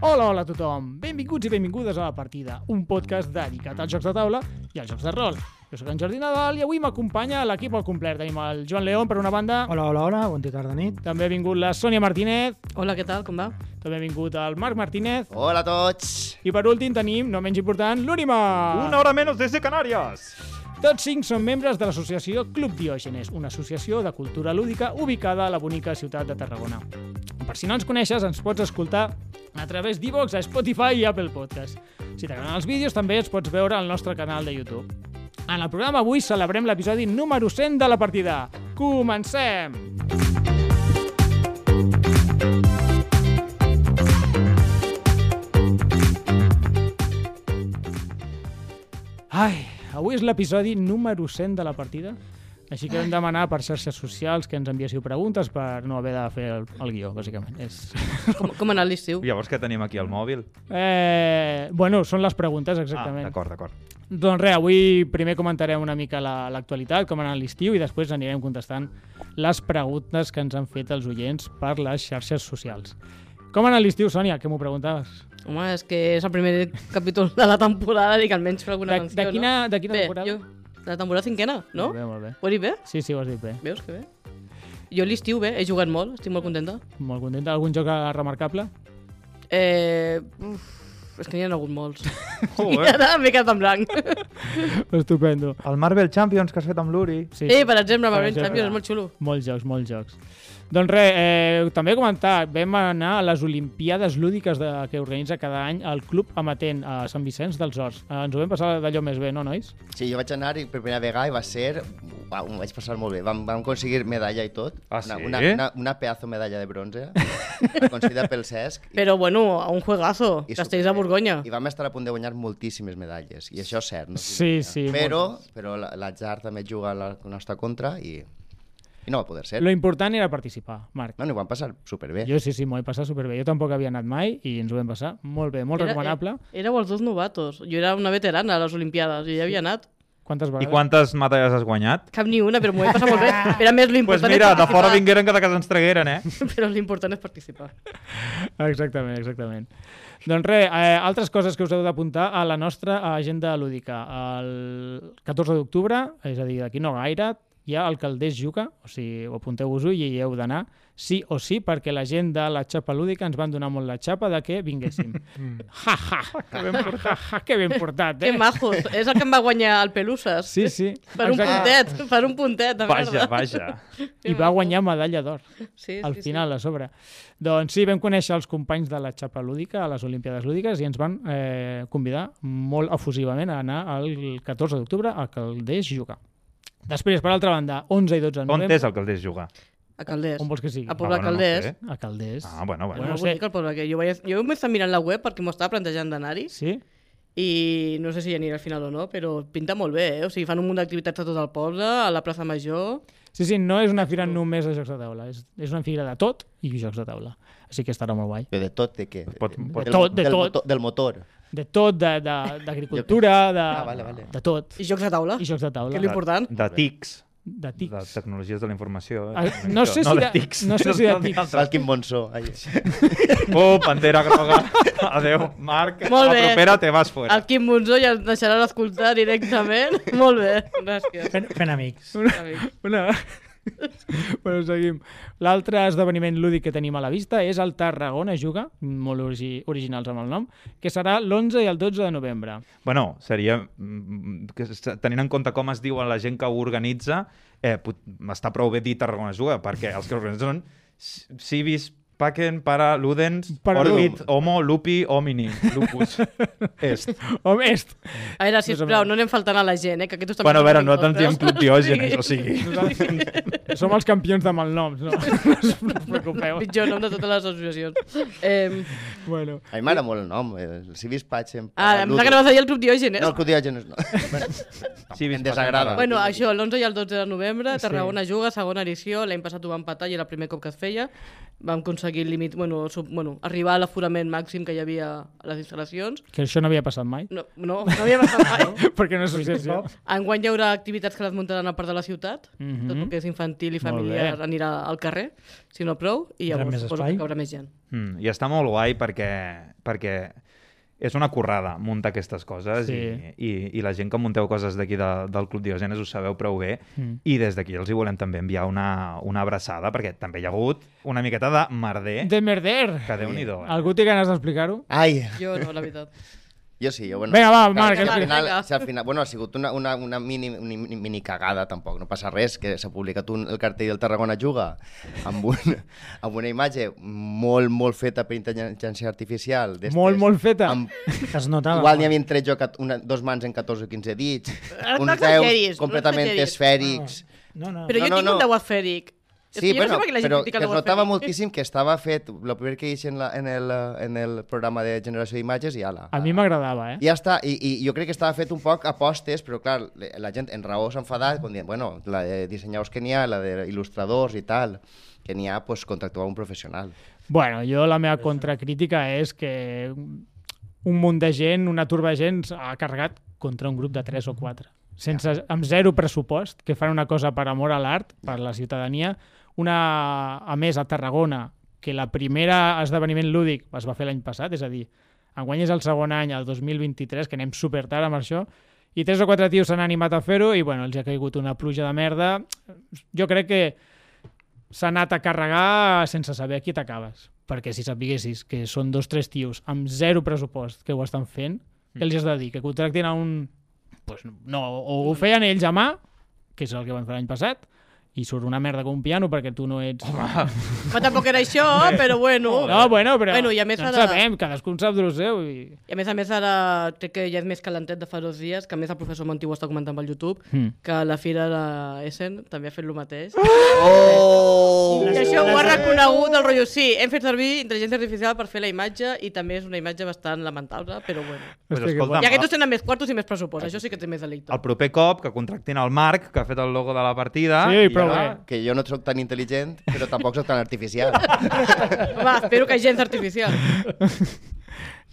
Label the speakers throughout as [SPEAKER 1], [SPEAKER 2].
[SPEAKER 1] Hola, hola a tothom! Benvinguts i benvingudes a La Partida, un podcast dedicat als jocs de taula i als jocs de rol. Jo sóc en Jordi Nadal i avui m'acompanya l'equip al complet. Tenim el Joan León, per una banda,
[SPEAKER 2] Hola, hola, hola, bon dia, tarda, nit.
[SPEAKER 1] també ha vingut la Sònia Martínez,
[SPEAKER 3] Hola, què tal? Com va?
[SPEAKER 1] també ha vingut el Marc Martínez
[SPEAKER 4] Hola a tots!
[SPEAKER 1] i per últim tenim, no menys important, l'Únima!
[SPEAKER 5] Una hora menos desde Canarias.
[SPEAKER 1] Tots cinc són membres de l'associació Club Diògenes, una associació de cultura lúdica ubicada a la bonica ciutat de Tarragona. Per si no ens coneixes, ens pots escoltar a través d'Evox, a Spotify i Apple Podcast. Si t'agraden els vídeos, també els pots veure al nostre canal de YouTube. En el programa avui celebrem l'episodi número 100 de la partida. Comencem! Ai, avui és l'episodi número 100 de la partida, així que hem demanar per xarxes socials que ens enviéssiu preguntes per no haver de fer el, el guió, bàsicament. És...
[SPEAKER 3] Com, com ha anat l'estiu?
[SPEAKER 5] Llavors què tenim aquí al mòbil?
[SPEAKER 1] Eh, bueno, són les preguntes,
[SPEAKER 5] Ah,
[SPEAKER 1] exactament.
[SPEAKER 5] d'acord, d'acord.
[SPEAKER 1] doncs res, avui primer comentarem una mica la- l'actualitat, com ha anat l'estiu, i després anirem contestant les preguntes que ens han fet els oients per les xarxes socials. Com ha anat l'estiu, Sònia, que m'ho preguntaves?
[SPEAKER 3] Home, és que és el primer capítol de la temporada, dic, almenys per alguna
[SPEAKER 1] De-
[SPEAKER 3] cançó,
[SPEAKER 1] de quina-
[SPEAKER 3] no?
[SPEAKER 1] de quina
[SPEAKER 3] bé,
[SPEAKER 1] temporada?
[SPEAKER 3] Jo, de la temporada cinquena, no?
[SPEAKER 1] Molt bé, molt bé.
[SPEAKER 3] Ho he dit bé?
[SPEAKER 1] Sí, sí, ho has dit bé.
[SPEAKER 3] Veus que bé? Jo l'estiu bé, he jugat molt, estic molt contenta.
[SPEAKER 1] Molt contenta. Algun joc eh, remarcable?
[SPEAKER 3] Eh, uf, és que n'hi ha hagut molts. I
[SPEAKER 5] Joder.
[SPEAKER 3] ara m'he quedat en blanc.
[SPEAKER 1] Estupendo.
[SPEAKER 2] El Marvel Champions que has fet amb l'Uri.
[SPEAKER 1] Sí,
[SPEAKER 3] Eh, per exemple,
[SPEAKER 1] Per
[SPEAKER 3] per
[SPEAKER 1] exemple.
[SPEAKER 3] Champions és molt xulo.
[SPEAKER 1] Molts jocs, molts jocs. Doncs res, eh, també comentar, vam anar a les Olimpiades Lúdiques de, que organitza cada any el Club Amatent a Sant Vicenç dels Horts. Eh, ens ho vam passar d'allò més bé, no, nois?
[SPEAKER 4] Sí, jo vaig anar per primera vegada i va ser... Uau, m'ho vaig passar molt bé. Vam, vam aconseguir medalla i tot.
[SPEAKER 5] Ah,
[SPEAKER 4] una,
[SPEAKER 5] sí?
[SPEAKER 4] una, una, una pedazo medalla de bronze, aconseguida pel Cesc.
[SPEAKER 3] Però, bueno, a un juegazo,
[SPEAKER 4] I
[SPEAKER 3] Castells de
[SPEAKER 4] superbé.
[SPEAKER 3] Borgonya.
[SPEAKER 4] I vam estar a punt de guanyar moltíssimes medalles, i això és cert. No?
[SPEAKER 1] Sí, sí,
[SPEAKER 4] Però, però la- l'atzar també juga a la nostra contra i, i no va poder ser.
[SPEAKER 1] Lo important era participar, Marc.
[SPEAKER 4] Bueno, i ho vam passar superbé.
[SPEAKER 1] Jo sí, sí, m'ho he passat superbé. Jo tampoc havia anat mai i ens ho vam passar molt bé, molt recomanable.
[SPEAKER 3] Era, eh, éreu els dos novatos. Jo era una veterana a les Olimpiades, jo ja havia anat.
[SPEAKER 1] Quantes
[SPEAKER 5] I
[SPEAKER 1] vegades?
[SPEAKER 5] quantes medalles has guanyat?
[SPEAKER 3] Cap ni una, però m'ho he passat molt bé.
[SPEAKER 1] Ah.
[SPEAKER 3] Era més
[SPEAKER 5] Doncs pues
[SPEAKER 3] l'important...
[SPEAKER 5] mira,
[SPEAKER 3] és
[SPEAKER 5] de fora
[SPEAKER 3] participar.
[SPEAKER 5] vingueren que de casa ens tragueren, eh?
[SPEAKER 3] Però l'important és participar.
[SPEAKER 1] Exactament, exactament. Doncs res, eh, altres coses que us heu d'apuntar a la nostra agenda lúdica. El 14 d'octubre, és a dir, d'aquí no gaire, hi ha el Calders Juca, o sigui, ho apunteu-vos-ho i hi heu d'anar, sí o sí, perquè la gent de la xapa lúdica ens van donar molt la xapa de que vinguéssim. ha, ha, que ben portat, ha, ha, que ben portat,
[SPEAKER 3] Mm. Que
[SPEAKER 1] eh?
[SPEAKER 3] majos. És el que em va guanyar el Peluses.
[SPEAKER 1] Sí, sí.
[SPEAKER 3] Per un
[SPEAKER 1] exacte.
[SPEAKER 3] puntet, per un puntet, de
[SPEAKER 5] Vaja,
[SPEAKER 3] merda.
[SPEAKER 5] vaja.
[SPEAKER 1] I va guanyar medalla d'or.
[SPEAKER 3] Sí,
[SPEAKER 1] al
[SPEAKER 3] sí,
[SPEAKER 1] final, a sobre. Doncs sí, vam conèixer els companys de la xapa lúdica a les Olimpiades Lúdiques i ens van eh, convidar molt efusivament a anar el 14 d'octubre a Calders jugar. Després, per altra banda, 11 i 12 de
[SPEAKER 5] On
[SPEAKER 1] novembre...
[SPEAKER 5] és el que el deix jugar?
[SPEAKER 3] Sí. A Calders.
[SPEAKER 1] On vols Doncs que sigui?
[SPEAKER 3] A Poble
[SPEAKER 5] Ah, bueno, no
[SPEAKER 3] Calders.
[SPEAKER 5] sé.
[SPEAKER 1] A Calders.
[SPEAKER 5] Ah, bueno,
[SPEAKER 3] Bueno,
[SPEAKER 5] bueno.
[SPEAKER 1] Bueno,
[SPEAKER 3] no
[SPEAKER 1] sé.
[SPEAKER 3] sé. el poble que jo, vaig... jo m'he estat mirant la web perquè m'ho estava plantejant d'anar-hi
[SPEAKER 1] Sí?
[SPEAKER 3] i no sé si hi aniré al final o no, però pinta molt bé, eh? O sigui, fan un munt d'activitats a tot el poble, a la plaça Major...
[SPEAKER 1] Sí, sí, no és una fira només de jocs de taula, és, és una fira de tot i jocs de taula. Així que estarà molt guai.
[SPEAKER 4] Però de tot, de què?
[SPEAKER 5] Pot- pot-
[SPEAKER 1] De tot, de
[SPEAKER 4] del,
[SPEAKER 1] tot.
[SPEAKER 4] motor- del motor.
[SPEAKER 1] De tot, de- de- d'agricultura, de, de,
[SPEAKER 4] Ah, vale, vale.
[SPEAKER 1] de tot.
[SPEAKER 3] I jocs de taula.
[SPEAKER 1] I jocs de taula.
[SPEAKER 3] Que li- important.
[SPEAKER 5] De, de TICs,
[SPEAKER 1] De
[SPEAKER 5] de
[SPEAKER 1] tics.
[SPEAKER 5] tecnologies de la informació. eh?
[SPEAKER 1] Ah, no sé si
[SPEAKER 5] de,
[SPEAKER 1] de-
[SPEAKER 5] TICs.
[SPEAKER 1] no sé si de tics.
[SPEAKER 4] Falquin Bonsó. Ai.
[SPEAKER 5] Oh, pantera groga. Adéu, Marc.
[SPEAKER 3] Molt bé.
[SPEAKER 5] La propera te vas fora.
[SPEAKER 3] El Quim Monzó ja ens deixarà d'escoltar directament. molt bé, gràcies.
[SPEAKER 2] Fent, fent amics.
[SPEAKER 3] amics.
[SPEAKER 1] Una... bueno, seguim. L'altre esdeveniment lúdic que tenim a la vista és el Tarragona Juga, molt origi originals amb el nom, que serà l'11 i el 12 de novembre.
[SPEAKER 5] Bueno, seria... mm, que s- Tenint en compte com es diu a la gent que ho organitza, eh, pot, està prou bé dir Tarragona Juga, perquè els que organitzen són Civis, Paquen, Para, Ludens,
[SPEAKER 1] Para
[SPEAKER 5] Orbit, Homo, Lupi, Homini, Lupus, Est.
[SPEAKER 1] Home, est!
[SPEAKER 3] A veure, sisplau, no anem faltant a la gent, eh? Que aquests també...
[SPEAKER 5] bueno, a veure,
[SPEAKER 3] són
[SPEAKER 5] no ens diem
[SPEAKER 3] importants.
[SPEAKER 5] Club eh, Diògenes, o sigui...
[SPEAKER 1] Som els campions de malnoms, no? no us preocupeu.
[SPEAKER 3] Pitjor nom de totes les associacions. Eh,
[SPEAKER 1] Bueno,
[SPEAKER 4] A mi m'agrada molt el nom, el Civis Patxem.
[SPEAKER 3] ah, em sembla que anaves a dir el Club Diògenes.
[SPEAKER 4] No, el Codiògenes no. bueno,
[SPEAKER 5] Sí,
[SPEAKER 4] em desagrada.
[SPEAKER 3] Bueno, això, l'11 i el 12 de novembre, Tarragona juga, segona edició, l'any passat ho vam empatar i era el primer cop que es feia. Vam aconseguir el límit, bueno, sub, bueno, arribar a l'aforament màxim que hi havia a les instal·lacions.
[SPEAKER 1] Que això no havia passat mai.
[SPEAKER 3] No, no, no havia passat mai.
[SPEAKER 1] Perquè no és urgència.
[SPEAKER 3] Enguany hi haurà activitats que les muntaran a part de la ciutat,
[SPEAKER 1] Mhm.
[SPEAKER 3] tot el que és infantil i
[SPEAKER 1] Molt
[SPEAKER 3] familiar
[SPEAKER 1] bé.
[SPEAKER 3] anirà al carrer, si no prou, i
[SPEAKER 2] Hi haurà
[SPEAKER 3] llavors
[SPEAKER 2] més
[SPEAKER 3] suposo
[SPEAKER 2] espai.
[SPEAKER 3] que hi haurà més gent.
[SPEAKER 5] Mm, I està molt guai perquè, perquè és una currada muntar aquestes coses
[SPEAKER 1] Sí.
[SPEAKER 5] i, i, i la gent que munteu coses d'aquí de, del Club Diogenes ho sabeu prou bé
[SPEAKER 1] Mm.
[SPEAKER 5] i des d'aquí els hi volem també enviar una, una abraçada perquè també hi ha hagut una miqueta de merder
[SPEAKER 1] De merder.
[SPEAKER 5] que Déu-n'hi-do. eh?
[SPEAKER 1] Algú té ganes d'explicar-ho?
[SPEAKER 4] Ai,
[SPEAKER 3] Jo no, la veritat.
[SPEAKER 4] jo sí, jo bueno.
[SPEAKER 1] Vinga, va, Marc, eh.
[SPEAKER 4] si al
[SPEAKER 1] explica.
[SPEAKER 4] final,
[SPEAKER 3] Vinga.
[SPEAKER 4] si al final, bueno, ha sigut una, una, una mini, mini, mini cagada, tampoc, no passa res, que s'ha publicat un, el cartell del Tarragona Juga amb, un, amb una imatge molt, molt feta per intel·ligència artificial. d'estes,
[SPEAKER 1] Molt, molt feta.
[SPEAKER 4] Amb,
[SPEAKER 2] Que es notava.
[SPEAKER 4] igual n'hi havien tret jo cat- una, dos mans en 14 o 15 dits,
[SPEAKER 3] No
[SPEAKER 4] uns
[SPEAKER 3] exageris,
[SPEAKER 4] deus
[SPEAKER 3] no
[SPEAKER 4] completament
[SPEAKER 3] exageris.
[SPEAKER 4] esfèrics,
[SPEAKER 1] Ah.
[SPEAKER 2] No, no.
[SPEAKER 3] Però
[SPEAKER 4] No,
[SPEAKER 3] jo
[SPEAKER 4] no,
[SPEAKER 3] tinc
[SPEAKER 4] no.
[SPEAKER 3] un deu esfèric. És que
[SPEAKER 4] Sí,
[SPEAKER 3] jo
[SPEAKER 4] bueno,
[SPEAKER 3] no sé per què la gent
[SPEAKER 4] però
[SPEAKER 3] critica
[SPEAKER 4] que
[SPEAKER 3] el
[SPEAKER 4] es
[SPEAKER 3] deu
[SPEAKER 4] notava
[SPEAKER 3] esfèric.
[SPEAKER 4] moltíssim que estava fet, el primer que hi en, la, en, el, en el programa de generació d'imatges i ala.
[SPEAKER 1] A mi m'agradava, eh?
[SPEAKER 4] ja està, I, i jo crec que estava fet un poc a postes, però clar, la gent en raó s'ha enfadat quan dient, bueno, la de dissenyadors que n'hi ha, la d'il·lustradors i tal, que n'hi ha, doncs pues, contractuar un professional.
[SPEAKER 1] Bueno, jo la meva contracrítica és que un munt de gent, una turba de gent ha carregat contra un grup de 3 o 4 sense, amb zero pressupost que fan una cosa per amor a l'art, per la ciutadania una, a més a Tarragona que la primera esdeveniment lúdic es va fer l'any passat, és a dir enguany és el segon any, el 2023 que anem super tard amb això i tres o quatre tios s'han animat a fer-ho i bueno, els ha caigut una pluja de merda jo crec que s'ha anat a carregar sense saber a qui t'acabes. Perquè si sapiguessis que són dos tres tios amb zero pressupost que ho estan fent, què els has de dir? Que contractin a un... Pues no, o ho feien ells a mà, que és el que van fer l'any passat, i surt una merda com un piano perquè tu no ets... Home,
[SPEAKER 3] Però tampoc era això, però bueno.
[SPEAKER 1] no, bueno, però
[SPEAKER 3] Bueno, i a més
[SPEAKER 1] no en
[SPEAKER 3] ara-
[SPEAKER 1] sabem, cadascú en sap del seu i...
[SPEAKER 3] I a més a més ara crec que ja és més calentet de fa dos dies, que a més el professor Montiu ho està comentant pel YouTube,
[SPEAKER 1] Mm.
[SPEAKER 3] que la fira d'Essen també ha fet el mateix.
[SPEAKER 4] Ah! Oh!
[SPEAKER 3] I això ho ha reconegut el rotllo. Sí, hem fet servir intel·ligència artificial per fer la imatge i també és una imatge bastant lamentable, però bueno.
[SPEAKER 5] Pues
[SPEAKER 1] Hòstia, que
[SPEAKER 5] escolta'm,
[SPEAKER 3] I aquests tenen més quartos i més pressupost, això sí que té més delicte.
[SPEAKER 5] el proper cop que contractin el Marc, que ha fet el logo de la partida...
[SPEAKER 1] Sí,
[SPEAKER 5] i
[SPEAKER 1] prou
[SPEAKER 5] ara-
[SPEAKER 1] bé.
[SPEAKER 4] Que jo no sóc tan intel·ligent, però tampoc sóc tan artificial.
[SPEAKER 3] Home, espero que gens artificial.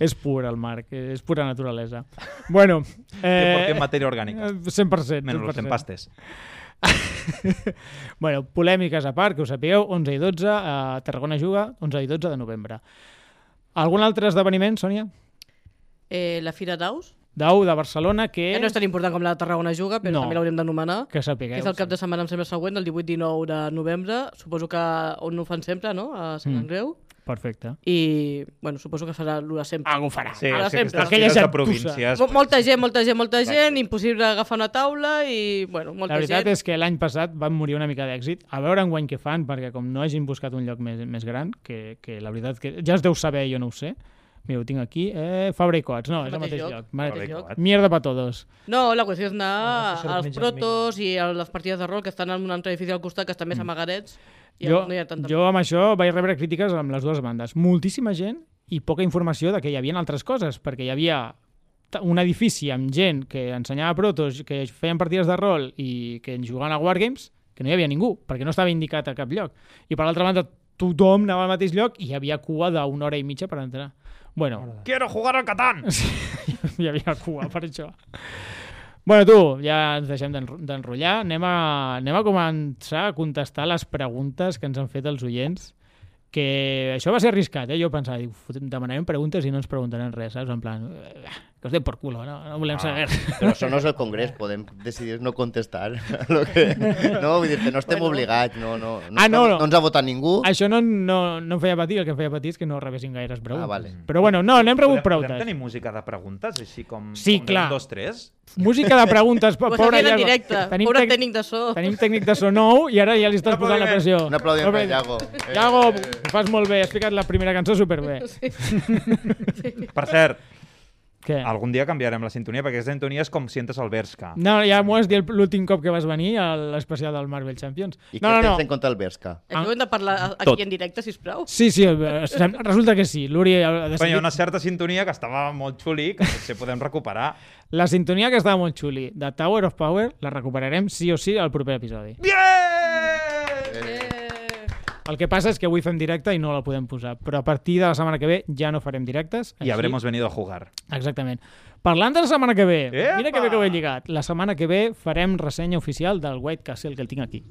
[SPEAKER 1] És pur el Marc, és pura naturalesa. Bueno,
[SPEAKER 5] Que
[SPEAKER 1] eh,
[SPEAKER 5] portem matèria orgànica.
[SPEAKER 1] 100%.
[SPEAKER 5] Menys los
[SPEAKER 1] 100%.
[SPEAKER 5] empastes.
[SPEAKER 1] bueno, polèmiques a part, que ho sapigueu, 11 i 12, a Tarragona juga, 11 i 12 de novembre. Algun altre esdeveniment, Sònia?
[SPEAKER 3] Eh, la fira d'Aus,
[SPEAKER 1] Dau de Barcelona, que...
[SPEAKER 4] Eh?
[SPEAKER 3] que no és tan important com la de Tarragona Juga, però
[SPEAKER 1] No.
[SPEAKER 3] també l'hauríem d'anomenar.
[SPEAKER 1] Que sapigueu.
[SPEAKER 3] Que és el cap de setmana, em sembla, següent, el 18-19 de novembre. Suposo que on ho fan sempre, no? A Sant
[SPEAKER 1] Mm.
[SPEAKER 3] Andreu.
[SPEAKER 1] Perfecte.
[SPEAKER 3] I, bueno, suposo que serà l'hora sempre.
[SPEAKER 1] Algú farà.
[SPEAKER 5] Sí,
[SPEAKER 3] Ara
[SPEAKER 5] és que
[SPEAKER 3] sempre.
[SPEAKER 5] aquestes
[SPEAKER 1] Aquella
[SPEAKER 5] fires de
[SPEAKER 1] gentussa.
[SPEAKER 5] províncies...
[SPEAKER 3] Mo- Molta gent, molta gent, molta gent, impossible agafar una taula i, bueno, molta
[SPEAKER 1] La veritat
[SPEAKER 3] gent.
[SPEAKER 1] és que l'any passat van morir una mica d'èxit. A veure enguany què fan, perquè com no hagin buscat un lloc més, més gran, que, que la veritat que ja es deu saber, jo no ho sé. Mira, ho tinc aquí. Eh, Fabra i Cots. No, és el mateix lloc.
[SPEAKER 3] mateix
[SPEAKER 1] Mare-
[SPEAKER 3] lloc.
[SPEAKER 1] Mierda pa todos.
[SPEAKER 3] No, la qüestió és anar
[SPEAKER 2] Ah, això surt
[SPEAKER 3] als
[SPEAKER 2] mitja
[SPEAKER 3] protos i a les partides de rol que estan en un altre edifici al costat que estan més amagarets i
[SPEAKER 1] Mm. jo,
[SPEAKER 3] no hi ha tanta...
[SPEAKER 1] jo amb això vaig rebre crítiques amb les dues bandes. Moltíssima gent i poca informació de que hi havia altres coses, perquè hi havia ta- un edifici amb gent que ensenyava protos, que feien partides de rol i que en jugaven a Wargames, que no hi havia ningú, perquè no estava indicat a cap lloc. I per l'altra banda, tothom anava al mateix lloc i hi havia cua d'una hora i mitja per entrar. Bueno,
[SPEAKER 5] Quiero jugar al Catán!
[SPEAKER 1] hi havia cua per això. Bueno, tu, ja ens deixem d'enro- d'enrotllar. Anem, a, anem a començar a contestar les preguntes que ens han fet els oients. Que això va ser arriscat, eh? Jo pensava, diu, fotem- demanarem preguntes i no ens preguntaran res, saps? En plan, eh, que us den por culo, no, no volem saber.
[SPEAKER 4] Però això no és el Congrés, podem decidir no contestar. Lo que... No, vull dir que no estem bueno. obligats, no, no, no,
[SPEAKER 1] Ah, no, no.
[SPEAKER 4] no ens ha votat ningú.
[SPEAKER 1] Això no, no, no em feia patir, el que em feia patir és que no rebessin gaires preguntes.
[SPEAKER 4] Ah, vale.
[SPEAKER 1] Però bueno, no, n'hem rebut
[SPEAKER 5] podem,
[SPEAKER 1] preguntes.
[SPEAKER 5] podem tenir música de preguntes, així com...
[SPEAKER 1] Sí,
[SPEAKER 5] com
[SPEAKER 1] clar.
[SPEAKER 5] Un, dos, tres?
[SPEAKER 1] Música de preguntes, po-
[SPEAKER 3] Ho
[SPEAKER 1] pobra
[SPEAKER 3] estan fent en
[SPEAKER 1] Iago.
[SPEAKER 3] directe,
[SPEAKER 1] Tenim
[SPEAKER 3] pobre
[SPEAKER 1] tec-
[SPEAKER 3] tècnic de so.
[SPEAKER 1] Tenim tècnic de so nou i ara ja li estàs
[SPEAKER 5] Un
[SPEAKER 1] posant la
[SPEAKER 5] aplaudiment.
[SPEAKER 1] pressió.
[SPEAKER 4] Un aplaudiment per Iago. Eh,
[SPEAKER 1] Iago, ho fas molt bé, has ficat la primera cançó superbé.
[SPEAKER 5] Per cert,
[SPEAKER 1] Què?
[SPEAKER 5] algun dia canviarem la sintonia, perquè aquesta sintonia és com sientes el Berska.
[SPEAKER 1] No, ja m'ho has dit l'últim cop que vas venir a l'especial del Marvel Champions.
[SPEAKER 4] I què
[SPEAKER 1] No, no, no.
[SPEAKER 4] tens en compte el Berska?
[SPEAKER 3] Aquí ho hem de parlar a-
[SPEAKER 5] Tot.
[SPEAKER 3] aquí en directe, sisplau.
[SPEAKER 1] Ah. Sí, sí, eh, sem- resulta que sí. L'Uri ha
[SPEAKER 5] Però hi
[SPEAKER 1] decidit...
[SPEAKER 5] ha una certa sintonia que estava molt xuli, que potser podem recuperar.
[SPEAKER 1] La sintonia que estava molt xuli de Tower of Power la recuperarem sí o sí al proper episodi.
[SPEAKER 5] Bien!
[SPEAKER 3] Eh,
[SPEAKER 1] El que passa és que avui fem directe i no la podem posar, però a partir de la setmana que ve ja no farem directes.
[SPEAKER 5] Y habremos venido a jugar.
[SPEAKER 1] Exactament. Parlant de la setmana que ve,
[SPEAKER 5] Epa!
[SPEAKER 1] mira que bé que ho he lligat. La setmana que ve farem ressenya oficial del White Castle que el tinc aquí.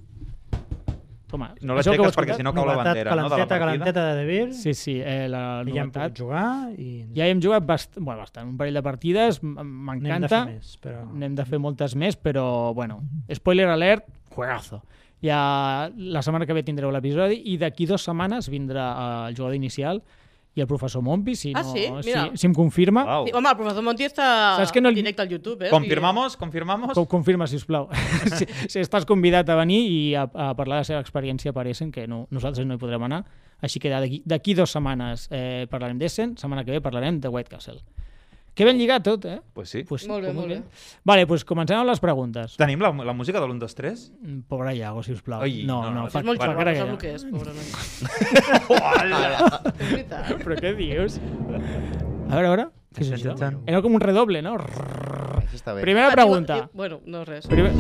[SPEAKER 1] Toma,
[SPEAKER 5] No
[SPEAKER 1] això que ho
[SPEAKER 5] l'aixeques
[SPEAKER 1] has
[SPEAKER 5] perquè
[SPEAKER 1] escoltat?
[SPEAKER 5] si no cau la bandera, no? De la
[SPEAKER 2] calenteta,
[SPEAKER 5] partida.
[SPEAKER 2] calenteta de Devir.
[SPEAKER 1] Sí, sí, eh, la
[SPEAKER 2] I ja hem
[SPEAKER 1] novetat.
[SPEAKER 2] pogut jugar i
[SPEAKER 1] Ja hi hem jugat bast... bueno, bastant, un parell de partides, m-
[SPEAKER 2] n'hem de fer
[SPEAKER 1] m'encanta.
[SPEAKER 2] més. Però...
[SPEAKER 1] N'hem de fer moltes més, però, bueno, spoiler alert, juegazo. Ja la setmana que ve tindreu l'episodi i d'aquí dues setmanes vindrà eh, el jugador inicial i el professor Mompi, si,
[SPEAKER 3] Ah,
[SPEAKER 1] no,
[SPEAKER 3] sí?
[SPEAKER 1] si,
[SPEAKER 3] Mira.
[SPEAKER 1] si em confirma.
[SPEAKER 5] Guau.
[SPEAKER 3] Sí, home, el professor Monti està
[SPEAKER 1] Saps que no
[SPEAKER 3] en
[SPEAKER 1] li-
[SPEAKER 3] directe al YouTube, eh?
[SPEAKER 5] Confirmamos, confirmamos.
[SPEAKER 1] Co- Confirma, si us plau. si, si estàs convidat a venir i a, a parlar de la seva experiència per Essen, que no, nosaltres no hi podrem anar, així que d'aquí d'aquí dues setmanes eh, parlarem d'Essen, setmana que ve parlarem de White Castle. Que ben lligat tot, eh?
[SPEAKER 5] Pues sí.
[SPEAKER 1] Pues,
[SPEAKER 3] Molt bé,
[SPEAKER 1] com
[SPEAKER 3] molt bé.
[SPEAKER 1] Vale, pues comencem amb les preguntes.
[SPEAKER 5] Tenim la, la música de l'1, 2, 3?
[SPEAKER 1] Mm, Pobre Iago, si us plau.
[SPEAKER 5] Ai,
[SPEAKER 1] no,
[SPEAKER 5] no,
[SPEAKER 1] no,
[SPEAKER 5] no,
[SPEAKER 1] no, fa,
[SPEAKER 3] És molt
[SPEAKER 1] fa
[SPEAKER 3] xulo,
[SPEAKER 1] cara
[SPEAKER 3] no
[SPEAKER 1] que
[SPEAKER 3] sap
[SPEAKER 1] ja.
[SPEAKER 3] el que és, pobre noi.
[SPEAKER 5] Hola!
[SPEAKER 3] És veritat.
[SPEAKER 1] Però què dius? A veure, a veure. Què és això?
[SPEAKER 5] Tan, tan, tan.
[SPEAKER 1] Era com un redoble, no?
[SPEAKER 4] Això està bé.
[SPEAKER 1] Primera pregunta.
[SPEAKER 3] Bueno, no, res.
[SPEAKER 1] Primer...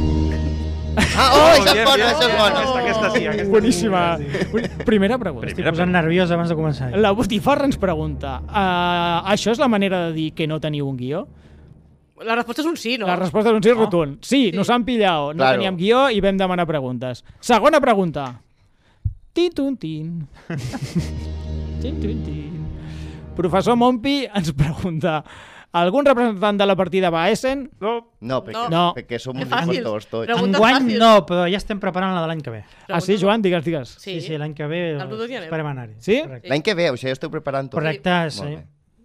[SPEAKER 4] Ah, oh, això és
[SPEAKER 5] Bien,
[SPEAKER 4] bona,
[SPEAKER 5] bien,
[SPEAKER 4] això és
[SPEAKER 5] bien.
[SPEAKER 4] bona.
[SPEAKER 5] Aquesta, aquesta sí, aquesta.
[SPEAKER 1] Boníssima. Primera pregunta.
[SPEAKER 5] Primera
[SPEAKER 2] Estic posant nerviós abans de començar.
[SPEAKER 1] La Botifarra ens pregunta uh, Això és la manera de dir que no teniu un guió?
[SPEAKER 3] La resposta és un sí, no?
[SPEAKER 1] No. La resposta és un sí rotund. Sí, sí.
[SPEAKER 3] Sí.
[SPEAKER 1] nos han pillat, no
[SPEAKER 4] Claro.
[SPEAKER 1] teníem guió i vam demanar preguntes. Segona pregunta. Tin, tun, tin. tin, tun, tin. Professor Mompi ens pregunta Algun representant de la partida va a Essen?
[SPEAKER 5] No.
[SPEAKER 4] No, perquè, no.
[SPEAKER 1] No.
[SPEAKER 4] perquè som
[SPEAKER 3] Que
[SPEAKER 4] uns
[SPEAKER 3] fàcil.
[SPEAKER 4] impostors tots.
[SPEAKER 3] Pregunta
[SPEAKER 2] Enguany
[SPEAKER 3] fàcil.
[SPEAKER 2] no, però ja estem preparant la de l'any que ve.
[SPEAKER 1] Ah, sí, Joan? Digues, digues.
[SPEAKER 3] Sí,
[SPEAKER 2] sí, l'any que ve
[SPEAKER 3] El Dudu hi anem.
[SPEAKER 2] esperem anar-hi.
[SPEAKER 1] Sí?
[SPEAKER 2] Correcte.
[SPEAKER 4] L'any que ve, o sigui, jo esteu preparant tot.
[SPEAKER 2] Correcte, sí.
[SPEAKER 4] Molt bé.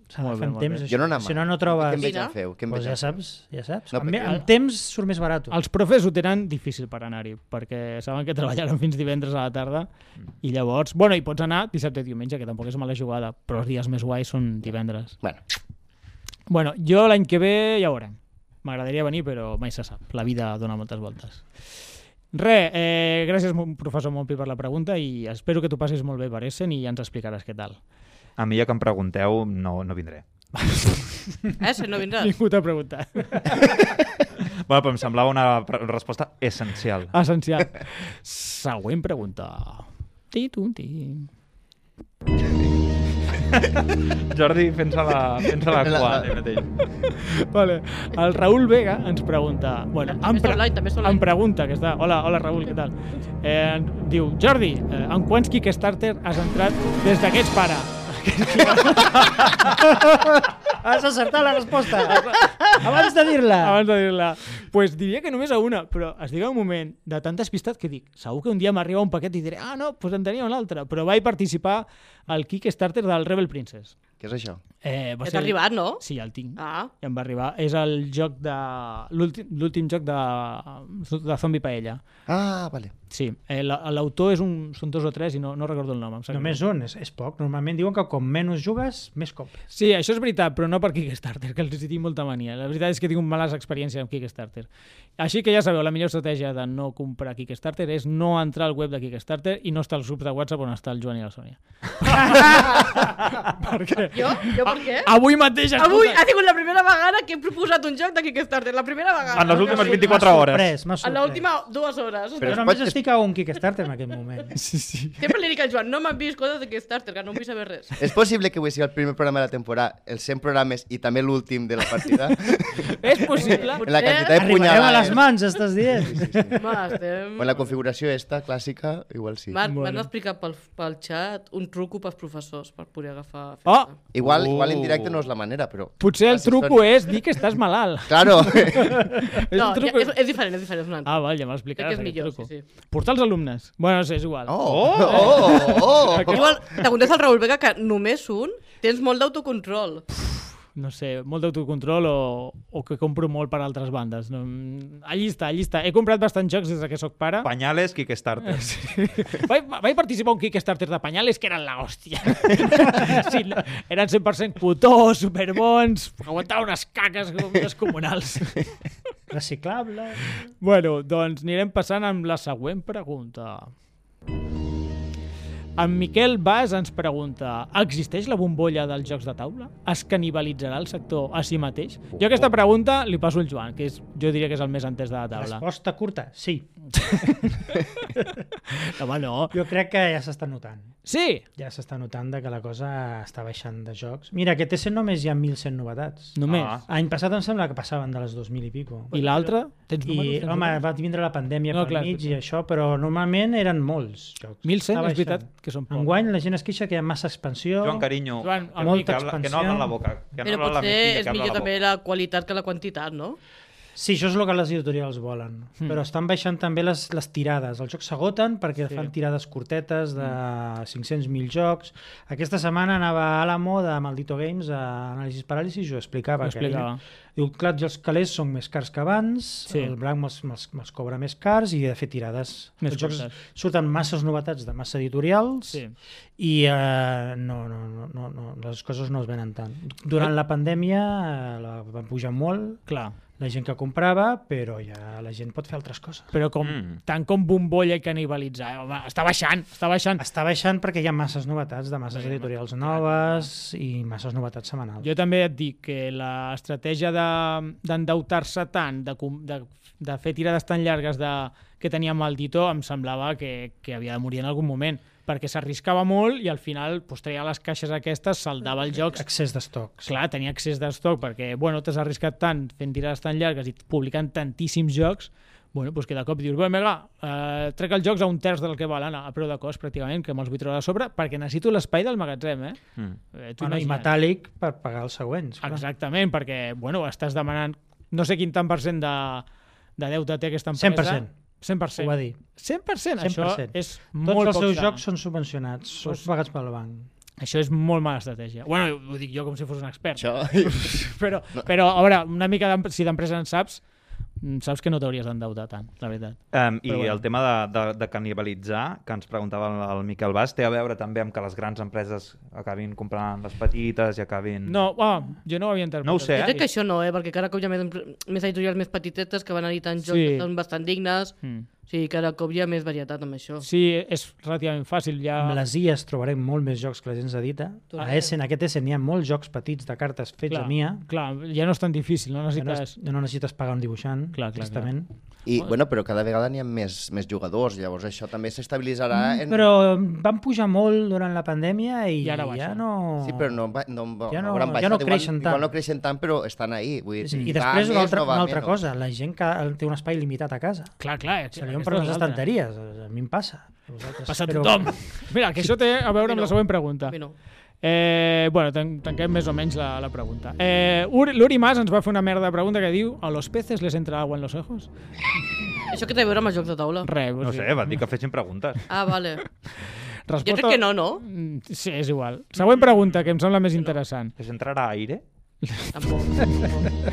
[SPEAKER 2] S'ha de
[SPEAKER 1] Molt bé,
[SPEAKER 2] fer amb
[SPEAKER 1] molt bé.
[SPEAKER 2] temps.
[SPEAKER 4] Jo no
[SPEAKER 2] això.
[SPEAKER 4] anava.
[SPEAKER 2] Si no, no
[SPEAKER 4] Què
[SPEAKER 2] trobes...
[SPEAKER 4] em veig en feu? Què em
[SPEAKER 2] Pues
[SPEAKER 4] veig
[SPEAKER 2] ja
[SPEAKER 4] en feu?
[SPEAKER 2] saps, ja saps.
[SPEAKER 4] No,
[SPEAKER 2] No, amb,
[SPEAKER 4] perquè-
[SPEAKER 2] amb temps surt més barat.
[SPEAKER 1] Els profes ho tenen difícil per anar-hi, perquè saben que treballaran fins divendres a la tarda i llavors, bueno, hi pots anar dissabte i diumenge, que tampoc és mala jugada, però els dies més guais són divendres.
[SPEAKER 4] Bueno,
[SPEAKER 1] Bueno, jo l'any que ve ja ho veurem. M'agradaria venir, però mai se sap. La vida dona moltes voltes. Re, eh, gràcies, mon- professor Montpi, per la pregunta i espero que t'ho passis molt bé per Essen i ja ens explicaràs què tal.
[SPEAKER 5] A mi ja que em pregunteu, no, no vindré.
[SPEAKER 3] Eh, si no vindràs.
[SPEAKER 1] Ningú t'ha preguntat.
[SPEAKER 5] Bueno, però em semblava una pre- resposta essencial.
[SPEAKER 1] Essencial. Següent pregunta. Ti-tun-tin.
[SPEAKER 5] Jordi, fent-se la, fent la
[SPEAKER 4] La-
[SPEAKER 5] cua.
[SPEAKER 4] la-
[SPEAKER 5] ell mateix.
[SPEAKER 1] Vale. El Raül Vega ens pregunta... Bueno,
[SPEAKER 3] També és online, també és online.
[SPEAKER 1] em pregunta, que està... Hola, hola Raül, què tal? Eh, diu, Jordi, eh, en quants Kickstarter has entrat des d'aquests pare?
[SPEAKER 2] Has acertat la resposta. Abans de dir-la.
[SPEAKER 1] Abans de dir-la. Doncs pues diria que només a una, però estic en un moment de tanta despistat que dic, segur que un dia m'arriba un paquet i diré, ah, no, doncs pues en tenia un altre. Però vaig participar al Kickstarter del Rebel Princess.
[SPEAKER 4] què és això?
[SPEAKER 1] Eh, va
[SPEAKER 3] Ja t'ha arribat, no?
[SPEAKER 1] Sí, el tinc.
[SPEAKER 3] Ah,
[SPEAKER 1] i em va arribar. És el joc de... l'últim- L'últim joc de, de Zombie Paella.
[SPEAKER 4] Ah, vale.
[SPEAKER 1] Sí, eh, la- l'autor és un... Són dos o tres i no, no recordo el nom. em sap
[SPEAKER 2] Només
[SPEAKER 1] greu.
[SPEAKER 2] un, és, és poc. Normalment diuen que com menys jugues, més copes.
[SPEAKER 1] Sí, això és veritat, però no per Kickstarter, que els hi tinc molta mania. La veritat és que tinc males experiències amb Kickstarter. Així que ja sabeu, la millor estratègia de no comprar Kickstarter és no entrar al web de Kickstarter i no estar als grups de WhatsApp on està el Joan i la Sònia. Perquè...
[SPEAKER 3] jo? Jo per què?
[SPEAKER 1] Avui mateix... Ah, escolta,
[SPEAKER 3] Avui ha sigut la primera vegada que he proposat un joc de Kickstarter. La primera vegada.
[SPEAKER 5] En les últimes 24
[SPEAKER 2] M'ha
[SPEAKER 5] hores.
[SPEAKER 2] sorprès, m'ha
[SPEAKER 3] En
[SPEAKER 2] sorprès.
[SPEAKER 3] l'última dues hores.
[SPEAKER 4] Però
[SPEAKER 2] Però
[SPEAKER 4] es
[SPEAKER 2] jo només
[SPEAKER 4] pot-
[SPEAKER 2] estic a un Kickstarter en aquest moment.
[SPEAKER 1] Sí, sí.
[SPEAKER 3] Sempre li dic al Joan, no m'han vist coses de Kickstarter, que no em vull saber res.
[SPEAKER 4] És possible que avui sigui el primer programa de la temporada, els 100 programes i també l'últim de la partida?
[SPEAKER 1] És possible?
[SPEAKER 3] Eh,
[SPEAKER 4] en la quantitat de
[SPEAKER 2] Arribareu a les
[SPEAKER 1] eh?
[SPEAKER 4] punyalades.
[SPEAKER 2] mans, estàs dient? Sí, sí, sí.
[SPEAKER 3] Ma, estem...
[SPEAKER 4] O en la configuració esta, clàssica, igual sí.
[SPEAKER 3] Marc,
[SPEAKER 1] Bueno.
[SPEAKER 3] m'han explicat pel, pel xat un truco pels professors per poder agafar...
[SPEAKER 1] Oh,
[SPEAKER 4] Igual,
[SPEAKER 5] Uh.
[SPEAKER 4] igual en directe no és la manera, però...
[SPEAKER 1] potser el
[SPEAKER 4] Gràcies,
[SPEAKER 1] truco
[SPEAKER 4] Toni.
[SPEAKER 1] és dir que estàs malalt.
[SPEAKER 4] Claro.
[SPEAKER 1] És
[SPEAKER 3] No,
[SPEAKER 1] un
[SPEAKER 3] ja,
[SPEAKER 1] truco...
[SPEAKER 3] és, és diferent, és diferent, és un altre.
[SPEAKER 1] Ah, val, ja
[SPEAKER 3] Crec
[SPEAKER 1] m'explicaràs
[SPEAKER 3] que és
[SPEAKER 1] aquest
[SPEAKER 3] millor,
[SPEAKER 1] truco.
[SPEAKER 3] sí,
[SPEAKER 1] Portar els alumnes. Bueno, no sé, és igual.
[SPEAKER 4] Oh, oh, oh, oh.
[SPEAKER 3] Igual, te contesta el Raül Vega que només un tens molt d'autocontrol.
[SPEAKER 1] No sé, molt d'autocontrol o, o que compro molt per altres bandes. No, mm, allí està, allí està. He comprat bastants jocs des de que sóc pare.
[SPEAKER 5] Panyales, Kickstarter.
[SPEAKER 1] vaig, vaig participar a un Kickstarter de panyales que eren la hòstia. sí, no, eren 100% cotós, superbons, aguantava unes caques com descomunals.
[SPEAKER 2] Reciclable.
[SPEAKER 1] Bueno, doncs anirem passant amb la següent pregunta. En Miquel Bas ens pregunta existeix la bombolla dels jocs de taula? Es canibalitzarà el sector a si mateix? Jo aquesta pregunta li passo al Joan, que és, jo diria que és el més entès de la taula.
[SPEAKER 2] Resposta curta, sí.
[SPEAKER 1] Home, no.
[SPEAKER 2] Jo crec que ja s'està notant.
[SPEAKER 1] Sí!
[SPEAKER 2] Ja s'està notant de que la cosa està baixant de jocs. Mira, aquest TC només hi ha 1.100 novetats.
[SPEAKER 1] Només.
[SPEAKER 5] Ah.
[SPEAKER 2] Any passat em sembla que passaven de les 2.000 i pico.
[SPEAKER 1] I l'altre? Tens números?
[SPEAKER 2] I,
[SPEAKER 1] Tens
[SPEAKER 2] home,
[SPEAKER 1] números?
[SPEAKER 2] va vindre la pandèmia
[SPEAKER 1] No,
[SPEAKER 2] no, pel
[SPEAKER 1] clar,
[SPEAKER 2] mig i
[SPEAKER 1] potser.
[SPEAKER 2] això, però normalment eren molts jocs.
[SPEAKER 1] 1.100
[SPEAKER 2] Està
[SPEAKER 1] és veritat
[SPEAKER 2] baixant.
[SPEAKER 1] que són pocs.
[SPEAKER 2] Enguany la gent es queixa que hi ha massa expansió.
[SPEAKER 5] Joan, carinyo,
[SPEAKER 1] Joan,
[SPEAKER 5] que,
[SPEAKER 1] molta
[SPEAKER 5] que, habla, que no
[SPEAKER 2] expansió.
[SPEAKER 5] habla la boca. Que
[SPEAKER 3] Però
[SPEAKER 5] no habla la
[SPEAKER 3] potser
[SPEAKER 5] mejilla,
[SPEAKER 3] és
[SPEAKER 5] que habla
[SPEAKER 3] millor
[SPEAKER 5] la
[SPEAKER 3] també la qualitat que la quantitat, no?
[SPEAKER 2] Sí, això és el que les editorials volen.
[SPEAKER 1] Hmm.
[SPEAKER 2] Mm. Però estan baixant també les, les tirades. Els jocs s'agoten perquè sí. fan tirades cortetes de
[SPEAKER 1] Hmm.
[SPEAKER 2] 500.000 jocs. Aquesta setmana anava a la moda amb el Dito Games a Anàlisis Paràlisis i ho explicava.
[SPEAKER 1] Ho
[SPEAKER 2] que
[SPEAKER 1] explicava.
[SPEAKER 2] ell- Diu, clar, els calés són més cars que abans,
[SPEAKER 1] Sí.
[SPEAKER 2] sí. el blanc me'ls, me'ls, me'ls cobra més cars i he de fer tirades.
[SPEAKER 1] Més
[SPEAKER 2] els jocs
[SPEAKER 1] curtes.
[SPEAKER 2] surten masses novetats de massa editorials
[SPEAKER 1] Sí.
[SPEAKER 2] i eh, no, no, no, no, no, les coses no es venen tant. Durant la pandèmia eh, la van pujar molt,
[SPEAKER 1] Clar.
[SPEAKER 2] la gent que comprava, però ja la gent pot fer altres coses.
[SPEAKER 1] Però com, mm.
[SPEAKER 5] Mm.
[SPEAKER 1] tant com bombolla i canibalitzar, eh, home, està baixant, està baixant.
[SPEAKER 2] Està baixant perquè hi ha masses novetats de masses editorials noves i masses novetats setmanals.
[SPEAKER 1] Jo també et dic que l'estratègia de- d'endeutar-se tant, de, com- de, de fer tirades tan llargues de, que teníem el Dito, em semblava que, que havia de morir en algun moment, perquè s'arriscava molt i al final pues, treia les caixes aquestes, saldava els jocs,
[SPEAKER 2] Excés d'estocs.
[SPEAKER 1] clar, tenia accés d'estoc perquè bueno, t'has arriscat tant fent tirades tan llargues i publicant tantíssims jocs bueno, doncs que de cop dius, bé, mega, eh, trec els jocs a un terç del que valen, a a preu de cost pràcticament, que me'ls vull treure a sobre, perquè necessito l'espai del magatzem, eh?
[SPEAKER 5] boca. Mm.
[SPEAKER 1] eh t'ho
[SPEAKER 2] Bueno, I
[SPEAKER 1] imagina't.
[SPEAKER 2] metàl·lic per pagar els següents. clar.
[SPEAKER 1] Exactament, perquè bueno, estàs demanant no sé quin tant per cent de, de deute té aquesta empresa.
[SPEAKER 2] 100%.
[SPEAKER 1] 100%.
[SPEAKER 2] Ho va dir.
[SPEAKER 1] 100%. Això
[SPEAKER 2] 100%.
[SPEAKER 1] és
[SPEAKER 2] Tots
[SPEAKER 1] molt
[SPEAKER 2] els
[SPEAKER 1] poc
[SPEAKER 2] seus
[SPEAKER 1] sa.
[SPEAKER 2] jocs són subvencionats, són pagats pel banc.
[SPEAKER 1] Això és molt mala estratègia. Bueno, ho dic jo com si fos un expert.
[SPEAKER 4] Això...
[SPEAKER 1] Però, però, a veure, una mica d'em- si d'empresa en saps, mm, saps que no t'hauries d'endeutar tant, la veritat.
[SPEAKER 5] Um, I
[SPEAKER 1] Però bueno.
[SPEAKER 5] el tema de, de, de canibalitzar, que ens preguntava el, el Miquel Bas, té a veure també amb que les grans empreses acabin comprant les petites i
[SPEAKER 2] Mm.
[SPEAKER 5] acabin...
[SPEAKER 1] No, oh, jo no ho havia interpretat.
[SPEAKER 5] No ho sé,
[SPEAKER 1] així.
[SPEAKER 5] eh?
[SPEAKER 3] Jo crec que això no, eh? Perquè cada cop hi ha més, empre- més editorials més petitetes que van editant jocs
[SPEAKER 1] Sí.
[SPEAKER 3] que són bastant dignes.
[SPEAKER 1] Mm.
[SPEAKER 3] O sigui, cada cop hi ha més varietat amb això.
[SPEAKER 1] Sí, és relativament fàcil. Ja...
[SPEAKER 2] Amb les IAs trobarem molt més jocs que la gent edita. A
[SPEAKER 3] Totalment.
[SPEAKER 2] Essen, aquest Essen, hi ha molts jocs petits de cartes fets
[SPEAKER 1] clar,
[SPEAKER 2] a Mia.
[SPEAKER 1] clar, ja no és tan difícil, no
[SPEAKER 2] que No,
[SPEAKER 1] necessites...
[SPEAKER 2] es- no necessites pagar un dibuixant,
[SPEAKER 1] Clar, clar, clar.
[SPEAKER 2] tristament.
[SPEAKER 4] I, bueno, però cada vegada n'hi ha més, més jugadors, llavors això també s'estabilitzarà... En...
[SPEAKER 2] Mm, Però van pujar molt durant la pandèmia i,
[SPEAKER 1] I ara
[SPEAKER 2] ja
[SPEAKER 1] baixen.
[SPEAKER 2] no...
[SPEAKER 4] Sí, però no, va- no,
[SPEAKER 2] Ja no-
[SPEAKER 4] hauran
[SPEAKER 2] ja
[SPEAKER 4] baixat.
[SPEAKER 2] no creixen
[SPEAKER 4] igual,
[SPEAKER 2] tant.
[SPEAKER 4] Igual no creixen tant, però estan ahí. Vull dir,
[SPEAKER 2] Sí, I
[SPEAKER 4] va
[SPEAKER 2] després una
[SPEAKER 4] més,
[SPEAKER 2] altra,
[SPEAKER 4] no va
[SPEAKER 2] una altra
[SPEAKER 4] menys.
[SPEAKER 2] cosa, la gent que té un espai limitat a casa.
[SPEAKER 1] Clar, clar.
[SPEAKER 2] Se li omplen
[SPEAKER 1] aquesta
[SPEAKER 2] per
[SPEAKER 1] és
[SPEAKER 2] les
[SPEAKER 1] l'altra.
[SPEAKER 2] estanteries, doncs, a mi em passa. A vosaltres,
[SPEAKER 1] Passa a
[SPEAKER 2] però-
[SPEAKER 1] tothom. Mira, que això té a veure amb la següent pregunta.
[SPEAKER 3] A mi no.
[SPEAKER 1] Eh, bueno, tan- tanquem més o menys la, la pregunta. Eh, Uri- L'Uri Mas ens va fer una merda de pregunta que diu ¿A los peces les entra agua en los ojos?
[SPEAKER 3] Això que té a veure amb els jocs de taula?
[SPEAKER 1] Re, o
[SPEAKER 5] no
[SPEAKER 1] sigui,
[SPEAKER 5] sé, van dir que fessin preguntes.
[SPEAKER 3] Ah, vale.
[SPEAKER 1] Resposta...
[SPEAKER 3] Jo crec que no, no?
[SPEAKER 1] Mm, Sí, és igual. Següent pregunta, que em sembla més interessant.
[SPEAKER 5] Que s'entrarà aire?
[SPEAKER 3] Tampoc.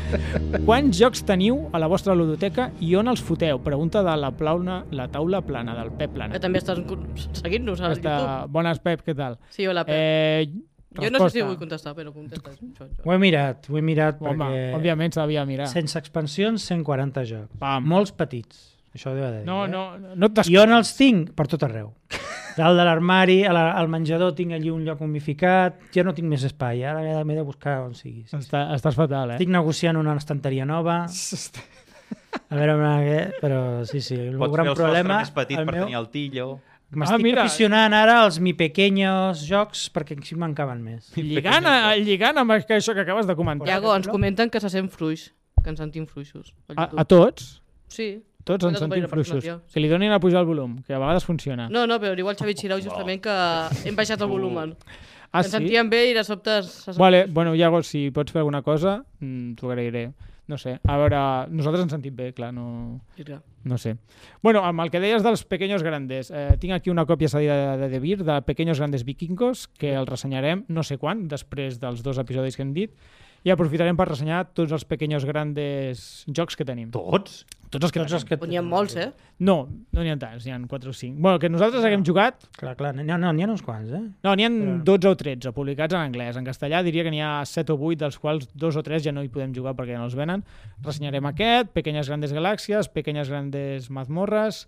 [SPEAKER 1] Quants jocs teniu a la vostra ludoteca i on els foteu? Pregunta de la, plauna, la taula plana, del Pep
[SPEAKER 3] Que
[SPEAKER 1] Plana.
[SPEAKER 3] també estàs con- seguint-nos a YouTube.
[SPEAKER 1] Està... Bones, Pep, què tal?
[SPEAKER 3] Sí, hola, Pep.
[SPEAKER 1] Eh,
[SPEAKER 3] Jo no sé si
[SPEAKER 1] resposta.
[SPEAKER 3] ho vull contestar, però contesta. Això, això.
[SPEAKER 2] Ho he mirat, ho he mirat
[SPEAKER 1] Home,
[SPEAKER 2] perquè...
[SPEAKER 1] òbviament s'havia de mirar.
[SPEAKER 2] Sense expansions, 140 jocs.
[SPEAKER 1] Pam.
[SPEAKER 2] Molts petits, això ho he de dir.
[SPEAKER 1] No,
[SPEAKER 2] eh?
[SPEAKER 1] no, no et
[SPEAKER 2] I on els tinc? Per tot arreu. Dalt de l'armari, a la- al menjador tinc allí un lloc humificat, ja no tinc més espai, ara m'he de- m'he de buscar on sigui. Sí.
[SPEAKER 1] Està, estàs fatal, eh?
[SPEAKER 2] Estic negociant una estanteria nova, a veure una... què, però sí, sí, el
[SPEAKER 5] Pots fer
[SPEAKER 2] gran
[SPEAKER 5] el
[SPEAKER 2] problema...
[SPEAKER 5] sostre més petit
[SPEAKER 2] el
[SPEAKER 5] per
[SPEAKER 2] meu-
[SPEAKER 5] tenir el tillo.
[SPEAKER 1] Ah,
[SPEAKER 2] M'estic
[SPEAKER 1] mira.
[SPEAKER 2] aficionant ara als mi pequeños jocs perquè així me'n caben més.
[SPEAKER 1] Lligant, a, lligant amb això que acabes de comentar.
[SPEAKER 3] Iago, ens comenten que se sent fluix, que ens sentim fluixos. al
[SPEAKER 1] A,
[SPEAKER 3] YouTube.
[SPEAKER 1] a tots,
[SPEAKER 3] Sí.
[SPEAKER 1] tots ens
[SPEAKER 3] Una
[SPEAKER 1] sentim
[SPEAKER 3] companyera
[SPEAKER 1] fluixos.
[SPEAKER 3] personal,
[SPEAKER 1] Que li donin a pujar el volum, que a vegades funciona.
[SPEAKER 3] No, no, però diu el Xavi Xirau justament que hem baixat el volumen.
[SPEAKER 1] ah,
[SPEAKER 3] ens sentíem bé i de sobte... se sent-
[SPEAKER 1] Vale, bueno, Iago, si pots fer alguna cosa, mm, t'ho agrairé. No sé, a veure, nosaltres ens sentim bé, clar, no...
[SPEAKER 3] Vinga.
[SPEAKER 1] No sé. Bueno, amb el que deies dels Pequeños Grandes, eh, tinc aquí una còpia cedida de De Vir, de Pequeños Grandes Vikingos, que el ressenyarem no sé quan, després dels dos episodis que hem dit, i aprofitarem per ressenyar tots els Pequeños Grandes jocs que tenim.
[SPEAKER 5] Tots?
[SPEAKER 1] Tots els que
[SPEAKER 2] Tots els que...
[SPEAKER 3] Però N'hi ha molts, eh?
[SPEAKER 1] No, no n'hi ha tants, n'hi ha 4 o 5. Bueno, que nosaltres haguem jugat...
[SPEAKER 2] Clar, clar, n'hi ha, no, n'hi ha uns quants, eh?
[SPEAKER 1] No, n'hi ha 12 o 13 publicats en anglès. En castellà diria que n'hi ha 7 o 8, dels quals 2 o 3 ja no hi podem jugar perquè ja no els venen. Ressenyarem aquest, Pequeñas Grandes Galàxies, Pequeñas Grandes Mazmorras,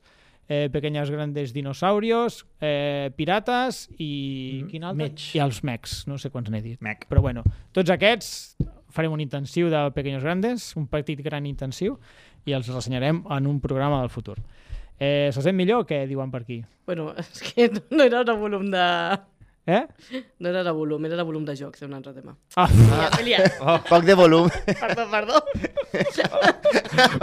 [SPEAKER 1] eh, Pequeñas Grandes Dinosaurios, eh, Pirates i... Mm, quin altre?
[SPEAKER 2] Mech.
[SPEAKER 1] I els Mecs, no sé quants n'he dit.
[SPEAKER 5] Mec.
[SPEAKER 1] Però bueno, tots aquests farem un intensiu de Pequeños Grandes, un petit gran intensiu, i els ressenyarem en un programa del futur. Eh, se sent millor o què diuen per aquí?
[SPEAKER 3] Bueno, és que no- no era de volum de...
[SPEAKER 1] Eh?
[SPEAKER 3] No era de volum, era de volum de jocs, era un altre tema.
[SPEAKER 1] Ah,
[SPEAKER 3] Ah. Ja,
[SPEAKER 2] Oh.
[SPEAKER 4] Poc de volum.
[SPEAKER 3] perdó, perdó.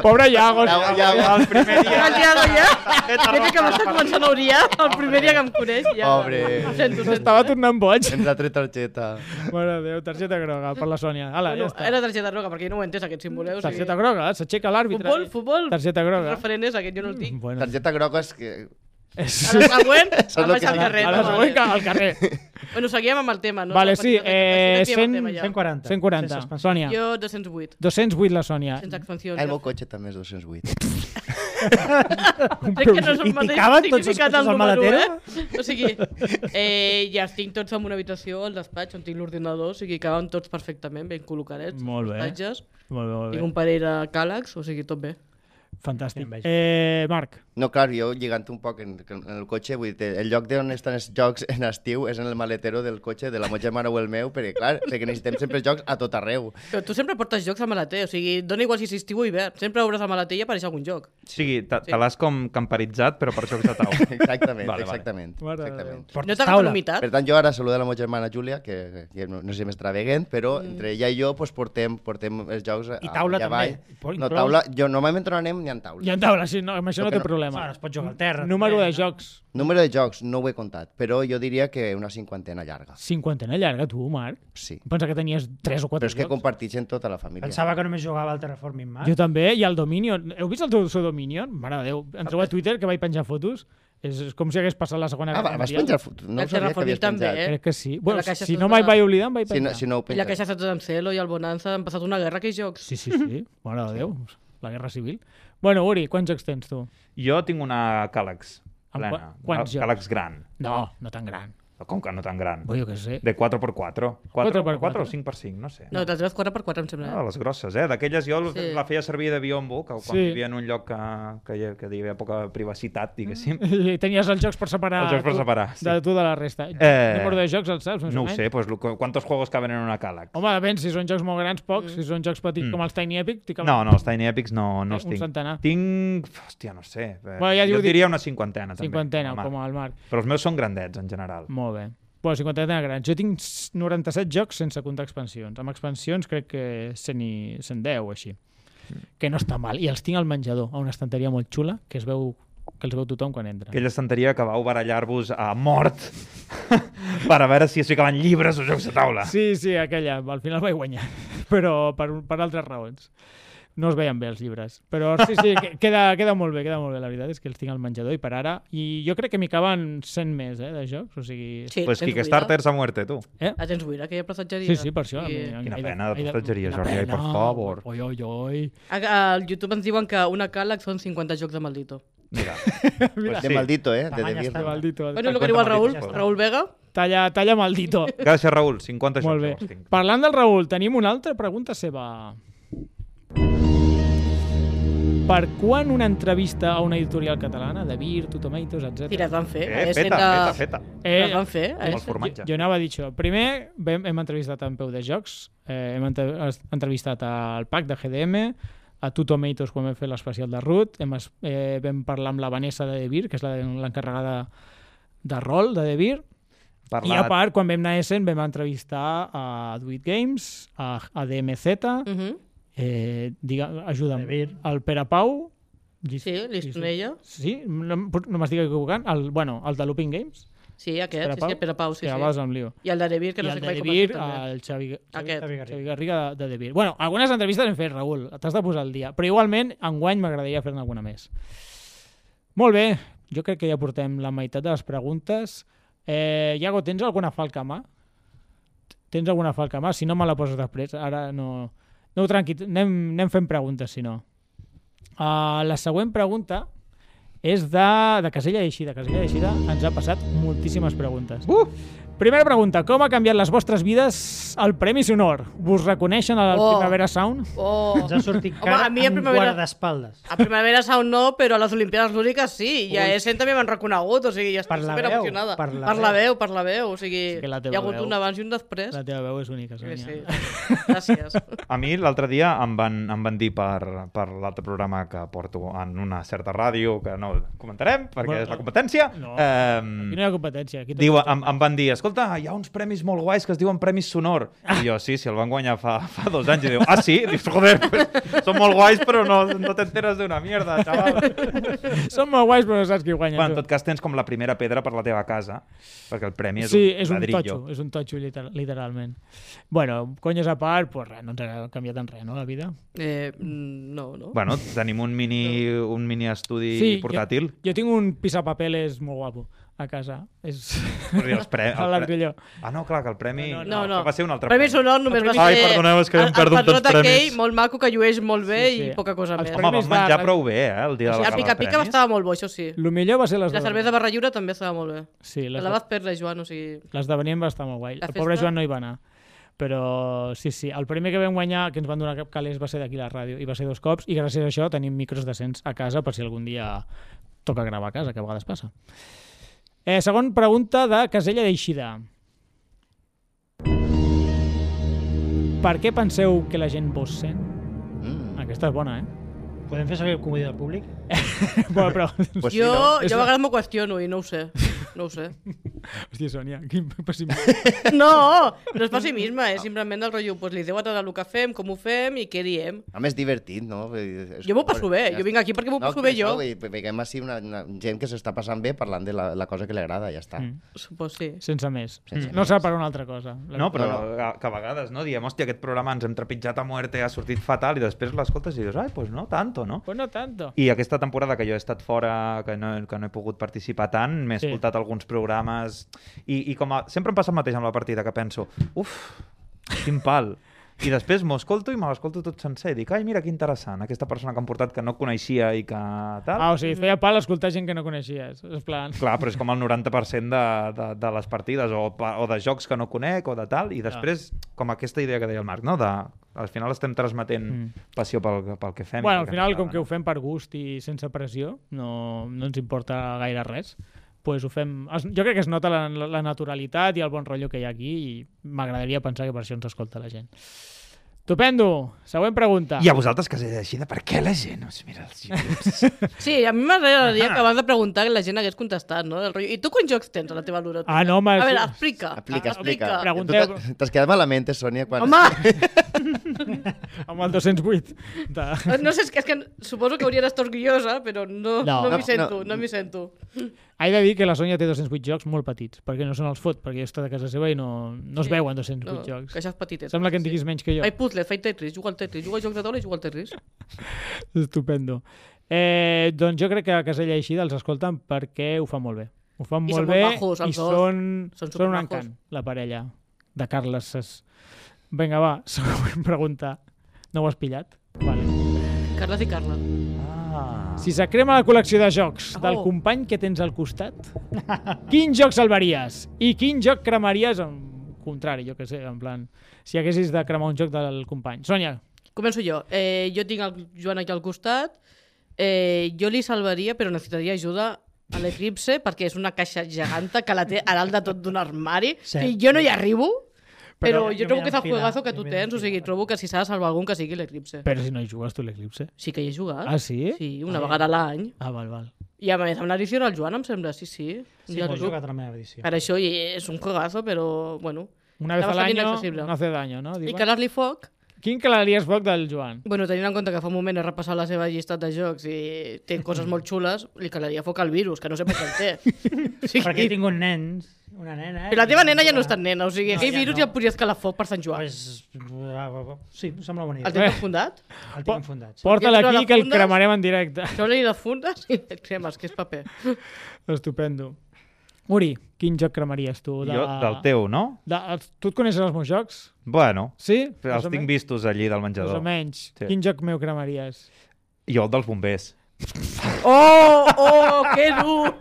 [SPEAKER 1] pobre Llagos.
[SPEAKER 4] Llagos, Llagos.
[SPEAKER 1] El primer dia.
[SPEAKER 3] El Tiago ja. Ja que m'està començant a odiar el primer dia que em coneix. Ja.
[SPEAKER 4] Pobre.
[SPEAKER 3] Ho sento, ho sento.
[SPEAKER 1] Estava tornant boig.
[SPEAKER 4] Ens ha tret targeta.
[SPEAKER 1] Mare de Déu, targeta groga per la Sònia. Ala,
[SPEAKER 3] Bueno,
[SPEAKER 1] Ah, ja està.
[SPEAKER 3] era targeta groga, perquè jo no ho he entès, aquest símbol. Eh? O sigui,
[SPEAKER 1] Targeta groga, s'aixeca l'àrbitre.
[SPEAKER 3] futbol, futbol,
[SPEAKER 1] Targeta
[SPEAKER 3] el
[SPEAKER 1] groga.
[SPEAKER 3] referent és aquest, jo no el tinc.
[SPEAKER 1] Bueno,
[SPEAKER 4] Targeta groga és que...
[SPEAKER 3] A la següent,
[SPEAKER 4] el
[SPEAKER 3] em vaig
[SPEAKER 4] que-
[SPEAKER 3] al carrer.
[SPEAKER 1] Mm. Ara
[SPEAKER 3] no?
[SPEAKER 1] següent que al carrer.
[SPEAKER 3] Bueno, seguíem amb el tema, no?
[SPEAKER 1] Vale,
[SPEAKER 3] No,
[SPEAKER 1] sí,
[SPEAKER 3] perquè no-
[SPEAKER 1] eh,
[SPEAKER 3] seguim amb el tema,
[SPEAKER 1] 100,
[SPEAKER 3] ja.
[SPEAKER 2] 140.
[SPEAKER 1] 140.
[SPEAKER 2] sense expansió.
[SPEAKER 1] Sònia.
[SPEAKER 3] Jo 208,
[SPEAKER 1] 208 la Sònia.
[SPEAKER 3] sense expansions.
[SPEAKER 4] Ah, El meu cotxe també és 208.
[SPEAKER 3] Crec que no és el
[SPEAKER 2] I
[SPEAKER 3] mateix
[SPEAKER 2] picaven tots els
[SPEAKER 3] significat
[SPEAKER 2] cotxes
[SPEAKER 3] del
[SPEAKER 2] al
[SPEAKER 3] número,
[SPEAKER 2] maletero?
[SPEAKER 3] eh? O sigui, eh, ja els tinc tots en una habitació, al despatx, on tinc l'ordinador, o sigui, caben tots perfectament, ben col·locarets.
[SPEAKER 1] Molt bé.
[SPEAKER 3] Estatges,
[SPEAKER 1] Molt bé,
[SPEAKER 3] tinc
[SPEAKER 1] molt
[SPEAKER 3] un parell de càlex, o sigui, tot bé.
[SPEAKER 1] bé. Fantàstic.
[SPEAKER 2] Enveja.
[SPEAKER 1] Eh, Marc,
[SPEAKER 4] No, clar, jo lligant un poc en, en el cotxe, vull dir, el lloc on estan els jocs en estiu és en el maletero del cotxe de la meva germana o el meu, perquè, clar, perquè necessitem sempre jocs a tot arreu.
[SPEAKER 3] Però tu sempre portes jocs al maleter, o sigui, dona igual si és estiu o hivern, sempre obres el maleter i apareix algun joc.
[SPEAKER 5] O sigui, te, te l'has com camperitzat, però per jocs de taula.
[SPEAKER 4] Exactament,
[SPEAKER 5] Vale, vale.
[SPEAKER 4] vale, exactament.
[SPEAKER 1] Mare de
[SPEAKER 4] Vale. exactament.
[SPEAKER 3] No
[SPEAKER 2] Portes
[SPEAKER 3] t'agafa
[SPEAKER 2] taula.
[SPEAKER 3] l'humitat?
[SPEAKER 4] Per tant, jo ara saludo la meva germana Júlia, que, que no, no sé si m'estraveguem, però mm. entre ella i jo pues, portem, portem els jocs a,
[SPEAKER 2] I taula
[SPEAKER 4] allà
[SPEAKER 2] també.
[SPEAKER 4] avall.
[SPEAKER 2] Pot
[SPEAKER 4] No,
[SPEAKER 2] inclou-
[SPEAKER 4] taula, jo normalment no anem ni en taula.
[SPEAKER 1] ja en taula, sí, no, amb això
[SPEAKER 4] Com
[SPEAKER 1] no
[SPEAKER 4] que
[SPEAKER 1] té
[SPEAKER 4] no?
[SPEAKER 1] problema.
[SPEAKER 2] Bueno, es pot jugar al terra.
[SPEAKER 1] Número
[SPEAKER 2] també,
[SPEAKER 1] de
[SPEAKER 2] no?
[SPEAKER 1] jocs.
[SPEAKER 4] Número de jocs, no ho he comptat, però jo diria que una cinquantena llarga.
[SPEAKER 1] Cinquantena llarga, tu, Marc.
[SPEAKER 4] Sí.
[SPEAKER 1] Em Pensa que tenies 3 o 4
[SPEAKER 4] Però és que
[SPEAKER 1] jocs.
[SPEAKER 4] compartix en tota la família.
[SPEAKER 2] Pensava que només jugava al Terraforming Mars.
[SPEAKER 1] Jo també, i el Dominion. Heu vist el teu seu Dominion? Mare de Déu. Entreu a Twitter, que vaig penjar fotos. És, és com si hagués passat la segona
[SPEAKER 4] Ah, va, vas penjar... fo-
[SPEAKER 3] El
[SPEAKER 4] No ho sabia que
[SPEAKER 3] Terraforming
[SPEAKER 4] havies
[SPEAKER 3] també,
[SPEAKER 4] penjat.
[SPEAKER 1] Crec Eh? que sí. Bueno,
[SPEAKER 3] caixa
[SPEAKER 1] si
[SPEAKER 3] sota-
[SPEAKER 1] no me'n vaig oblidar, em vaig
[SPEAKER 4] Si no,
[SPEAKER 1] penjar.
[SPEAKER 4] si no
[SPEAKER 3] I
[SPEAKER 4] ho
[SPEAKER 3] la
[SPEAKER 4] penjat.
[SPEAKER 3] caixa està tot amb celo i el Bonanza han passat una guerra aquests jocs.
[SPEAKER 1] Sí, sí, sí. Mare de Déu. La Guerra Civil. Bueno, Uri, quants jocs tens tu?
[SPEAKER 5] Jo tinc una càlex
[SPEAKER 1] Amb
[SPEAKER 5] plena.
[SPEAKER 1] qua- quants
[SPEAKER 5] una càlex gran.
[SPEAKER 1] No, no tan gran.
[SPEAKER 5] Com que no tan gran?
[SPEAKER 1] Bueno, jo què sé.
[SPEAKER 5] De 4x4. 4x4,
[SPEAKER 1] 4x4
[SPEAKER 5] o 5x5, no sé.
[SPEAKER 3] No, de 3 4x4 em sembla.
[SPEAKER 5] Ah, les grosses, eh? D'aquelles jo
[SPEAKER 3] Sí.
[SPEAKER 5] la feia servir de biombo, que quan
[SPEAKER 1] Sí.
[SPEAKER 5] vivia en un lloc que, que, hi, que hi havia poca privacitat, diguéssim.
[SPEAKER 1] I Eh, Tenies els jocs per separar,
[SPEAKER 5] Els jocs per
[SPEAKER 1] tu-
[SPEAKER 5] separar, sí.
[SPEAKER 1] de tu de la resta.
[SPEAKER 5] Eh,
[SPEAKER 1] Número de jocs el saps? més o
[SPEAKER 5] No ho
[SPEAKER 1] menys?
[SPEAKER 5] sé, pues, lo- quantos juegos caben en una càlex?
[SPEAKER 1] Home, depèn, si són jocs molt grans, pocs. Si són jocs petits com els Tiny Epic, t'hi
[SPEAKER 5] Mm. No, no, els Tiny Epics no, no els
[SPEAKER 1] Eh, Un
[SPEAKER 5] tinc.
[SPEAKER 1] centenar.
[SPEAKER 5] Tinc... Hòstia, no sé.
[SPEAKER 1] Bueno,
[SPEAKER 5] Bueno,
[SPEAKER 1] ja
[SPEAKER 5] ja
[SPEAKER 1] diu-
[SPEAKER 5] jo diria una cinquantena, també.
[SPEAKER 1] Cinquantena,
[SPEAKER 5] Home.
[SPEAKER 1] com el Marc.
[SPEAKER 5] Però els meus són grandets, en general.
[SPEAKER 1] Molt bé. Bueno, 50 grans. Jo tinc 97 jocs sense comptar expansions. Amb expansions crec que 100 i 110 o així. Que no està mal. I els tinc al menjador, a una estanteria molt xula, que es veu que els veu tothom quan entra.
[SPEAKER 5] Aquella estanteria que vau barallar-vos a mort per a veure si es ficaven llibres o jocs de taula.
[SPEAKER 1] Sí, sí, aquella. Al final vaig guanyar, però per, per altres raons. No es veien bé els llibres. Però sí, sí, que- queda, queda molt bé, queda molt bé. La veritat és que els tinc al menjador i per ara... I jo crec que m'hi caben 100 més, eh, de jocs. O sigui...
[SPEAKER 3] Sí,
[SPEAKER 5] Pues
[SPEAKER 3] tens
[SPEAKER 5] Kickstarters a muerte, tu.
[SPEAKER 1] Eh?
[SPEAKER 3] buida? Ah, tens buida, aquella prestatgeria?
[SPEAKER 1] Sí, sí, per això.
[SPEAKER 3] Sí.
[SPEAKER 1] a mi-
[SPEAKER 5] Quina
[SPEAKER 1] he
[SPEAKER 5] pena de
[SPEAKER 1] he
[SPEAKER 5] prestatgeria,
[SPEAKER 1] quina
[SPEAKER 5] Jordi, ai, per
[SPEAKER 1] pena.
[SPEAKER 5] favor.
[SPEAKER 1] Oi, oi, oi.
[SPEAKER 3] A, al YouTube ens diuen que una càleg són 50 jocs de maldito.
[SPEAKER 5] Mira.
[SPEAKER 1] Mira.
[SPEAKER 5] pues
[SPEAKER 4] De
[SPEAKER 5] sí.
[SPEAKER 4] maldito, eh? De
[SPEAKER 2] Tamanya
[SPEAKER 4] debir.
[SPEAKER 2] estava.
[SPEAKER 1] Maldito.
[SPEAKER 3] Bueno, el que
[SPEAKER 5] Cinquanta
[SPEAKER 3] diu el Raül,
[SPEAKER 5] malditos, ja està.
[SPEAKER 3] Raül Vega,
[SPEAKER 1] Talla, talla maldito.
[SPEAKER 5] Gràcies, Raül. 50 jocs.
[SPEAKER 1] Molt bé.
[SPEAKER 5] llavors tinc.
[SPEAKER 1] Parlant del Raül, tenim una altra pregunta seva. Per quan una entrevista a una editorial catalana, de Vir, To Tomatoes, etc.
[SPEAKER 3] sí, les van fer.
[SPEAKER 5] Eh,
[SPEAKER 3] Eh,
[SPEAKER 5] feta,
[SPEAKER 3] de-
[SPEAKER 5] feta, feta.
[SPEAKER 1] Eh,
[SPEAKER 3] Les van fer. Eh?
[SPEAKER 5] Molt formatge.
[SPEAKER 1] Jo, jo anava a dir això. Primer vam, hem entrevistat en Peu de Jocs, eh, hem ente- has- entrevistat al PAC de GDM, a Tu Tomatoes quan vam fer l'especial de Ruth, hem, es- eh, vam parlar amb la Vanessa de Devir, que és la- l'encarregada de rol de Devir, i a
[SPEAKER 5] Parlat.
[SPEAKER 1] part, quan vam anar a Essen, vam entrevistar a Duit Games, a, a DMZ,
[SPEAKER 3] Mhm.
[SPEAKER 1] eh, digue, ajuda'm,
[SPEAKER 2] Devir.
[SPEAKER 1] el Pere Pau, Llis-
[SPEAKER 3] Sí, l'Istonella.
[SPEAKER 1] Sí, no, em- no m'estic equivocant, el, bueno, el de Looping Games,
[SPEAKER 3] Sí, aquest, sí, sí, Pere Pau, sí,
[SPEAKER 1] que
[SPEAKER 3] sí.
[SPEAKER 1] a vegades em lio.
[SPEAKER 3] I el de Devir, que
[SPEAKER 1] I
[SPEAKER 3] no
[SPEAKER 1] el
[SPEAKER 3] sé
[SPEAKER 1] de
[SPEAKER 3] què
[SPEAKER 1] Devir, eh,
[SPEAKER 3] també.
[SPEAKER 1] el Xavi, Xavi,
[SPEAKER 3] Aquest.
[SPEAKER 1] Xavi
[SPEAKER 2] Xavi Garriga.
[SPEAKER 1] Garriga de, de Devir. Bueno, algunes entrevistes hem fet, Raül, t'has de posar al dia, però igualment enguany m'agradaria fer-ne alguna més. Molt bé, jo crec que ja portem la meitat de les preguntes. Eh, Iago, tens alguna falca a mà? Tens alguna falca a mà? Si no, me la poses després. Ara no... No, tranqui, anem, anem fent preguntes, si no. Uh, la següent pregunta és de, de casella d'eixida. Casella d'eixida ens ha passat moltíssimes preguntes.
[SPEAKER 5] Uh!
[SPEAKER 1] Primera pregunta, com ha canviat les vostres vides el Premi Sonor? Vos reconeixen al
[SPEAKER 3] Oh.
[SPEAKER 1] Primavera Sound?
[SPEAKER 3] Oh.
[SPEAKER 2] Ens ha sortit
[SPEAKER 3] Home,
[SPEAKER 2] cara
[SPEAKER 3] a mi a
[SPEAKER 2] en
[SPEAKER 3] primavera-
[SPEAKER 2] guardaespaldes.
[SPEAKER 3] A Primavera Sound no, però a les Olimpiades Lúdiques sí. I a ESEN també m'han reconegut, o sigui, ja estic
[SPEAKER 2] Per la
[SPEAKER 3] super
[SPEAKER 2] veu,
[SPEAKER 3] emocionada.
[SPEAKER 2] per la
[SPEAKER 3] la
[SPEAKER 2] veu.
[SPEAKER 3] veu, per la veu. O sigui,
[SPEAKER 1] Sí que la teva
[SPEAKER 3] hi ha hagut
[SPEAKER 1] veu.
[SPEAKER 3] un abans i un després.
[SPEAKER 1] La teva veu és única,
[SPEAKER 3] Sí,
[SPEAKER 1] Sonia.
[SPEAKER 3] sí. Gràcies.
[SPEAKER 5] A mi l'altre dia em van, em van dir per, per l'altre programa que porto en una certa ràdio, que no comentarem perquè
[SPEAKER 1] Bueno,
[SPEAKER 5] és la competència,
[SPEAKER 1] no. Aquí no
[SPEAKER 5] eh,
[SPEAKER 1] hi ha Mm. competència. Aquí tot-
[SPEAKER 5] diu, em, em van dir, escolta, hi ha uns premis molt guais que es diuen Premis Sonor.
[SPEAKER 1] Ah.
[SPEAKER 5] I jo, sí, sí, el van guanyar fa, fa dos anys. I diu, ah, sí? I dius, joder, pues, són molt guais, però no, no t'enteres d'una mierda, xaval.
[SPEAKER 1] Són molt guais, però no saps qui guanya.
[SPEAKER 5] Bueno, en
[SPEAKER 1] tu.
[SPEAKER 5] tot cas, tens com la primera pedra per la teva casa, perquè el premi és
[SPEAKER 1] sí,
[SPEAKER 5] un
[SPEAKER 1] és un
[SPEAKER 5] ladrillo.
[SPEAKER 1] totxo, és un totxo literal, literalment. Bueno, conyes a part, pues res, no ens ha canviat en res, no, la vida?
[SPEAKER 3] Eh, mm, no, no.
[SPEAKER 5] Bueno, tenim un mini, un mini estudi portàtil.
[SPEAKER 1] Jo, jo tinc un pisapapeles molt guapo a casa. És...
[SPEAKER 5] Vull dir, els pre...
[SPEAKER 1] A
[SPEAKER 5] el pre...
[SPEAKER 1] l'argulló.
[SPEAKER 5] Ah, no, clar, que el premi...
[SPEAKER 1] No,
[SPEAKER 3] No, no.
[SPEAKER 5] Va ser un altre
[SPEAKER 3] premi sonor només va ser...
[SPEAKER 5] Ai, perdoneu, és que em
[SPEAKER 3] el-
[SPEAKER 5] perdo amb
[SPEAKER 3] El
[SPEAKER 5] tots
[SPEAKER 3] perlot aquell,
[SPEAKER 5] premis.
[SPEAKER 3] molt maco, que llueix molt bé
[SPEAKER 1] Sí, sí.
[SPEAKER 3] i poca cosa
[SPEAKER 1] Els
[SPEAKER 3] més.
[SPEAKER 5] Home,
[SPEAKER 1] premis
[SPEAKER 5] vam menjar
[SPEAKER 1] de-
[SPEAKER 5] prou bé, eh, el dia de la
[SPEAKER 3] El
[SPEAKER 5] gala de
[SPEAKER 3] pica-pica
[SPEAKER 5] premis.
[SPEAKER 3] estava molt bo, això sí.
[SPEAKER 1] El millor va ser les
[SPEAKER 3] La
[SPEAKER 1] de-
[SPEAKER 3] cervesa barra lliure també estava molt bé.
[SPEAKER 1] Sí, les
[SPEAKER 3] La
[SPEAKER 1] de...
[SPEAKER 3] vas perdre, Joan, o sigui...
[SPEAKER 1] L'esdeveniment va estar molt guai.
[SPEAKER 3] La
[SPEAKER 1] El pobre
[SPEAKER 3] festa?
[SPEAKER 1] Joan no hi va anar. Però sí, sí, el primer que vam guanyar, que ens van donar cap calés, va ser d'aquí la ràdio, i va ser dos cops, i gràcies a això tenim micros decents a casa per si algun dia toca gravar a casa, que a vegades passa. Eh, segon pregunta de Casella d'Eixida. Per què penseu que la gent vos sent?
[SPEAKER 4] Mm.
[SPEAKER 1] Aquesta és bona, eh?
[SPEAKER 2] Podem fer servir el comodí del públic?
[SPEAKER 1] Bueno, però...
[SPEAKER 4] Pues
[SPEAKER 3] jo,
[SPEAKER 4] sí,
[SPEAKER 3] jo a vegades m'ho qüestiono i no ho sé. No ho sé.
[SPEAKER 1] Hòstia, Sònia, quin pessimisme.
[SPEAKER 3] No, no és pessimisme, és simplement del rotllo, pues, li deu a tant el que fem, com ho fem i què diem.
[SPEAKER 4] no? A més, divertit, no? Vull dir, és-
[SPEAKER 3] Jo m'ho passo bé,
[SPEAKER 4] Ja
[SPEAKER 3] jo vinc aquí perquè m'ho passo
[SPEAKER 4] per
[SPEAKER 3] bé
[SPEAKER 4] això,
[SPEAKER 3] jo.
[SPEAKER 4] vull dir, Veiem així una, una gent que s'està passant bé parlant de la, la cosa que li agrada, ja està.
[SPEAKER 1] Mm.
[SPEAKER 4] Mm.
[SPEAKER 3] Supos sí.
[SPEAKER 1] Sense més.
[SPEAKER 4] Sense
[SPEAKER 1] no
[SPEAKER 4] més.
[SPEAKER 1] serà per una altra cosa. La
[SPEAKER 5] No, però
[SPEAKER 4] No,
[SPEAKER 5] que, que a vegades no? diem, hòstia, aquest programa ens hem trepitjat a muerte, ha sortit fatal, i després l'escoltes i dius, ai, pues no, tanto, no?
[SPEAKER 1] Pues no tanto.
[SPEAKER 5] I aquesta temporada que jo he estat fora, que no, que no he pogut participar tant, m'he
[SPEAKER 1] Sí.
[SPEAKER 5] escoltat alguns programes i, i com a, sempre em passa el mateix amb la partida, que penso, uf, quin pal. I després m'ho escolto i me l'escolto tot sencer i dic, ai, mira que interessant, aquesta persona que han portat que no coneixia i que tal.
[SPEAKER 1] Ah, o sigui, et feia pal escoltar gent que no coneixies. És plan...
[SPEAKER 5] Clar, però és com el 90% de, de, de les partides o, pa- o de jocs que no conec o de tal,
[SPEAKER 1] Ah.
[SPEAKER 5] i després, com aquesta idea que deia el Marc, no? de, al final estem transmetent
[SPEAKER 1] Mm.
[SPEAKER 5] passió pel, pel que fem. i
[SPEAKER 1] Bueno, al
[SPEAKER 5] pel
[SPEAKER 1] final,
[SPEAKER 5] ens
[SPEAKER 1] com que ho
[SPEAKER 5] agrada,
[SPEAKER 1] fem per gust i sense pressió, no, no ens importa gaire res, pues ho fem... es- Jo crec que es nota la, la naturalitat i el bon rotllo que hi ha aquí i m'agradaria pensar que per això ens escolta la gent. Estupendo! Següent pregunta.
[SPEAKER 5] no? I a vosaltres, que és així, de per què la gent us mira els llibres?
[SPEAKER 3] Sí, a mi m'agradaria que abans de preguntar la gent hagués contestat, no? El rotllo, I tu quants jocs tens a la teva lura?
[SPEAKER 1] Ah, no, home...
[SPEAKER 3] A
[SPEAKER 1] sí.
[SPEAKER 3] veure, explica.
[SPEAKER 4] Explica, explica.
[SPEAKER 1] Ah, Pregunteu-
[SPEAKER 4] Tu t'has- T'has quedat malament, eh, Sònia? Quan...
[SPEAKER 3] Home,
[SPEAKER 1] Amb el 208. De...
[SPEAKER 3] eh, no sé, és que, és que suposo que hauria d'estar orgullosa, però no, no,
[SPEAKER 1] No.
[SPEAKER 3] m'hi
[SPEAKER 4] No,
[SPEAKER 3] sento,
[SPEAKER 4] no.
[SPEAKER 3] no, m'hi sento.
[SPEAKER 1] He de dir que la Sònia té 208 jocs molt petits, perquè no són els fot, perquè jo he estat a casa seva i no, no es
[SPEAKER 3] Sí.
[SPEAKER 1] veuen 208
[SPEAKER 3] No,
[SPEAKER 1] jocs.
[SPEAKER 3] que això és petitet.
[SPEAKER 1] Sembla que en diguis menys que jo.
[SPEAKER 3] Faig puzzles, faig Tetris, jugo al Tetris, jugo a jocs de taula i jugo al Tetris.
[SPEAKER 1] Estupendo. Eh, doncs jo crec que a Casella i Xida els escolten perquè ho fan molt bé. Ho fan
[SPEAKER 3] I
[SPEAKER 1] molt
[SPEAKER 3] són
[SPEAKER 1] bé
[SPEAKER 3] molt bajos,
[SPEAKER 1] i
[SPEAKER 3] els dos.
[SPEAKER 1] són,
[SPEAKER 3] Són
[SPEAKER 1] són un
[SPEAKER 3] superbajos.
[SPEAKER 1] encant, la parella de Carles Ses. Vinga, va, següent pregunta. No ho has pillat? Vale.
[SPEAKER 3] Carles i Carla.
[SPEAKER 5] ah.
[SPEAKER 1] Si se crema la col·lecció de jocs del
[SPEAKER 3] Oh.
[SPEAKER 1] company que tens al costat, quin joc salvaries? I quin joc cremaries? En contrari, jo que sé, en plan... Si haguessis de cremar un joc del company. Sònia,
[SPEAKER 3] Començo jo. Eh, jo tinc el Joan aquí al costat. Eh, jo li salvaria, però necessitaria ajuda a l'Eclipse, perquè és una caixa geganta que la té a dalt de tot d'un armari.
[SPEAKER 2] Sí.
[SPEAKER 3] Sí. I jo no hi arribo, però,
[SPEAKER 2] Però
[SPEAKER 3] jo,
[SPEAKER 2] jo
[SPEAKER 3] trobo
[SPEAKER 2] m'he
[SPEAKER 3] que és el
[SPEAKER 2] d'enfilar,
[SPEAKER 3] juegazo que
[SPEAKER 2] jo
[SPEAKER 3] tu
[SPEAKER 2] m'he
[SPEAKER 3] tens, o sigui,
[SPEAKER 2] d'enfilar.
[SPEAKER 3] trobo que si s'ha de salvar algun que sigui l'Eclipse.
[SPEAKER 1] però si no hi jugues tu a l'Eclipse.
[SPEAKER 3] Sí que hi he jugat.
[SPEAKER 1] Ah, sí?
[SPEAKER 3] Sí, una vegada a l'any.
[SPEAKER 1] Ah, val, val.
[SPEAKER 3] I a més, amb l'edició del Joan, em sembla, sí, sí.
[SPEAKER 2] Sí,
[SPEAKER 3] Ja
[SPEAKER 2] m'ho he
[SPEAKER 3] el
[SPEAKER 2] jugat a la meva edició.
[SPEAKER 3] per això i és un juegazo, però, bueno.
[SPEAKER 1] Una vez
[SPEAKER 3] Està
[SPEAKER 1] al
[SPEAKER 3] bastant
[SPEAKER 1] año
[SPEAKER 3] inaccessible.
[SPEAKER 1] no hace daño, no?
[SPEAKER 3] I
[SPEAKER 1] Diuen.
[SPEAKER 3] calar-li foc,
[SPEAKER 1] Quin calaries foc del Joan?
[SPEAKER 3] Bueno, tenint en compte que fa un moment he repassat la seva llista de jocs i té coses molt xules, li calaria foc al virus, que no sé per què el té. O sigui,
[SPEAKER 2] Perquè he tingut nens, una nena...
[SPEAKER 3] però la teva nena ja no és
[SPEAKER 2] està
[SPEAKER 3] tan nena, o sigui,
[SPEAKER 2] No,
[SPEAKER 3] no, aquell
[SPEAKER 2] ja
[SPEAKER 3] virus
[SPEAKER 2] no.
[SPEAKER 3] ja, el podries calar foc per Sant Joan.
[SPEAKER 2] Pues, ah, sí, em sembla bona
[SPEAKER 3] El
[SPEAKER 2] idea.
[SPEAKER 3] tens enfundat?
[SPEAKER 2] El tinc enfundat. Sí.
[SPEAKER 1] Porta-la
[SPEAKER 3] Jo crec que
[SPEAKER 1] aquí
[SPEAKER 3] la
[SPEAKER 1] que el
[SPEAKER 3] fundes-
[SPEAKER 1] cremarem en directe.
[SPEAKER 3] Treu-li de fundes i et cremes, que és paper.
[SPEAKER 1] Estupendo. Uri, quin joc cremaries tu? De...
[SPEAKER 5] Jo, del teu, no?
[SPEAKER 1] De... els- Tu et coneixes els meus jocs?
[SPEAKER 5] Bueno,
[SPEAKER 1] Sí?
[SPEAKER 5] els tinc vistos allí
[SPEAKER 1] Més
[SPEAKER 5] del
[SPEAKER 1] o
[SPEAKER 5] menjador.
[SPEAKER 1] menys.
[SPEAKER 5] Sí.
[SPEAKER 1] Quin joc meu cremaries?
[SPEAKER 5] Jo el dels bombers.
[SPEAKER 3] Oh, oh, que dur!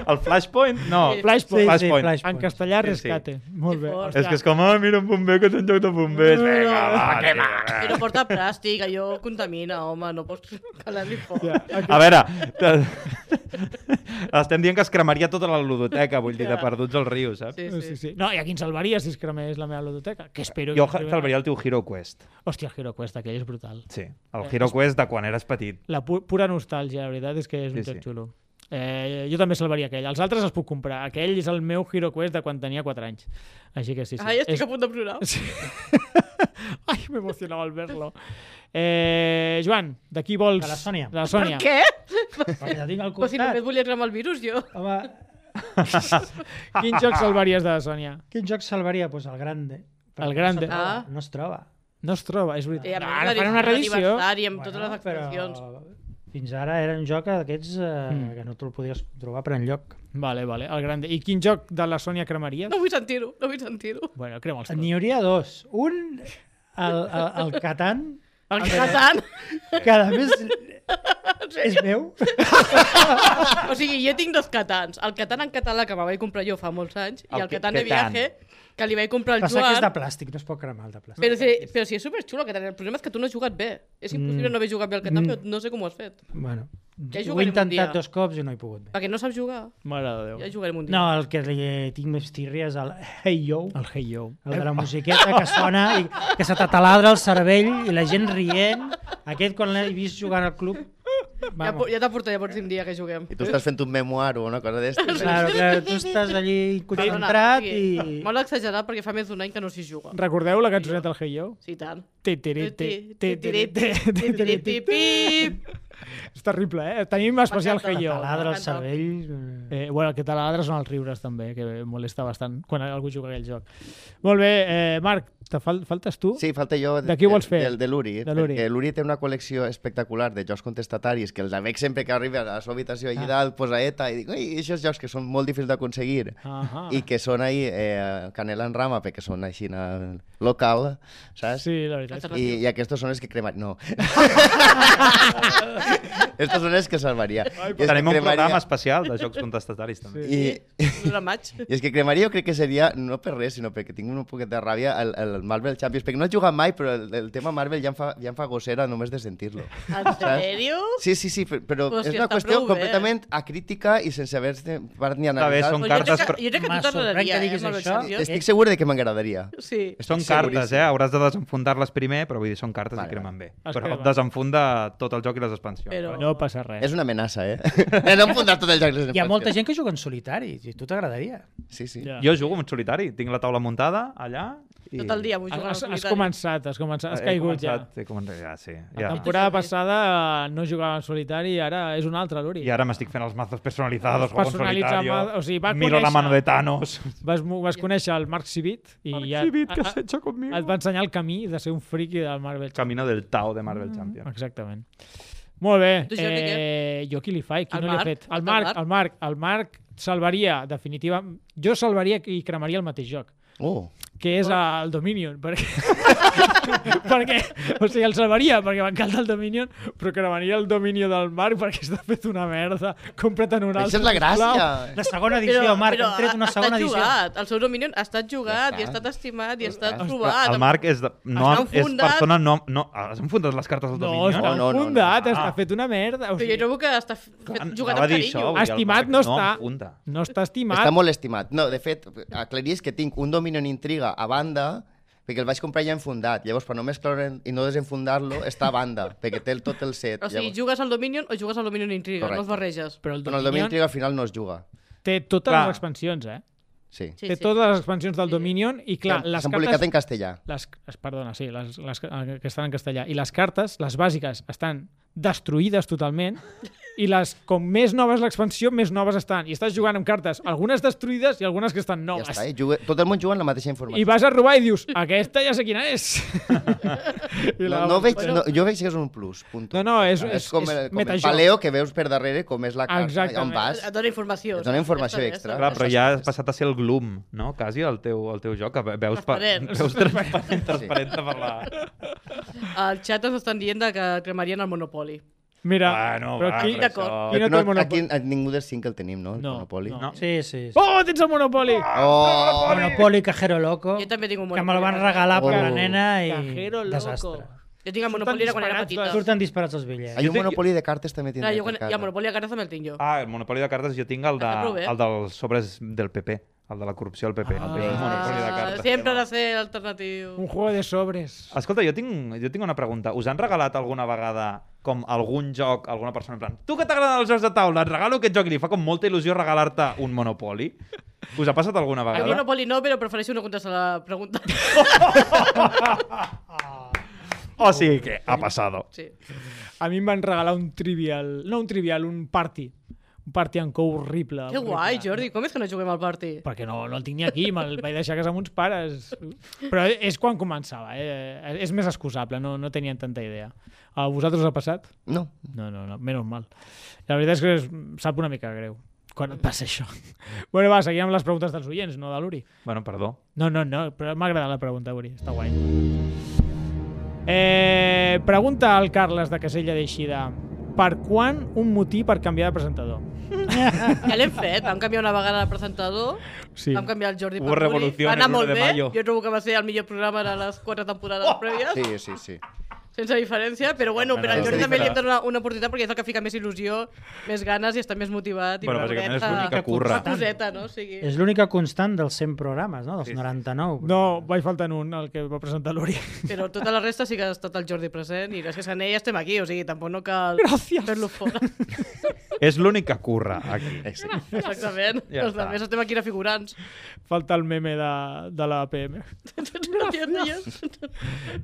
[SPEAKER 5] El Flashpoint? No.
[SPEAKER 1] Flashpoint.
[SPEAKER 5] Sí, sí, Flashpoint.
[SPEAKER 1] En castellà,
[SPEAKER 5] Sí, sí.
[SPEAKER 1] rescate. Molt bé.
[SPEAKER 3] Que fort.
[SPEAKER 5] És que és com, ah, mira un bomber que és un lloc de bombers.
[SPEAKER 1] No, no,
[SPEAKER 5] Vinga,
[SPEAKER 1] no,
[SPEAKER 5] va, tio. eh.
[SPEAKER 3] Però porta plàstic, allò contamina, home, no pots calar-li foc.
[SPEAKER 1] Ja, aquí-
[SPEAKER 5] A veure, te- estem dient que es cremaria tota la ludoteca, vull dir, de perduts al riu, saps?
[SPEAKER 3] Sí,
[SPEAKER 1] Sí, sí. No, i a qui em salvaria si es cremés la meva ludoteca? Que espero...
[SPEAKER 5] Jo
[SPEAKER 1] que es cremés-
[SPEAKER 5] salvaria el teu Hero Quest.
[SPEAKER 1] Hòstia, el Hero Quest, aquell és brutal.
[SPEAKER 5] Sí, el Hero Quest de quan eres petit.
[SPEAKER 1] La pu pura nostàlgia, la veritat, és que és un
[SPEAKER 5] Sí,
[SPEAKER 1] sí, joc
[SPEAKER 5] sí.
[SPEAKER 1] sí. xulo. Eh, jo també salvaria aquell. Els altres els puc comprar. Aquell és el meu Hero Quest de quan tenia 4 anys. Així que sí, sí.
[SPEAKER 3] Ai, estic
[SPEAKER 1] és...
[SPEAKER 3] a punt de plorar.
[SPEAKER 1] Sí. Ai, m'emocionava al ver-lo. Eh, Joan, de qui vols?
[SPEAKER 2] De la Sònia.
[SPEAKER 1] De la Sònia.
[SPEAKER 3] Què?
[SPEAKER 2] Perquè la tinc al
[SPEAKER 3] Però si només
[SPEAKER 2] costat.
[SPEAKER 3] volia cremar el virus, jo.
[SPEAKER 2] Home,
[SPEAKER 1] Quin joc salvaries de la Sònia?
[SPEAKER 2] quin joc salvaria? Doncs pues el Grande. Perquè
[SPEAKER 1] El Grande.
[SPEAKER 2] No,
[SPEAKER 3] Ah.
[SPEAKER 2] ah. no es troba.
[SPEAKER 1] No es troba, és veritat.
[SPEAKER 3] Eh, a
[SPEAKER 1] no,
[SPEAKER 3] més,
[SPEAKER 1] ara
[SPEAKER 3] l'aniversari,
[SPEAKER 1] fan una reedició.
[SPEAKER 3] Amb bueno, totes les expressions.
[SPEAKER 2] Però fins ara era un joc d'aquests eh,
[SPEAKER 1] Mm.
[SPEAKER 2] mm. que no te'l podies trobar per enlloc.
[SPEAKER 1] Vale, vale, el grande. I quin joc de la Sònia cremaries?
[SPEAKER 3] No vull sentir-ho, no vull sentir-ho.
[SPEAKER 1] Bueno, crema els tots.
[SPEAKER 2] N'hi hauria dos. Un, el, el, el Catan,
[SPEAKER 3] El Catan.
[SPEAKER 2] que a més és meu.
[SPEAKER 3] O sigui, jo tinc dos Catans. El Catan en català, que me vaig comprar jo fa molts anys, i
[SPEAKER 5] El
[SPEAKER 3] el
[SPEAKER 5] que-
[SPEAKER 3] Catan de
[SPEAKER 5] Catan.
[SPEAKER 3] viaje, que li vaig comprar al
[SPEAKER 2] Passa que és de
[SPEAKER 3] Joan.
[SPEAKER 2] plàstic, no es pot cremar el de plàstic.
[SPEAKER 3] Però si, però si és superxulo, el Catan. El problema és que tu no has jugat bé. És impossible no haver jugat bé al Catan, però no sé com ho has fet.
[SPEAKER 2] Bueno,
[SPEAKER 3] Ja
[SPEAKER 2] ho he
[SPEAKER 3] jugarem un dia.
[SPEAKER 2] intentat dos cops i no he pogut bé.
[SPEAKER 3] Perquè no saps jugar.
[SPEAKER 1] Mare de
[SPEAKER 3] Ja
[SPEAKER 1] Déu.
[SPEAKER 3] jugarem un dia.
[SPEAKER 2] No, el que li tinc més tirria és el Hey Yo,
[SPEAKER 1] El Hey Yo.
[SPEAKER 2] el de la musiqueta que sona i que se t'ataladra el cervell i la gent rient. Aquest, quan l'he vist jugant al club...
[SPEAKER 3] Ja, po-
[SPEAKER 2] Vamos.
[SPEAKER 3] ja t'aportaré per un dia que juguem.
[SPEAKER 4] I tu estàs fent un memoir o una cosa d'estes.
[SPEAKER 2] Claro, claro, tu estàs allí
[SPEAKER 3] Perdona,
[SPEAKER 2] concentrat
[SPEAKER 3] o
[SPEAKER 2] i...
[SPEAKER 3] sigui, Molt exagerat perquè fa més d'un any que no s'hi juga.
[SPEAKER 1] Recordeu la cançoneta del Hey Yo?
[SPEAKER 3] Sí, tant.
[SPEAKER 1] Té, té, té, té, té, té, té, té, té, té, té.
[SPEAKER 3] Pip.
[SPEAKER 1] És terrible, eh? Tenim especial
[SPEAKER 3] M'encanta.
[SPEAKER 1] Hey Yo.
[SPEAKER 2] Taladra el
[SPEAKER 3] M'encanta.
[SPEAKER 2] cervell... eh,
[SPEAKER 1] Eh, bueno, el que taladra són els riures, també, que molesta bastant quan algú juga aquell joc. Molt bé, eh, Marc, te fal faltes tu?
[SPEAKER 4] Sí, falta jo...
[SPEAKER 1] De qui ho vols fer?
[SPEAKER 4] Del de l'Uri.
[SPEAKER 1] De l'Uri.
[SPEAKER 4] perquè L'Uri té una col·lecció espectacular de jocs contestataris que els veig sempre que arriba a la seva habitació
[SPEAKER 1] Ah.
[SPEAKER 4] allà dalt, posa ETA i dic, ui, aquests jocs que són molt difícils d'aconseguir.
[SPEAKER 1] Ahà.
[SPEAKER 4] i que són ahí eh, canela en rama perquè són així na- local, saps?
[SPEAKER 1] Sí, la veritat.
[SPEAKER 4] I, I aquests són els que cremar... No. Estos són els que salvaria. I els
[SPEAKER 5] Tenim
[SPEAKER 4] que
[SPEAKER 5] un
[SPEAKER 4] cremaria-
[SPEAKER 5] programa especial de jocs contestataris, també.
[SPEAKER 4] I,
[SPEAKER 3] Un de maig.
[SPEAKER 4] I és que cremaria jo crec que seria, no per res, sinó perquè tinc una poqueta de ràbia el, el Marvel Champions, perquè no he jugat mai, però el, el tema Marvel ja em fa, ja em fa gossera només de sentir-lo.
[SPEAKER 3] En sèrio?
[SPEAKER 4] Sí, sí, sí, per- però
[SPEAKER 3] Però
[SPEAKER 4] és
[SPEAKER 3] si
[SPEAKER 4] una
[SPEAKER 3] està
[SPEAKER 4] qüestió
[SPEAKER 3] prou bé.
[SPEAKER 4] completament acrítica i sense haver-ne part ni
[SPEAKER 5] Està bé,
[SPEAKER 4] analitzat.
[SPEAKER 5] són
[SPEAKER 3] Però
[SPEAKER 5] cartes...
[SPEAKER 3] Jo crec
[SPEAKER 5] però-
[SPEAKER 3] que, jo crec que
[SPEAKER 2] Me
[SPEAKER 3] tu
[SPEAKER 2] sorprèn que
[SPEAKER 3] t'agradaria, eh,
[SPEAKER 2] diguis
[SPEAKER 3] amb el
[SPEAKER 2] això.
[SPEAKER 3] Champions.
[SPEAKER 4] Estic segur de que m'agradaria.
[SPEAKER 3] Sí.
[SPEAKER 5] Són
[SPEAKER 4] Seguríssim.
[SPEAKER 5] cartes, eh? Hauràs de desenfundar-les primer, però vull dir, són cartes
[SPEAKER 4] Vale,
[SPEAKER 5] i cremen bé.
[SPEAKER 1] Es
[SPEAKER 5] Però
[SPEAKER 1] cremen.
[SPEAKER 5] desenfunda tot el joc i les expansions.
[SPEAKER 3] Però...
[SPEAKER 1] No passa res.
[SPEAKER 4] És una amenaça, eh? no em fundar tot el joc. les
[SPEAKER 2] Hi ha molta
[SPEAKER 4] infantes.
[SPEAKER 2] gent que juga en solitari, i a tu t'agradaria.
[SPEAKER 4] Sí, sí.
[SPEAKER 1] Ja.
[SPEAKER 5] Jo jugo en solitari, tinc la taula muntada allà i...
[SPEAKER 3] Tot el dia vull jugar
[SPEAKER 1] Has,
[SPEAKER 3] al
[SPEAKER 1] has
[SPEAKER 3] solitari.
[SPEAKER 1] començat, has començat, has
[SPEAKER 5] He
[SPEAKER 1] caigut ja.
[SPEAKER 5] començat, He començat, ja, sí.
[SPEAKER 1] La
[SPEAKER 5] Ja.
[SPEAKER 1] temporada passada eh, no jugava en solitari i ara és un altre, l'Uri.
[SPEAKER 5] I ara m'estic fent els mazos personalitzats, juego en
[SPEAKER 1] Personalitza
[SPEAKER 5] solitario,
[SPEAKER 1] ma- o sigui, va
[SPEAKER 5] miro la
[SPEAKER 1] conèixer-
[SPEAKER 5] mano de Thanos.
[SPEAKER 1] Vas, mo- vas conèixer el Marc Civit i ja,
[SPEAKER 5] Exhibit, que
[SPEAKER 1] a- a-
[SPEAKER 5] has hecho conmigo?
[SPEAKER 1] et va ensenyar el camí de ser un friki del Marvel.
[SPEAKER 5] Camino del Tao de
[SPEAKER 1] Mm.
[SPEAKER 5] Marvel Champions.
[SPEAKER 1] Exactament. Molt bé.
[SPEAKER 3] Tu, Jordi,
[SPEAKER 1] Eh, jo qui li faig? Qui
[SPEAKER 3] El
[SPEAKER 1] no li ha
[SPEAKER 3] Marc?
[SPEAKER 1] fet? El
[SPEAKER 3] El
[SPEAKER 1] Marc,
[SPEAKER 3] Marc?
[SPEAKER 1] el Marc, el Marc salvaria, definitiva... Jo salvaria i cremaria el mateix joc
[SPEAKER 4] Oh.
[SPEAKER 1] que és el Dominion, perquè, perquè o sigui, el salvaria perquè m'encanta el Dominion, però cremaria el Dominion del Marc perquè està fet una merda, compra't-en un altre.
[SPEAKER 4] Això és la
[SPEAKER 1] sisplau.
[SPEAKER 4] gràcia.
[SPEAKER 2] La segona edició, però, Marc, hem tret una
[SPEAKER 3] ha
[SPEAKER 2] segona
[SPEAKER 3] estat
[SPEAKER 2] edició.
[SPEAKER 3] Jugat. El seu Dominion ha estat jugat,
[SPEAKER 4] Ja
[SPEAKER 3] i ha
[SPEAKER 4] està.
[SPEAKER 3] estat estimat, i ha estat
[SPEAKER 4] està.
[SPEAKER 3] provat.
[SPEAKER 5] el Marc és, de, no,
[SPEAKER 3] Està
[SPEAKER 5] és
[SPEAKER 3] enfundat.
[SPEAKER 5] persona... No, no, has enfundat les cartes del
[SPEAKER 1] No,
[SPEAKER 5] Dominion?
[SPEAKER 1] està
[SPEAKER 4] No, no, no, no.
[SPEAKER 1] fundat, està
[SPEAKER 5] Ah.
[SPEAKER 1] fet una merda. O
[SPEAKER 3] Però jo
[SPEAKER 1] sigui,
[SPEAKER 3] trobo que està f- fet, jugat
[SPEAKER 5] Anava a
[SPEAKER 3] amb
[SPEAKER 5] dir
[SPEAKER 3] carinyo.
[SPEAKER 5] això, vull dir, el
[SPEAKER 1] Estimat
[SPEAKER 5] Marc
[SPEAKER 1] no està.
[SPEAKER 5] enfunda.
[SPEAKER 1] no està estimat.
[SPEAKER 4] Està molt estimat. No, de fet, aclarís que tinc un Dominion Intriga a banda perquè el vaig comprar ja enfundat. Llavors, per només cloure i no desenfundar-lo, està a banda, perquè té el- tot el set.
[SPEAKER 3] O sigui,
[SPEAKER 4] Llavors,
[SPEAKER 3] jugues al Dominion o jugues al Dominion Intriga,
[SPEAKER 4] Correcte.
[SPEAKER 3] no els barreges.
[SPEAKER 1] Però el
[SPEAKER 4] Bueno, el Dominion
[SPEAKER 1] Dominion
[SPEAKER 4] Intriga al final no es juga.
[SPEAKER 1] té totes
[SPEAKER 5] Clar.
[SPEAKER 1] les expansions, eh?
[SPEAKER 4] Sí.
[SPEAKER 1] té totes les expansions del Dominion i, clar, les
[SPEAKER 4] S'han publicat
[SPEAKER 1] cartes...
[SPEAKER 4] en castellà.
[SPEAKER 1] Les, es- perdona, sí, les, les, que que estan en castellà. I les cartes, les bàsiques, estan destruïdes totalment i les, com més noves l'expansió, més noves estan. I estàs jugant amb cartes, algunes destruïdes i algunes que estan
[SPEAKER 4] Ja
[SPEAKER 1] noves.
[SPEAKER 4] està, eh? Juga... Tot el món juga en la mateixa
[SPEAKER 1] I
[SPEAKER 4] informació.
[SPEAKER 1] vas a robar i dius, aquesta ja sé quina és. I
[SPEAKER 4] No,
[SPEAKER 1] la-
[SPEAKER 4] no veig, no, jo veig que és un plus, punt.
[SPEAKER 1] No, no, és- és-
[SPEAKER 4] és com,
[SPEAKER 1] és
[SPEAKER 4] el, com el
[SPEAKER 1] metajoc.
[SPEAKER 4] paleo que veus per darrere com és la carta,
[SPEAKER 1] Exactament.
[SPEAKER 4] on vas.
[SPEAKER 3] Et dona informació.
[SPEAKER 4] Et dona
[SPEAKER 3] saps?
[SPEAKER 4] informació
[SPEAKER 3] Ja està bé,
[SPEAKER 4] extra.
[SPEAKER 3] ja
[SPEAKER 5] Clar,
[SPEAKER 3] està
[SPEAKER 5] però ja has passat a ser el gloom, no? Quasi, el teu, el teu joc. que ve- Veus, pa,
[SPEAKER 3] Transparent.
[SPEAKER 5] veus transparent,
[SPEAKER 4] Sí.
[SPEAKER 5] transparent per la...
[SPEAKER 3] bé. Al xat ens estan dient de que cremarien el Monopoly.
[SPEAKER 1] Mira,
[SPEAKER 5] Bueno,
[SPEAKER 1] però
[SPEAKER 5] Ah, va,
[SPEAKER 1] aquí...
[SPEAKER 5] però
[SPEAKER 3] D'acord.
[SPEAKER 5] això-
[SPEAKER 1] Qui no
[SPEAKER 4] no,
[SPEAKER 1] té Monopoli?
[SPEAKER 4] aquí a ningú dels cinc el tenim, no? El
[SPEAKER 1] No,
[SPEAKER 4] Monopoli.
[SPEAKER 1] no.
[SPEAKER 5] No.
[SPEAKER 2] Sí, sí. sí.
[SPEAKER 1] Oh, tens el Monopoli!
[SPEAKER 4] Oh!
[SPEAKER 2] Monopoli, Cajero Loco.
[SPEAKER 3] Jo també tinc un
[SPEAKER 2] Que me
[SPEAKER 3] Monopoly
[SPEAKER 2] la van
[SPEAKER 3] a casa.
[SPEAKER 2] regalar per la
[SPEAKER 4] Oh.
[SPEAKER 2] nena i...
[SPEAKER 1] Cajero loco.
[SPEAKER 2] Desastre.
[SPEAKER 3] Jo tinc el Monopoly era quan era petita.
[SPEAKER 1] disparats
[SPEAKER 2] Surten disparats els bitllets.
[SPEAKER 4] Hay un
[SPEAKER 5] te-
[SPEAKER 4] Monopoli de cartes també
[SPEAKER 3] Clar,
[SPEAKER 4] tindré.
[SPEAKER 3] jo quan...
[SPEAKER 4] per
[SPEAKER 3] I el
[SPEAKER 4] casa.
[SPEAKER 3] Monopoly a casa també el tinc jo.
[SPEAKER 5] Ah, el monopoli de cartes jo tinc el, de,
[SPEAKER 3] Està Ah, prou bé.
[SPEAKER 5] el dels sobres del PP, el de la corrupció del PP. el
[SPEAKER 1] Ah.
[SPEAKER 5] PP és un monopoli de cartes.
[SPEAKER 3] sempre ha de ser alternatiu.
[SPEAKER 1] Un juego de sobres.
[SPEAKER 5] Escolta, jo tinc, jo tinc una pregunta. Us han regalat alguna vegada com algun joc, alguna persona en plan tu que t'agraden els jocs de taula, et regalo aquest joc i li fa com molta il·lusió regalar-te un monopoli? Us ha passat alguna
[SPEAKER 3] El
[SPEAKER 5] vegada?
[SPEAKER 3] Monopoly no, però prefereixo no contestar la pregunta.
[SPEAKER 5] O sigui que ha pasado.
[SPEAKER 3] Sí.
[SPEAKER 1] A mi em van regalar un trivial... No un trivial, un party. Un party en cou horrible.
[SPEAKER 3] Que
[SPEAKER 1] horrible.
[SPEAKER 3] guai, Jordi. Com és que no juguem al party?
[SPEAKER 1] perquè no, no el tinc ni aquí, me'l vaig deixar a casa amb uns pares. Però és quan començava, eh? és més excusable, no, no tenien tanta idea. A vosaltres us ha passat?
[SPEAKER 4] No.
[SPEAKER 1] No, no, no, menys mal. La veritat és que és, sap una mica greu quan et passa això. bueno, va, seguim amb les preguntes dels oients, no de l'Uri.
[SPEAKER 5] Bueno, perdó.
[SPEAKER 1] No, no, no, però m'ha agradat la pregunta, Uri, està guai. Eh, pregunta al Carles de Casella d'Eixida. Per quan un motí per canviar de presentador?
[SPEAKER 3] Ja l'hem fet. Vam canviar una vegada el presentador,
[SPEAKER 1] Sí.
[SPEAKER 3] vam canviar el Jordi
[SPEAKER 5] Hubo
[SPEAKER 3] per Juli.
[SPEAKER 5] revoluciones,
[SPEAKER 3] Va anar
[SPEAKER 5] uno
[SPEAKER 3] molt
[SPEAKER 5] de
[SPEAKER 3] bé.
[SPEAKER 5] mayo. Oh,
[SPEAKER 3] Jo trobo que va ser el millor programa de les quatre temporades prèvies,
[SPEAKER 4] Sí, sí, sí.
[SPEAKER 3] sense diferència. Però bueno, però al
[SPEAKER 5] Sense
[SPEAKER 3] Jordi també li hem
[SPEAKER 5] diferència.
[SPEAKER 3] donat una, una oportunitat perquè és el que fica més il·lusió, més ganes i està més motivat. I
[SPEAKER 5] Bueno,
[SPEAKER 3] perquè
[SPEAKER 5] bàsicament és
[SPEAKER 3] fa-
[SPEAKER 5] l'únic que
[SPEAKER 3] fa
[SPEAKER 5] curra.
[SPEAKER 3] Coseta, no? O sigui...
[SPEAKER 2] És l'única constant dels 100 programes, no? Dels 99.
[SPEAKER 1] No, vaig faltar en un, el que va presentar l'Uri.
[SPEAKER 3] Però tota la resta sí que ha estat el Jordi present i gràcies a ell estem aquí, o sigui, tampoc no cal
[SPEAKER 1] Gràcies.
[SPEAKER 3] fer-lo fora.
[SPEAKER 5] És l'únic que curra aquí.
[SPEAKER 4] Eh, sí.
[SPEAKER 3] Exactament.
[SPEAKER 5] Ja
[SPEAKER 3] Ja Els
[SPEAKER 5] està.
[SPEAKER 3] altres estem aquí de figurants.
[SPEAKER 1] Falta el meme de, de la PM.
[SPEAKER 3] No entiendo yo.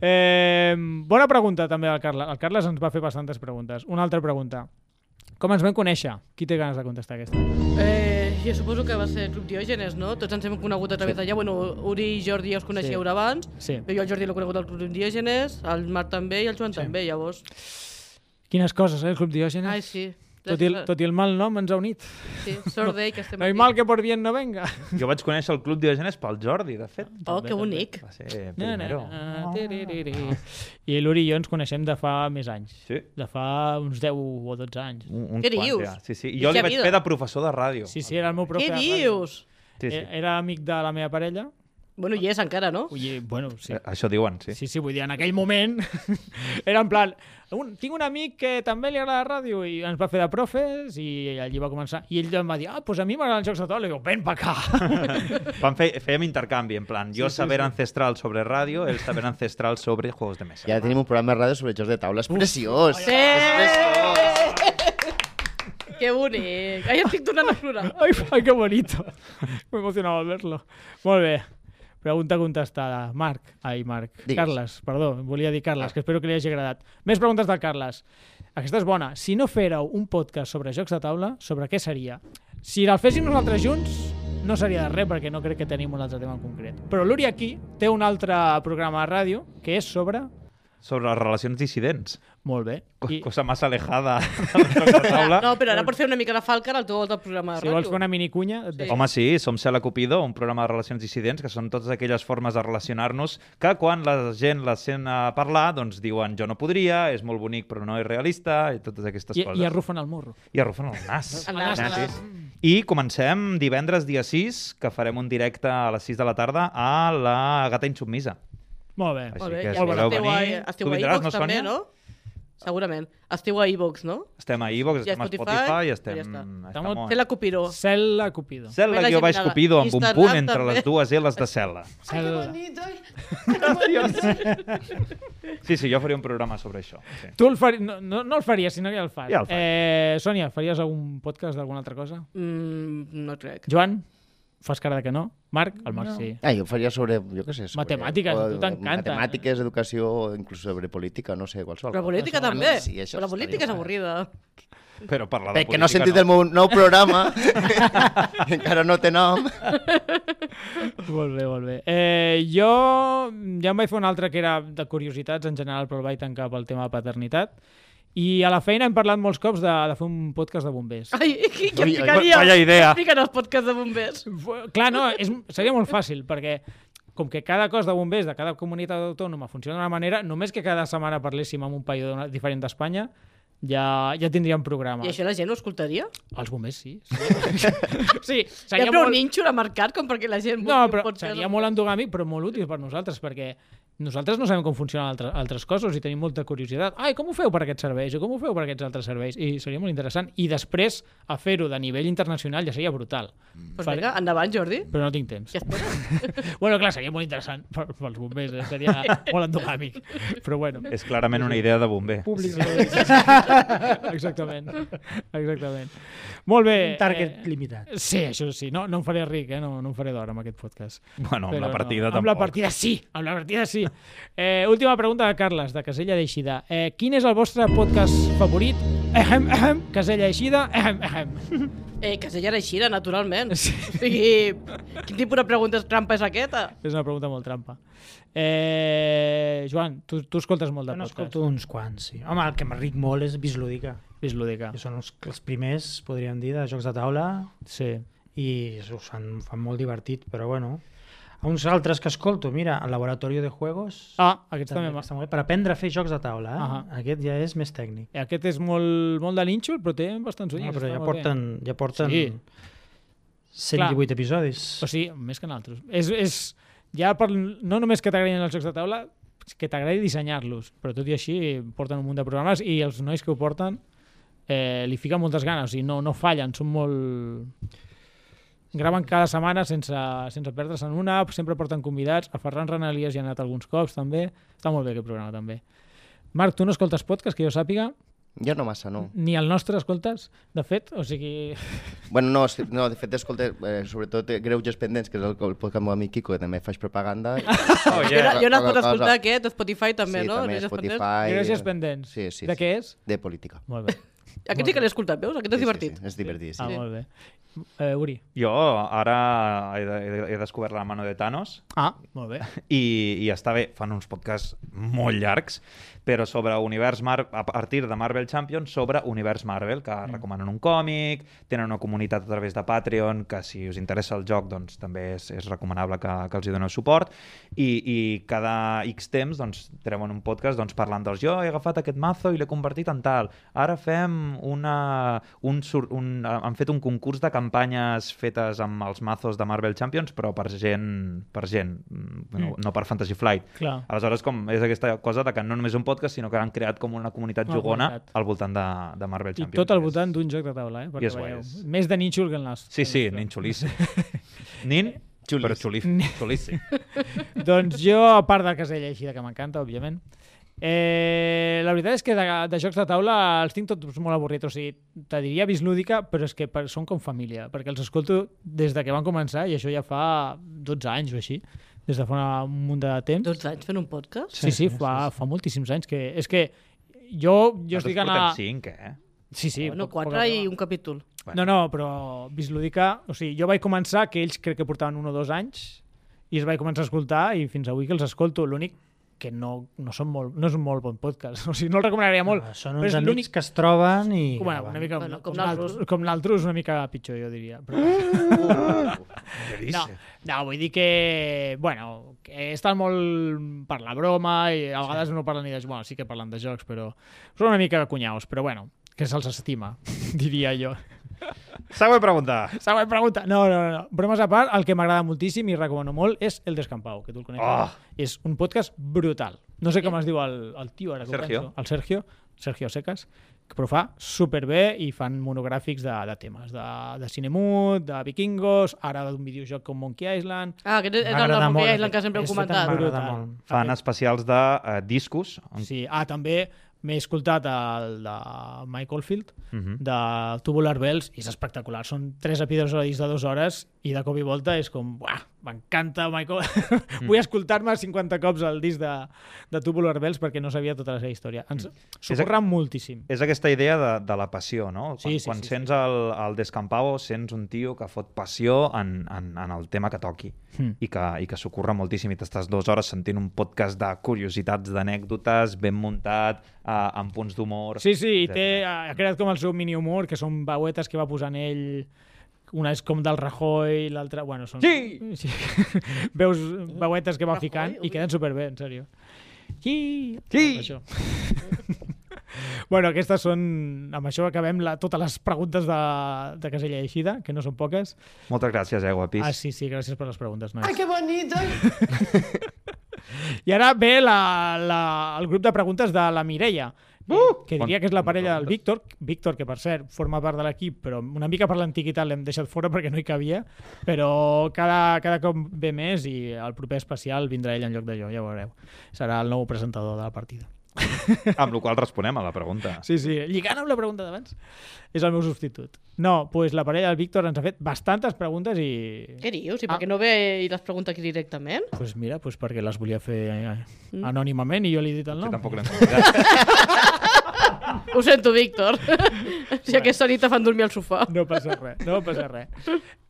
[SPEAKER 1] Eh, bona pregunta també del Carles. El Carles ens va fer bastantes preguntes. Una altra pregunta. Com ens vam conèixer? Qui té ganes de contestar aquesta?
[SPEAKER 3] Eh, jo suposo que va ser Club Diògenes, no? Tots ens hem conegut a través d'allà. Bueno, Uri i Jordi ja us coneixeu
[SPEAKER 1] Sí.
[SPEAKER 3] sí. abans,
[SPEAKER 1] Sí.
[SPEAKER 3] però jo el Jordi l'he conegut al Club Diògenes, el Marc també i el Joan sí. també, llavors.
[SPEAKER 1] Quines coses, eh, el Club Diògenes?
[SPEAKER 3] Ai, sí.
[SPEAKER 1] Tot i, el, tot i el mal nom ens ha unit.
[SPEAKER 3] Sí, sort d'ell que estem
[SPEAKER 1] No hi mal que por bien no venga.
[SPEAKER 5] Jo vaig conèixer el Club Diogenes pel Jordi, de fet.
[SPEAKER 3] Oh, que bonic.
[SPEAKER 5] Va ser primero.
[SPEAKER 3] Ah.
[SPEAKER 1] Na, na, na, tiririri. I l'Uri i jo ens coneixem de fa més anys.
[SPEAKER 5] Sí.
[SPEAKER 1] De fa uns 10 o 12 anys.
[SPEAKER 5] Un, uns
[SPEAKER 3] Què
[SPEAKER 5] quants,
[SPEAKER 3] dius?
[SPEAKER 5] ja. Sí, sí. I
[SPEAKER 3] I
[SPEAKER 5] jo li
[SPEAKER 3] què
[SPEAKER 5] vaig
[SPEAKER 3] vida?
[SPEAKER 5] fer de professor de ràdio.
[SPEAKER 1] Sí, Eh, sí, era el meu propi... E,
[SPEAKER 3] Què dius?
[SPEAKER 5] Sí, sí.
[SPEAKER 1] Era amic de la meva parella.
[SPEAKER 3] Bueno, hi és encara, no?
[SPEAKER 1] Ui, bueno, sí.
[SPEAKER 5] Eh, Això diuen, sí.
[SPEAKER 1] Sí, sí, vull dir, en aquell moment era en plan, un, tinc un amic que també li agrada la ràdio i ens va fer de profes i allí va començar. I ell em va dir, ah, doncs a mi m'agraden els jocs de taula. I jo, ven pa acá.
[SPEAKER 5] Van fer, fèiem intercanvi, en plan, jo
[SPEAKER 1] Sí, sí,
[SPEAKER 5] saber
[SPEAKER 1] sí.
[SPEAKER 5] ancestral sobre ràdio, el saber ancestral sobre juegos de mesa.
[SPEAKER 4] Ja tenim un programa de ràdio sobre jocs de taula. És preciós.
[SPEAKER 3] Sí! Que bonic. Ai, estic tornant a plorar.
[SPEAKER 1] Ai, ai, que bonito. Me emocionava verlo. Molt bé. Pregunta contestada. Marc, ai, Marc.
[SPEAKER 4] Digues.
[SPEAKER 1] Carles, perdó, volia dir
[SPEAKER 5] Ah.
[SPEAKER 1] Carles, que espero que li hagi agradat. Més preguntes del Carles. Aquesta és bona. Si no féreu un podcast sobre jocs de taula, sobre què seria? Si el féssim nosaltres junts, no seria de res, perquè no crec que tenim un altre tema en concret. Però l'Uri aquí té un altre programa de ràdio que és sobre...
[SPEAKER 5] Sobre les relacions dissidents.
[SPEAKER 1] Molt bé.
[SPEAKER 5] Co
[SPEAKER 1] I,
[SPEAKER 5] Cosa massa alejada dels jocs de taula.
[SPEAKER 3] No, però ara pots fer una mica de falca al teu altre programa de
[SPEAKER 1] si vols
[SPEAKER 3] ràdio.
[SPEAKER 1] fer una minicunya, et deixo.
[SPEAKER 5] Home, sí, som Cela Cupido, un programa de relacions dissidents, que són totes aquelles formes de relacionar-nos que quan la gent la sent a parlar, doncs diuen jo no podria, és molt bonic però no és realista, i totes aquestes
[SPEAKER 1] I,
[SPEAKER 5] coses. Ah,
[SPEAKER 1] i arrufen el morro.
[SPEAKER 5] I arrufen el nas.
[SPEAKER 3] El nas, el nas.
[SPEAKER 5] I comencem divendres dia 6, que farem un directe a les 6 de la tarda a la Gata Insubmisa.
[SPEAKER 1] Molt bé.
[SPEAKER 5] Així
[SPEAKER 3] Molt bé,
[SPEAKER 5] que
[SPEAKER 3] i
[SPEAKER 5] si
[SPEAKER 3] esteu,
[SPEAKER 5] voleu
[SPEAKER 3] esteu,
[SPEAKER 5] venir,
[SPEAKER 3] a, esteu
[SPEAKER 5] tu
[SPEAKER 3] a
[SPEAKER 5] vindràs,
[SPEAKER 3] iVox
[SPEAKER 5] no,
[SPEAKER 3] també,
[SPEAKER 5] Sònia?
[SPEAKER 3] no? Segurament. Esteu a iVox, no?
[SPEAKER 5] Estem a iVox,
[SPEAKER 3] I a
[SPEAKER 5] estem a
[SPEAKER 3] Spotify,
[SPEAKER 5] Spotify i
[SPEAKER 3] i
[SPEAKER 5] estem...
[SPEAKER 3] ja està.
[SPEAKER 5] estem
[SPEAKER 1] Fem
[SPEAKER 5] on-
[SPEAKER 3] Té la Copiró.
[SPEAKER 1] Cel·la Cupido.
[SPEAKER 5] Cel·la
[SPEAKER 3] Fem la
[SPEAKER 5] guió
[SPEAKER 3] gent
[SPEAKER 5] baix
[SPEAKER 3] a la-
[SPEAKER 5] Cupido amb un
[SPEAKER 3] Instagram
[SPEAKER 5] punt entre
[SPEAKER 3] també.
[SPEAKER 5] les dues L's de cel·la.
[SPEAKER 1] Cel·la.
[SPEAKER 5] Sí, sí, jo faria un programa sobre això. Sí.
[SPEAKER 1] Tu el fari... no, no, no el faries, sinó que ja el fas.
[SPEAKER 5] Ja el faig.
[SPEAKER 1] eh, Sònia, faries algun podcast d'alguna altra cosa?
[SPEAKER 3] Mm, no crec.
[SPEAKER 1] Joan, fas cara de que no. Marc, el Marc no. sí.
[SPEAKER 4] Ah, jo faria sobre, jo què sé... Sobre,
[SPEAKER 1] Matemàtiques,
[SPEAKER 4] o-
[SPEAKER 1] a tu t'encanta.
[SPEAKER 4] Matemàtiques, educació, o inclús sobre política, no sé, qualsevol.
[SPEAKER 3] Però la política
[SPEAKER 4] cosa.
[SPEAKER 3] també.
[SPEAKER 4] Sí, això
[SPEAKER 3] Però la
[SPEAKER 4] estaria
[SPEAKER 3] política és
[SPEAKER 4] guai.
[SPEAKER 3] avorrida.
[SPEAKER 5] Però parlar de
[SPEAKER 4] Perquè no he
[SPEAKER 5] política
[SPEAKER 4] sentit el meu nou programa, encara no té nom.
[SPEAKER 1] Molt bé, molt bé. Eh, jo ja em vaig fer un altre que era de curiositats en general, però el vaig tancar pel tema de paternitat. I a la feina hem parlat molts cops de, de fer un podcast de bombers.
[SPEAKER 3] Ai, qui
[SPEAKER 4] Ui,
[SPEAKER 3] em ficaria?
[SPEAKER 5] vaya idea.
[SPEAKER 3] Em fiquen els podcasts de bombers.
[SPEAKER 1] Fu- Clar, no, és, seria molt fàcil, perquè com que cada cos de bombers de cada comunitat autònoma funciona d'una manera, només que cada setmana parléssim amb un país d'una- diferent d'Espanya, ja, ja tindríem programa.
[SPEAKER 3] I això la gent ho escoltaria?
[SPEAKER 1] Els bombers, sí. sí,
[SPEAKER 3] Hi
[SPEAKER 1] seria
[SPEAKER 3] ha prou
[SPEAKER 1] molt...
[SPEAKER 3] ninxo a mercat com perquè la gent...
[SPEAKER 1] No,
[SPEAKER 3] vulgui un
[SPEAKER 1] però
[SPEAKER 3] podcast
[SPEAKER 1] seria
[SPEAKER 3] amb-
[SPEAKER 1] molt endogàmic, però molt útil per nosaltres, perquè nosaltres no sabem com funcionen altres, altres coses i tenim molta curiositat. Ai, com ho feu per aquests serveis? O com ho feu per aquests altres serveis? I seria molt interessant. I després, a fer-ho de nivell internacional ja seria brutal.
[SPEAKER 3] Doncs pues vinga, endavant, Jordi.
[SPEAKER 1] Però no tinc temps.
[SPEAKER 3] Què esperes?
[SPEAKER 1] Bueno, clar, seria molt interessant per- pels bombers, eh? seria molt endogàmic. Però bueno,
[SPEAKER 5] És clarament una idea de bomber.
[SPEAKER 1] públic. Exactament. Exactament. Molt bé.
[SPEAKER 2] Un target
[SPEAKER 1] eh,
[SPEAKER 2] limitat.
[SPEAKER 1] Sí, això sí. No, no em faré ric, eh? no, no em faré d'hora amb aquest podcast.
[SPEAKER 5] Bueno, amb
[SPEAKER 1] Però
[SPEAKER 5] la partida
[SPEAKER 1] no.
[SPEAKER 5] tampoc.
[SPEAKER 1] Amb la partida sí, amb la partida sí. Eh, última pregunta de Carles, de Casella d'Eixida. Eh, quin és el vostre podcast favorit? Ehem, ehem, Casella d'Eixida, ehem, ehem.
[SPEAKER 3] Eh, Casella era així, naturalment.
[SPEAKER 1] Sí.
[SPEAKER 3] O sigui, quin tipus de preguntes trampa és aquesta?
[SPEAKER 1] És una pregunta molt trampa. Eh, Joan, tu, tu escoltes molt de
[SPEAKER 2] Jo no
[SPEAKER 1] podcast.
[SPEAKER 2] escolto uns quants, sí. Home, el que m'arric molt és Bislúdica.
[SPEAKER 1] És lúdica.
[SPEAKER 2] Que són els, els primers, podríem dir, de jocs de taula
[SPEAKER 1] Sí.
[SPEAKER 2] i ho fan, fan molt divertit, però bueno. A uns altres que escolto, mira, el Laboratorio de Juegos,
[SPEAKER 1] Ah, aquest també,
[SPEAKER 2] també
[SPEAKER 1] també
[SPEAKER 2] està molt bé, per aprendre a fer jocs de taula. Eh?
[SPEAKER 1] Ahà.
[SPEAKER 2] Aquest ja és més tècnic.
[SPEAKER 1] Aquest és molt, molt de nínxol, però té bastants ulls.
[SPEAKER 2] No, però
[SPEAKER 1] està
[SPEAKER 2] ja
[SPEAKER 1] molt bé.
[SPEAKER 2] porten, ja porten sí.
[SPEAKER 1] Sí.
[SPEAKER 2] 118 Clar. episodis.
[SPEAKER 1] O sigui, més que en altres. És, és, ja per, no només que t'agradin els jocs de taula, que t'agradi dissenyar-los, però tot i així porten un munt de programes i els nois que ho porten eh, li fiquen moltes ganes, o sigui, no, no fallen, són molt... Graven cada setmana sense, sense perdre's en una, sempre porten convidats, a Ferran Renalies hi ha anat alguns cops també, està molt bé aquest programa també. Marc, tu no escoltes podcast, que jo sàpiga,
[SPEAKER 4] Jo no massa, no.
[SPEAKER 1] ni el nostre escoltes, de fet, o sigui...
[SPEAKER 4] Bueno, no, sí, no de fet, escolta, eh, sobretot eh, Greuges Pendents, que és el, el podcast meu amic Quico, que també faig propaganda.
[SPEAKER 5] Oh,
[SPEAKER 3] Jo,
[SPEAKER 5] yeah.
[SPEAKER 3] no- jo no puc
[SPEAKER 4] Cosa- cosa-
[SPEAKER 3] escoltar aquest, a Spotify també,
[SPEAKER 4] sí,
[SPEAKER 3] no?
[SPEAKER 4] també,
[SPEAKER 3] Gràcies, Pendents.
[SPEAKER 4] Spotify.
[SPEAKER 1] Gràcies
[SPEAKER 4] eh,
[SPEAKER 1] pendents.
[SPEAKER 4] Sí, sí,
[SPEAKER 1] De
[SPEAKER 4] sí.
[SPEAKER 1] què és?
[SPEAKER 4] De política.
[SPEAKER 1] Molt bé.
[SPEAKER 3] Aquest sí que l'he escoltat, veus? Aquest és divertit.
[SPEAKER 4] Sí, sí, és divertit, sí.
[SPEAKER 1] Ah,
[SPEAKER 4] Ah,
[SPEAKER 1] molt bé. Eh, Uri.
[SPEAKER 5] Jo ara he, he, he descobert la mano de Thanos
[SPEAKER 1] Ah, molt bé.
[SPEAKER 5] i, i està bé, fan uns podcasts molt llargs, però sobre univers Mar a partir de Marvel Champions, sobre univers Marvel, que mm. recomanen un còmic, tenen una comunitat a través de Patreon, que si us interessa el joc doncs, també és, és recomanable que, que els hi doneu suport, i, i cada X temps doncs, treuen un podcast doncs, parlant dels jo he agafat aquest mazo i l'he convertit en tal, ara fem una... Un, sur- un, han fet un concurs de campanyes fetes amb els mazos de Marvel Champions, però per gent, per gent mm, no, no per Fantasy Flight.
[SPEAKER 1] Clar.
[SPEAKER 5] Aleshores, com és aquesta cosa de que no només un podcast, sinó que han creat com una comunitat
[SPEAKER 1] Una
[SPEAKER 5] jugona
[SPEAKER 1] comunitat.
[SPEAKER 5] al voltant de, de Marvel
[SPEAKER 1] I
[SPEAKER 5] Champions.
[SPEAKER 1] tot al
[SPEAKER 5] És-
[SPEAKER 1] voltant d'un joc de taula, eh? Perquè
[SPEAKER 5] és guai,
[SPEAKER 1] veieu.
[SPEAKER 5] és-
[SPEAKER 1] Més de nínxol que el nostre.
[SPEAKER 5] Sí,
[SPEAKER 1] El
[SPEAKER 5] sí,
[SPEAKER 1] nostre.
[SPEAKER 5] nin xulís. nin,
[SPEAKER 4] Xulis.
[SPEAKER 5] però xulís. xulís.
[SPEAKER 1] Doncs jo, a part de Casella així, que m'encanta, òbviament, eh, la veritat és que de, de jocs de taula els tinc tots molt avorrits. O sigui, te diria bislúdica, però és que per, són com família, perquè els escolto des de que van començar, i això ja fa 12 anys o així, des de fa una, un munt de temps.
[SPEAKER 3] 12 anys fent un podcast?
[SPEAKER 1] Sí, sí, fa, fa moltíssims anys que... És que jo, jo estic en la...
[SPEAKER 5] Nosaltres portem cinc, eh?
[SPEAKER 1] Sí, sí.
[SPEAKER 3] bueno,
[SPEAKER 1] poc- poca
[SPEAKER 3] 4 i
[SPEAKER 1] broma.
[SPEAKER 3] un capítol.
[SPEAKER 1] No, no, però Bislúdica... O sigui, jo vaig començar, que ells crec que portaven un o dos anys, i es vaig començar a escoltar, i fins avui que els escolto. L'únic que no, no, són molt, no és un molt bon podcast. O sigui, no el recomanaria molt.
[SPEAKER 2] Ah, són
[SPEAKER 1] però
[SPEAKER 2] uns
[SPEAKER 1] és
[SPEAKER 2] amics
[SPEAKER 1] l'únic
[SPEAKER 2] que es troben i...
[SPEAKER 1] Bueno,
[SPEAKER 2] graven.
[SPEAKER 1] una mica,
[SPEAKER 3] Bueno, com
[SPEAKER 1] com,
[SPEAKER 3] naltros.
[SPEAKER 1] naltros- com l'altre és una mica pitjor, jo diria. Però... No, no, vull dir que, bueno, que estan molt per la broma i a vegades no parlen ni de jocs, bueno, sí que parlen de jocs, però són una mica cunyaus, però bueno, que se'ls estima, diria jo.
[SPEAKER 5] Següent pregunta.
[SPEAKER 1] Següent pregunta. No, no, no, no. Bromes a part, el que m'agrada moltíssim i recomano molt és El Descampau, que tu el coneixes.
[SPEAKER 5] Oh.
[SPEAKER 1] És un podcast brutal. No sé com es diu el, el tio, ara que ho
[SPEAKER 5] Sergio.
[SPEAKER 1] penso. El Sergio. Sergio Secas, que però ho fa superbé i fan monogràfics de, de temes, de, de cinemut, de vikingos, ara d'un videojoc com Monkey Island...
[SPEAKER 3] Ah, aquest
[SPEAKER 1] Eh,
[SPEAKER 3] era el
[SPEAKER 2] M'agrada
[SPEAKER 3] del
[SPEAKER 2] molt,
[SPEAKER 3] Monkey Island
[SPEAKER 2] aquest.
[SPEAKER 3] que sempre heu
[SPEAKER 2] Este
[SPEAKER 3] comentat.
[SPEAKER 2] també M'agrada
[SPEAKER 1] Brutal.
[SPEAKER 2] molt.
[SPEAKER 5] Fan especials de eh, discos.
[SPEAKER 1] Sí. Ah, també m'he escoltat el de Michael Field,
[SPEAKER 5] Mhm.
[SPEAKER 1] de Tubular Bells i és espectacular. Són tres episodis de dues hores i de cop i volta és com, buah, m'encanta Michael. Vull escoltar-me 50 cops el disc de, de Tubular Bells perquè no sabia tota la seva història. Ens socorren moltíssim.
[SPEAKER 5] És aquesta idea de, de la passió, no?
[SPEAKER 1] Sí,
[SPEAKER 5] Quan,
[SPEAKER 1] sí,
[SPEAKER 5] quan
[SPEAKER 1] sí,
[SPEAKER 5] sents El, el Descampavo, sents un tio que fot passió en, en, en el tema que toqui
[SPEAKER 1] Mm.
[SPEAKER 5] i que, i que s'ho curra moltíssim i t'estàs dues hores sentint un podcast de curiositats, d'anècdotes, ben muntat, eh, amb punts d'humor...
[SPEAKER 1] Sí, sí, i
[SPEAKER 5] etcètera.
[SPEAKER 1] té, ha creat com el seu mini humor, que són veuetes que va posant ell una és com del Rajoy, l'altra... Bueno, són...
[SPEAKER 5] Sí!
[SPEAKER 1] sí. Veus veuetes que va
[SPEAKER 3] Rajoy,
[SPEAKER 1] ficant i
[SPEAKER 3] ui.
[SPEAKER 1] queden superbé, en sèrio. Sí!
[SPEAKER 5] Sí!
[SPEAKER 1] Això. Bueno, aquestes són... Amb això acabem la, totes les preguntes de, de Casella Eixida, que no són poques.
[SPEAKER 5] Moltes gràcies, eh, guapis.
[SPEAKER 1] Ah, sí, sí, gràcies per les preguntes, nois.
[SPEAKER 3] que bonito!
[SPEAKER 1] I ara ve la, la, el grup de preguntes de la Mireia, uh! que diria que és la parella del Víctor, Víctor, que per cert forma part de l'equip, però una mica per l'antiguitat l'hem deixat fora perquè no hi cabia, però cada, cada cop ve més i el proper especial vindrà ell en lloc de jo, ja ho veureu. Serà el nou presentador de la partida.
[SPEAKER 5] Amb la qual cosa responem a la pregunta.
[SPEAKER 1] Ah, Sí, sí, lligant amb la pregunta d'abans. És el meu substitut. No, doncs pues la parella del Víctor ens ha fet bastantes preguntes i...
[SPEAKER 3] Què dius? I
[SPEAKER 1] Ah.
[SPEAKER 3] per què no ve i les pregunta aquí directament?
[SPEAKER 1] Pues mira, pues perquè les volia fer eh,
[SPEAKER 3] Mm.
[SPEAKER 1] anònimament i jo li he dit el
[SPEAKER 5] Que
[SPEAKER 1] nom.
[SPEAKER 5] tampoc l'hem convidat.
[SPEAKER 3] Ho sento, Víctor. si aquesta nit te fan dormir al sofà.
[SPEAKER 1] No passa res, no passa res.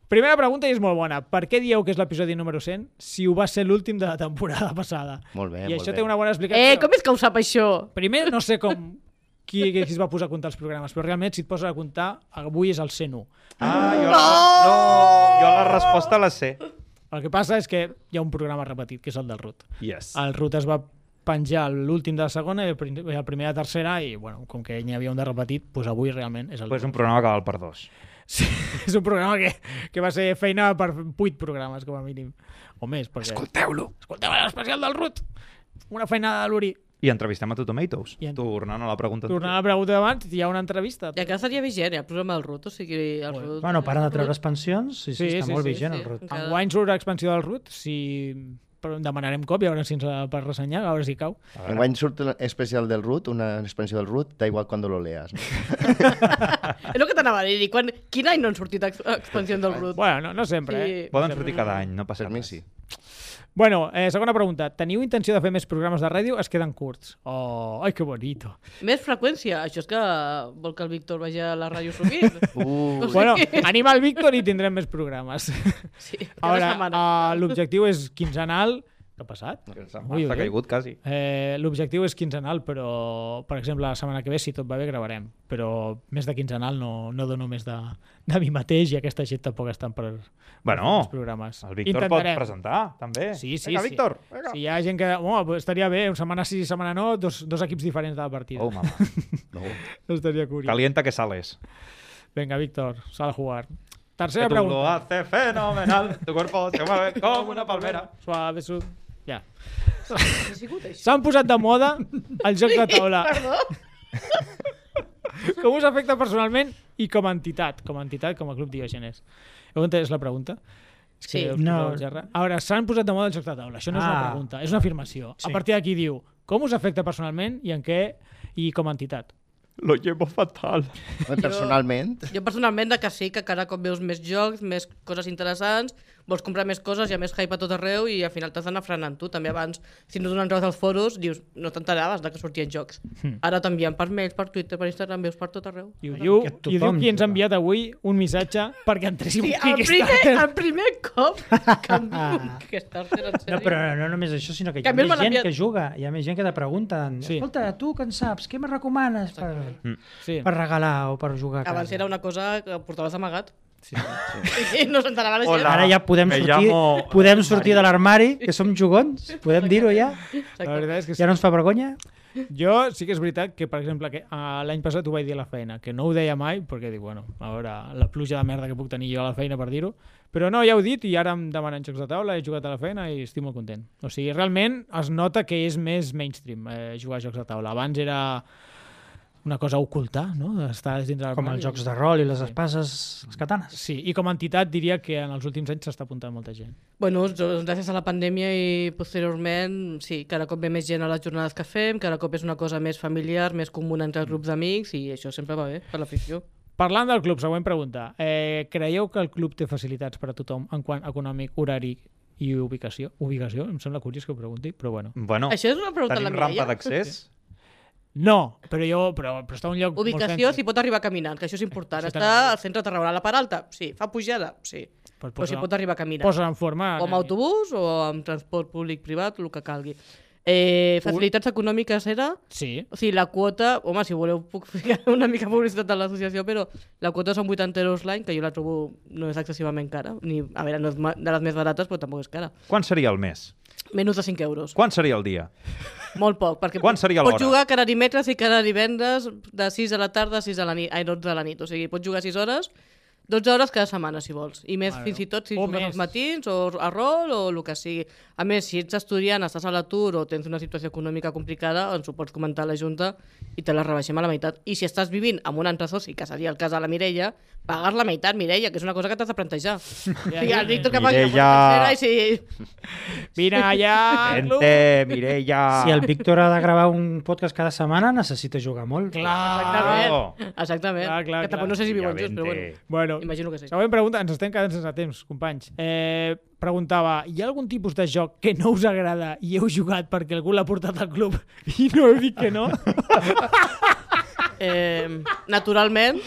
[SPEAKER 1] Primera pregunta i és molt bona. Per què dieu que és l'episodi número 100 si ho va ser l'últim de la temporada passada?
[SPEAKER 4] Molt bé,
[SPEAKER 1] I
[SPEAKER 4] molt
[SPEAKER 1] això
[SPEAKER 4] bé.
[SPEAKER 1] té una bona explicació.
[SPEAKER 3] Eh, com és que ho sap, això?
[SPEAKER 1] Primer, no sé com qui, qui es va posar a comptar els programes, però realment si et poses a comptar, avui és el 101.
[SPEAKER 5] Ah, jo la, no! jo la resposta la sé.
[SPEAKER 1] El que passa és que hi ha un programa repetit, que és el del RUT.
[SPEAKER 5] Yes.
[SPEAKER 1] El RUT es va penjar l'últim de la segona i el prim- i el primer de la tercera i, bueno, com que n'hi havia un de repetit, doncs avui realment és el
[SPEAKER 5] Pues un programa que val per dos.
[SPEAKER 1] Sí, és un programa que, que va ser feina per 8 programes, com a mínim. O més, perquè... Escolteu-lo! Escolteu l'especial del Rut! Una feina de l'Uri.
[SPEAKER 5] I entrevistem a Tu Tomatoes.
[SPEAKER 1] I en-
[SPEAKER 5] Tornant a la pregunta.
[SPEAKER 1] Tornant a la pregunta d'abans, hi ha una entrevista.
[SPEAKER 3] I encara seria vigent, eh, el programa del Rut, o sigui... El Rut...
[SPEAKER 2] Bueno, paren de treure expansions, sí, sí,
[SPEAKER 1] Sí,
[SPEAKER 2] està
[SPEAKER 1] sí,
[SPEAKER 2] molt
[SPEAKER 1] sí,
[SPEAKER 2] vigent
[SPEAKER 3] sí.
[SPEAKER 2] el rot.
[SPEAKER 3] Encara-
[SPEAKER 1] Enguany surt expansió del Rut, si però en demanarem cop i a veure si ens la- per ressenyar, a veure si cau.
[SPEAKER 4] Enguany surt especial del Root, una expansió del Root, da igual cuando lo leas. No?
[SPEAKER 3] És el que t'anava a dir. i Quan... Quin any no han sortit ex expansió del Rut?
[SPEAKER 1] Bueno, no, no sempre, sí.
[SPEAKER 3] Sí.
[SPEAKER 1] eh?
[SPEAKER 5] Poden sortir cada any, no passa
[SPEAKER 4] A mi
[SPEAKER 5] res.
[SPEAKER 4] sí.
[SPEAKER 1] Bueno, eh, segona pregunta. Teniu intenció de fer més programes de ràdio? Es queden curts. Oh, ai, que bonito.
[SPEAKER 3] Més freqüència. Això és que vol que el Víctor vagi a la ràdio sovint.
[SPEAKER 4] Uh,
[SPEAKER 1] Bueno, anima el Víctor i tindrem més programes.
[SPEAKER 3] Sí, cada
[SPEAKER 1] Ara,
[SPEAKER 3] setmana.
[SPEAKER 1] uh, l'objectiu és quinzenal. Què ha passat?
[SPEAKER 5] Que s'ha-
[SPEAKER 1] Ui,
[SPEAKER 5] S'ha
[SPEAKER 1] ui.
[SPEAKER 5] caigut, quasi.
[SPEAKER 1] Eh, L'objectiu és quinzenal, però, per exemple, la setmana que ve, si tot va bé, gravarem. Però més de quinzenal no, no dono més de, de mi mateix i aquesta gent tampoc estan per, per
[SPEAKER 5] Bueno,
[SPEAKER 1] fer els programes.
[SPEAKER 5] El Víctor
[SPEAKER 1] Intentarem.
[SPEAKER 5] pot presentar, també.
[SPEAKER 1] Sí, sí,
[SPEAKER 5] vinga,
[SPEAKER 1] sí.
[SPEAKER 5] Víctor, vinga.
[SPEAKER 1] Si hi ha gent que... Home, pues estaria bé, una setmana sí, setmana no, dos, dos equips diferents de la partida.
[SPEAKER 5] Oh, mama.
[SPEAKER 4] no.
[SPEAKER 1] Estaria curiós.
[SPEAKER 5] Calienta que sales.
[SPEAKER 1] Venga, Víctor, sal a jugar.
[SPEAKER 5] Que
[SPEAKER 1] Tercera
[SPEAKER 5] tú lo
[SPEAKER 1] pregunta.
[SPEAKER 5] haces fenomenal. Tu cuerpo se mueve como una palmera.
[SPEAKER 1] Suave, su... Ja.
[SPEAKER 3] Ha sigut això?
[SPEAKER 1] S'han posat de moda els jocs de taula.
[SPEAKER 3] Perdó?
[SPEAKER 1] Com us afecta personalment i com a entitat, com a entitat, com a club Diogenes? Heu entès la pregunta? És
[SPEAKER 3] Sí.
[SPEAKER 1] us
[SPEAKER 2] No.
[SPEAKER 1] poseu gerra. A veure, s'han posat de moda els jocs de taula. Això no és una
[SPEAKER 2] Ah.
[SPEAKER 1] pregunta, és una afirmació.
[SPEAKER 2] Sí.
[SPEAKER 1] A partir d'aquí diu, com us afecta personalment i en què i com a entitat?
[SPEAKER 5] Lo llevo fatal.
[SPEAKER 4] Personalment,
[SPEAKER 3] Jo personalment que sí, que cada cop veus més jocs, més coses interessants, vols comprar més coses, hi ha més hype a tot arreu i al final t'has d'anar frenant tu. També abans, si no donen res als foros, dius, no t'enteraves de que sortien jocs.
[SPEAKER 2] Hmm.
[SPEAKER 3] Ara t'envien per mails, per Twitter, per Instagram, veus per tot arreu.
[SPEAKER 1] I ho diu, i
[SPEAKER 2] que
[SPEAKER 1] ho diu
[SPEAKER 2] tothom
[SPEAKER 1] qui ens ha
[SPEAKER 2] juga.
[SPEAKER 1] enviat avui un missatge perquè entréssim
[SPEAKER 3] Sí,
[SPEAKER 1] sí,
[SPEAKER 3] el primer, el primer cop que em diu que estàs fent en
[SPEAKER 2] No,
[SPEAKER 3] sèrio.
[SPEAKER 2] però no només això, sinó que hi
[SPEAKER 3] Que
[SPEAKER 2] ha
[SPEAKER 3] a mi
[SPEAKER 2] més
[SPEAKER 3] me l'han
[SPEAKER 2] gent
[SPEAKER 3] enviat-
[SPEAKER 2] que juga, hi ha més gent que te pregunten
[SPEAKER 1] Sí.
[SPEAKER 2] escolta, tu que en saps, què me recomanes per,
[SPEAKER 1] Sí.
[SPEAKER 2] per regalar o per jugar a casa?
[SPEAKER 3] Abans era una cosa que portaves amagat. Sí, sí. I no s'enterava la gent.
[SPEAKER 5] Hola.
[SPEAKER 2] Ara ja podem
[SPEAKER 5] Me
[SPEAKER 2] sortir,
[SPEAKER 5] llamo-
[SPEAKER 2] podem sortir de l'armari, que som jugons, podem dir-ho ja,
[SPEAKER 1] La
[SPEAKER 3] Exacte.
[SPEAKER 1] veritat és que sí.
[SPEAKER 2] ja no ens fa vergonya.
[SPEAKER 1] Jo sí que és veritat que, per exemple, que ah, l'any passat ho vaig dir a la feina, que no ho deia mai, perquè dic, bueno, a veure, la pluja de merda que puc tenir jo a la feina per dir-ho, però no, ja ho he dit i ara em demanen jocs de taula, he jugat a la feina i estic molt content. O sigui, realment es nota que és més mainstream eh, jugar a jocs de taula. Abans era una cosa a ocultar, no? Estar dintre del
[SPEAKER 2] Com els jocs de rol i les espases, les katanes.
[SPEAKER 1] Sí, i com a entitat diria que en els últims anys s'està apuntant molta gent.
[SPEAKER 3] Bueno, doncs, gràcies a la pandèmia i posteriorment, sí, cada cop ve més gent a les jornades que fem, cada cop és una cosa més familiar, més comuna entre els
[SPEAKER 5] Mm.
[SPEAKER 3] grups d'amics i això sempre va bé per l'afició.
[SPEAKER 1] Parlant del club, següent pregunta. Eh, creieu que el club té facilitats per a tothom en quant econòmic, horari i ubicació? Ubicació? Em sembla curiós que ho pregunti, però bueno.
[SPEAKER 5] Bueno,
[SPEAKER 3] Això és una pregunta a la
[SPEAKER 5] tenim rampa
[SPEAKER 3] Mireia.
[SPEAKER 5] d'accés.
[SPEAKER 1] No, però jo... Però, però està a un lloc
[SPEAKER 3] Ubicació,
[SPEAKER 1] molt
[SPEAKER 3] si pot arribar caminant, que això és important.
[SPEAKER 1] Això
[SPEAKER 3] Està
[SPEAKER 1] també.
[SPEAKER 3] al centre de Tarragona, a la part alta? Sí. Fa pujada? Sí.
[SPEAKER 1] Pues
[SPEAKER 3] Però si
[SPEAKER 1] posa-
[SPEAKER 3] pot arribar caminant.
[SPEAKER 1] Posa en forma... eh,
[SPEAKER 3] O amb autobús o amb transport públic privat, el que calgui. Eh, facilitats econòmiques era...
[SPEAKER 1] Sí.
[SPEAKER 3] O sigui, la quota... Home, si voleu puc ficar una mica publicitat de l'associació, però la quota són 80 euros l'any, que jo la trobo no és excessivament cara. Ni, a veure, no és ma- de les més barates, però tampoc és cara.
[SPEAKER 5] Quan seria el mes?
[SPEAKER 3] Menys de 5 euros.
[SPEAKER 5] Quan seria el dia?
[SPEAKER 3] Molt poc, perquè
[SPEAKER 5] Quan seria l'hora?
[SPEAKER 3] pots jugar cada dimecres i cada divendres de 6 de la tarda a 6 de la nit, ai, 12 de la nit, o sigui, pots jugar 6 hores, 12 hores cada setmana, si vols. I més,
[SPEAKER 1] Mare
[SPEAKER 3] fins i tot, si
[SPEAKER 1] O
[SPEAKER 3] jugues
[SPEAKER 1] més.
[SPEAKER 3] als matins, o a rol, o el que sigui. A més, si ets estudiant, estàs a l'atur o tens una situació econòmica complicada, ens ho pots comentar a la Junta i te la rebaixem a la meitat. I si estàs vivint amb un altre soci, que seria el cas de la Mireia, pagar la meitat, Mireia, que és una cosa que t'has de plantejar.
[SPEAKER 1] Ja,
[SPEAKER 3] Ja, ja,
[SPEAKER 1] ja,
[SPEAKER 3] el Víctor
[SPEAKER 5] ja.
[SPEAKER 3] que pagui
[SPEAKER 5] Mireia.
[SPEAKER 3] la quota tercera i si...
[SPEAKER 1] Vine allà!
[SPEAKER 5] Vente, Mireia...
[SPEAKER 2] Si el Víctor ha de gravar un podcast cada setmana, necessita jugar molt.
[SPEAKER 1] Clar!
[SPEAKER 3] Exactament.
[SPEAKER 5] Oh.
[SPEAKER 3] Exactament.
[SPEAKER 1] Clar, Ah, clar,
[SPEAKER 3] que tampoc
[SPEAKER 1] clar.
[SPEAKER 3] no sé si
[SPEAKER 5] Ja
[SPEAKER 3] viuen junts,
[SPEAKER 5] vente.
[SPEAKER 3] però bueno.
[SPEAKER 1] Bueno,
[SPEAKER 3] Imagino que sí.
[SPEAKER 1] següent pregunta. Ens estem quedant sense temps, companys. Eh, preguntava, hi ha algun tipus de joc que no us agrada i heu jugat perquè algú l'ha portat al club i no heu dit que no?
[SPEAKER 3] Eh, naturalment,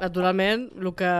[SPEAKER 3] naturalment, el que...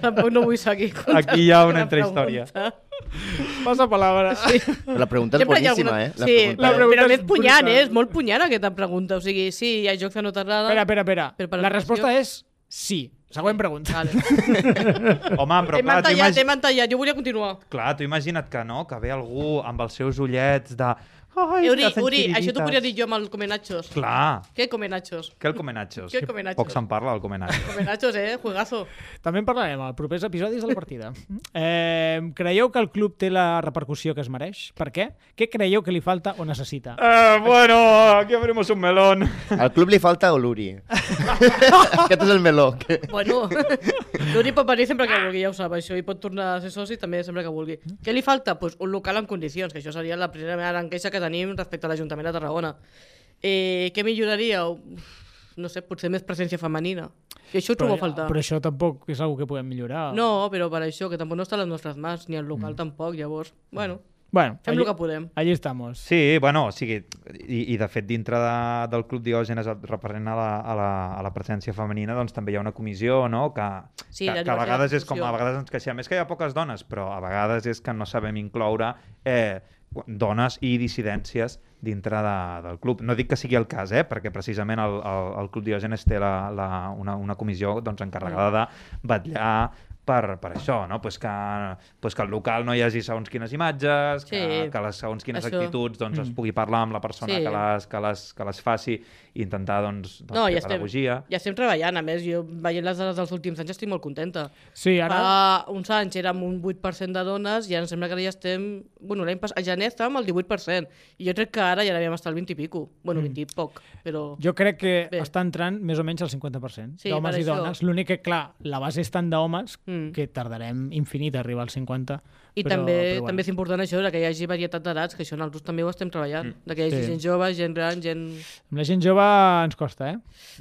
[SPEAKER 3] Tampoc no vull seguir. contant
[SPEAKER 5] Aquí hi ha
[SPEAKER 3] la
[SPEAKER 5] una altra història.
[SPEAKER 3] pregunta.
[SPEAKER 1] Passa palabra. Sí.
[SPEAKER 4] La pregunta és
[SPEAKER 3] Sempre hi ha
[SPEAKER 4] boníssima,
[SPEAKER 3] alguna-
[SPEAKER 4] eh? La
[SPEAKER 3] sí,
[SPEAKER 4] pregunta
[SPEAKER 1] la
[SPEAKER 4] és-
[SPEAKER 1] pregunta-
[SPEAKER 3] però
[SPEAKER 1] és
[SPEAKER 3] és punyant,
[SPEAKER 1] brutal.
[SPEAKER 3] eh? És molt punyant aquesta pregunta. O sigui, sí, hi ha jocs que no t'agraden.
[SPEAKER 1] Espera, espera, espera.
[SPEAKER 3] Però per
[SPEAKER 1] La
[SPEAKER 3] educació-
[SPEAKER 1] resposta és sí. Següent pregunta.
[SPEAKER 3] Vale.
[SPEAKER 5] Home, però
[SPEAKER 3] M'han
[SPEAKER 5] clar, tu
[SPEAKER 3] tallat,
[SPEAKER 5] imagina...
[SPEAKER 3] m'han tallat. Jo volia continuar.
[SPEAKER 5] Clar, tu imagina't que no, que ve algú amb els seus ullets de... Ai,
[SPEAKER 3] Uri,
[SPEAKER 5] que fent
[SPEAKER 3] Uri, això t'ho
[SPEAKER 5] tirirites."
[SPEAKER 3] podria dir jo amb el Comenachos.
[SPEAKER 5] Clar,
[SPEAKER 3] Què Comenachos?
[SPEAKER 5] que el Comenachos.
[SPEAKER 3] Que el Comenachos.
[SPEAKER 5] Poc se'n parla del Comenachos.
[SPEAKER 3] Comenachos, eh? Juegazo.
[SPEAKER 1] També en parlarem als propers episodis de la partida. Eh, creieu que el club té la repercussió que es mereix? Per què? Què creieu que li falta o necessita?
[SPEAKER 5] Eh, bueno, aquí abrimos un melón.
[SPEAKER 4] Al club li falta Oluri. Aquest és el meló. Que...
[SPEAKER 3] Bueno, l'Uri pot venir sempre que vulgui, ja ho sap, això, i pot tornar a ser soci també sempre que vulgui.
[SPEAKER 1] Mm.
[SPEAKER 3] Què li falta? Pues un local en condicions, que això seria la primera gran queixa que tenim respecte a l'Ajuntament de Tarragona. Eh, què milloraria? Uf, No sé, potser més presència femenina. I això ho trobo a faltar.
[SPEAKER 1] però això tampoc és una que puguem millorar.
[SPEAKER 3] No, però per això, que tampoc no està a les nostres mans, ni al local tampoc, llavors, bueno,
[SPEAKER 1] Bueno,
[SPEAKER 3] fem
[SPEAKER 1] Mm. allí, doncs
[SPEAKER 3] el que podem.
[SPEAKER 1] allí estamos.
[SPEAKER 5] Sí, bueno, o sigui, i, i de fet dintre de, del Club Diògenes represent a la, a, la, a la presència femenina doncs també hi ha una comissió, no?, que,
[SPEAKER 3] Sí, la
[SPEAKER 5] que, que a
[SPEAKER 3] diversitat
[SPEAKER 5] vegades és
[SPEAKER 3] funció.
[SPEAKER 5] com, a vegades ens queixem, és que hi ha poques dones, però a vegades és que no sabem incloure eh, dones i dissidències dintre de, del club. No dic que sigui el cas, eh? perquè precisament el, el, el Club Diògenes té la, la, una, una comissió doncs, encarregada
[SPEAKER 3] Mm.
[SPEAKER 5] de vetllar per, per això, no? pues que, pues que al local no hi hagi segons quines imatges, que,
[SPEAKER 3] Sí.
[SPEAKER 5] que les segons quines
[SPEAKER 3] Això.
[SPEAKER 5] actituds doncs, es pugui parlar amb la persona
[SPEAKER 3] Sí.
[SPEAKER 5] que, les, que, les, que les faci i intentar doncs, doncs,
[SPEAKER 3] No,
[SPEAKER 5] fer
[SPEAKER 3] ja estem,
[SPEAKER 5] pedagogia.
[SPEAKER 3] ja estem treballant, a més, jo veient les dades dels últims anys estic molt contenta.
[SPEAKER 1] Sí, ara...
[SPEAKER 3] Ara... Fa uns anys érem un 8% de dones i ara em sembla que ara ja estem... Bueno, l'any passat, a gener estàvem al 18%. I jo crec que ara ja devem estar al 20 i pico. Bueno, 20 i poc, però... Jo...
[SPEAKER 1] Jo crec que Bé.
[SPEAKER 3] Bé.
[SPEAKER 1] està entrant més o menys al 50%
[SPEAKER 3] Sí,
[SPEAKER 1] d'homes
[SPEAKER 3] per
[SPEAKER 1] i
[SPEAKER 3] això.
[SPEAKER 1] dones. L'únic que, clar, la base és tant d'homes mm.
[SPEAKER 3] Mm.
[SPEAKER 1] que tardarem infinit a arribar al 50%.
[SPEAKER 3] I però, també, però bueno. també és important això, que hi hagi varietat d'edats, que això nosaltres també ho estem treballant, mm. que hi hagi
[SPEAKER 1] Sí.
[SPEAKER 3] sí. gent jove, gent gran, gent... Mm.
[SPEAKER 1] Amb la gent jove ens costa, eh?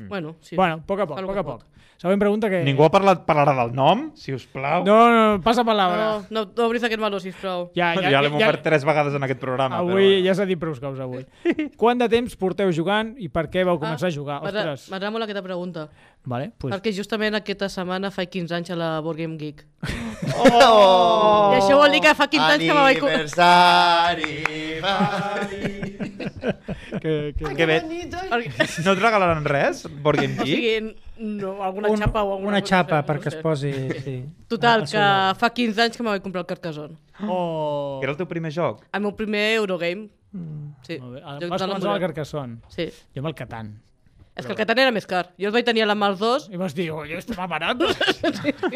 [SPEAKER 3] Bueno, sí.
[SPEAKER 1] Sí. Bueno, a poc a poc, a
[SPEAKER 3] Fa lo
[SPEAKER 1] poc
[SPEAKER 3] que
[SPEAKER 1] a poc. Següent pregunta que...
[SPEAKER 5] Ningú ha parlat, parlarà del nom, si us
[SPEAKER 1] Eh.
[SPEAKER 5] plau?
[SPEAKER 1] No, no, no, passa palabra.
[SPEAKER 3] No, no, no obris aquest meló, sisplau.
[SPEAKER 1] Ja,
[SPEAKER 5] ja, ja l'hem obert tres vegades en aquest programa.
[SPEAKER 1] Avui
[SPEAKER 5] però,
[SPEAKER 1] ja s'ha dit prou cops avui. Quant de temps porteu jugant i Ah, per què vau començar a jugar?
[SPEAKER 3] M'agrada
[SPEAKER 1] Ostres.
[SPEAKER 3] m'agrada molt aquesta pregunta,
[SPEAKER 1] Vale, pues...
[SPEAKER 3] perquè justament aquesta setmana fa 15 anys a la Board Game Geek.
[SPEAKER 4] Oh!
[SPEAKER 3] I això vol dir que fa 15 anys que me vaig... co-
[SPEAKER 4] Aniversari, Mari.
[SPEAKER 1] que, que...
[SPEAKER 5] Que bé.
[SPEAKER 3] Perquè-
[SPEAKER 5] No et regalaran res, Board Game
[SPEAKER 3] O
[SPEAKER 5] Geek?
[SPEAKER 3] sigui, no, alguna un, xapa o alguna
[SPEAKER 2] una
[SPEAKER 3] cosa, no
[SPEAKER 2] xapa
[SPEAKER 3] sé,
[SPEAKER 2] perquè
[SPEAKER 3] no
[SPEAKER 2] es
[SPEAKER 3] sé.
[SPEAKER 2] posi... Sí.
[SPEAKER 3] Total, que fa 15 anys que me vaig comprar el Carcassonne.
[SPEAKER 1] Oh.
[SPEAKER 5] Era el teu primer joc?
[SPEAKER 3] El meu primer Eurogame. Sí.
[SPEAKER 1] Mm. Molt bé.
[SPEAKER 3] Joc
[SPEAKER 1] Vas començar
[SPEAKER 3] de
[SPEAKER 1] amb el
[SPEAKER 3] l'ambulància.
[SPEAKER 1] Carcassonne.
[SPEAKER 3] Sí.
[SPEAKER 1] Jo amb el Catan.
[SPEAKER 3] És que el Catan era més car. Jo el vaig tenir a la Mar 2,
[SPEAKER 1] I vas dir, oh, jo estava barat.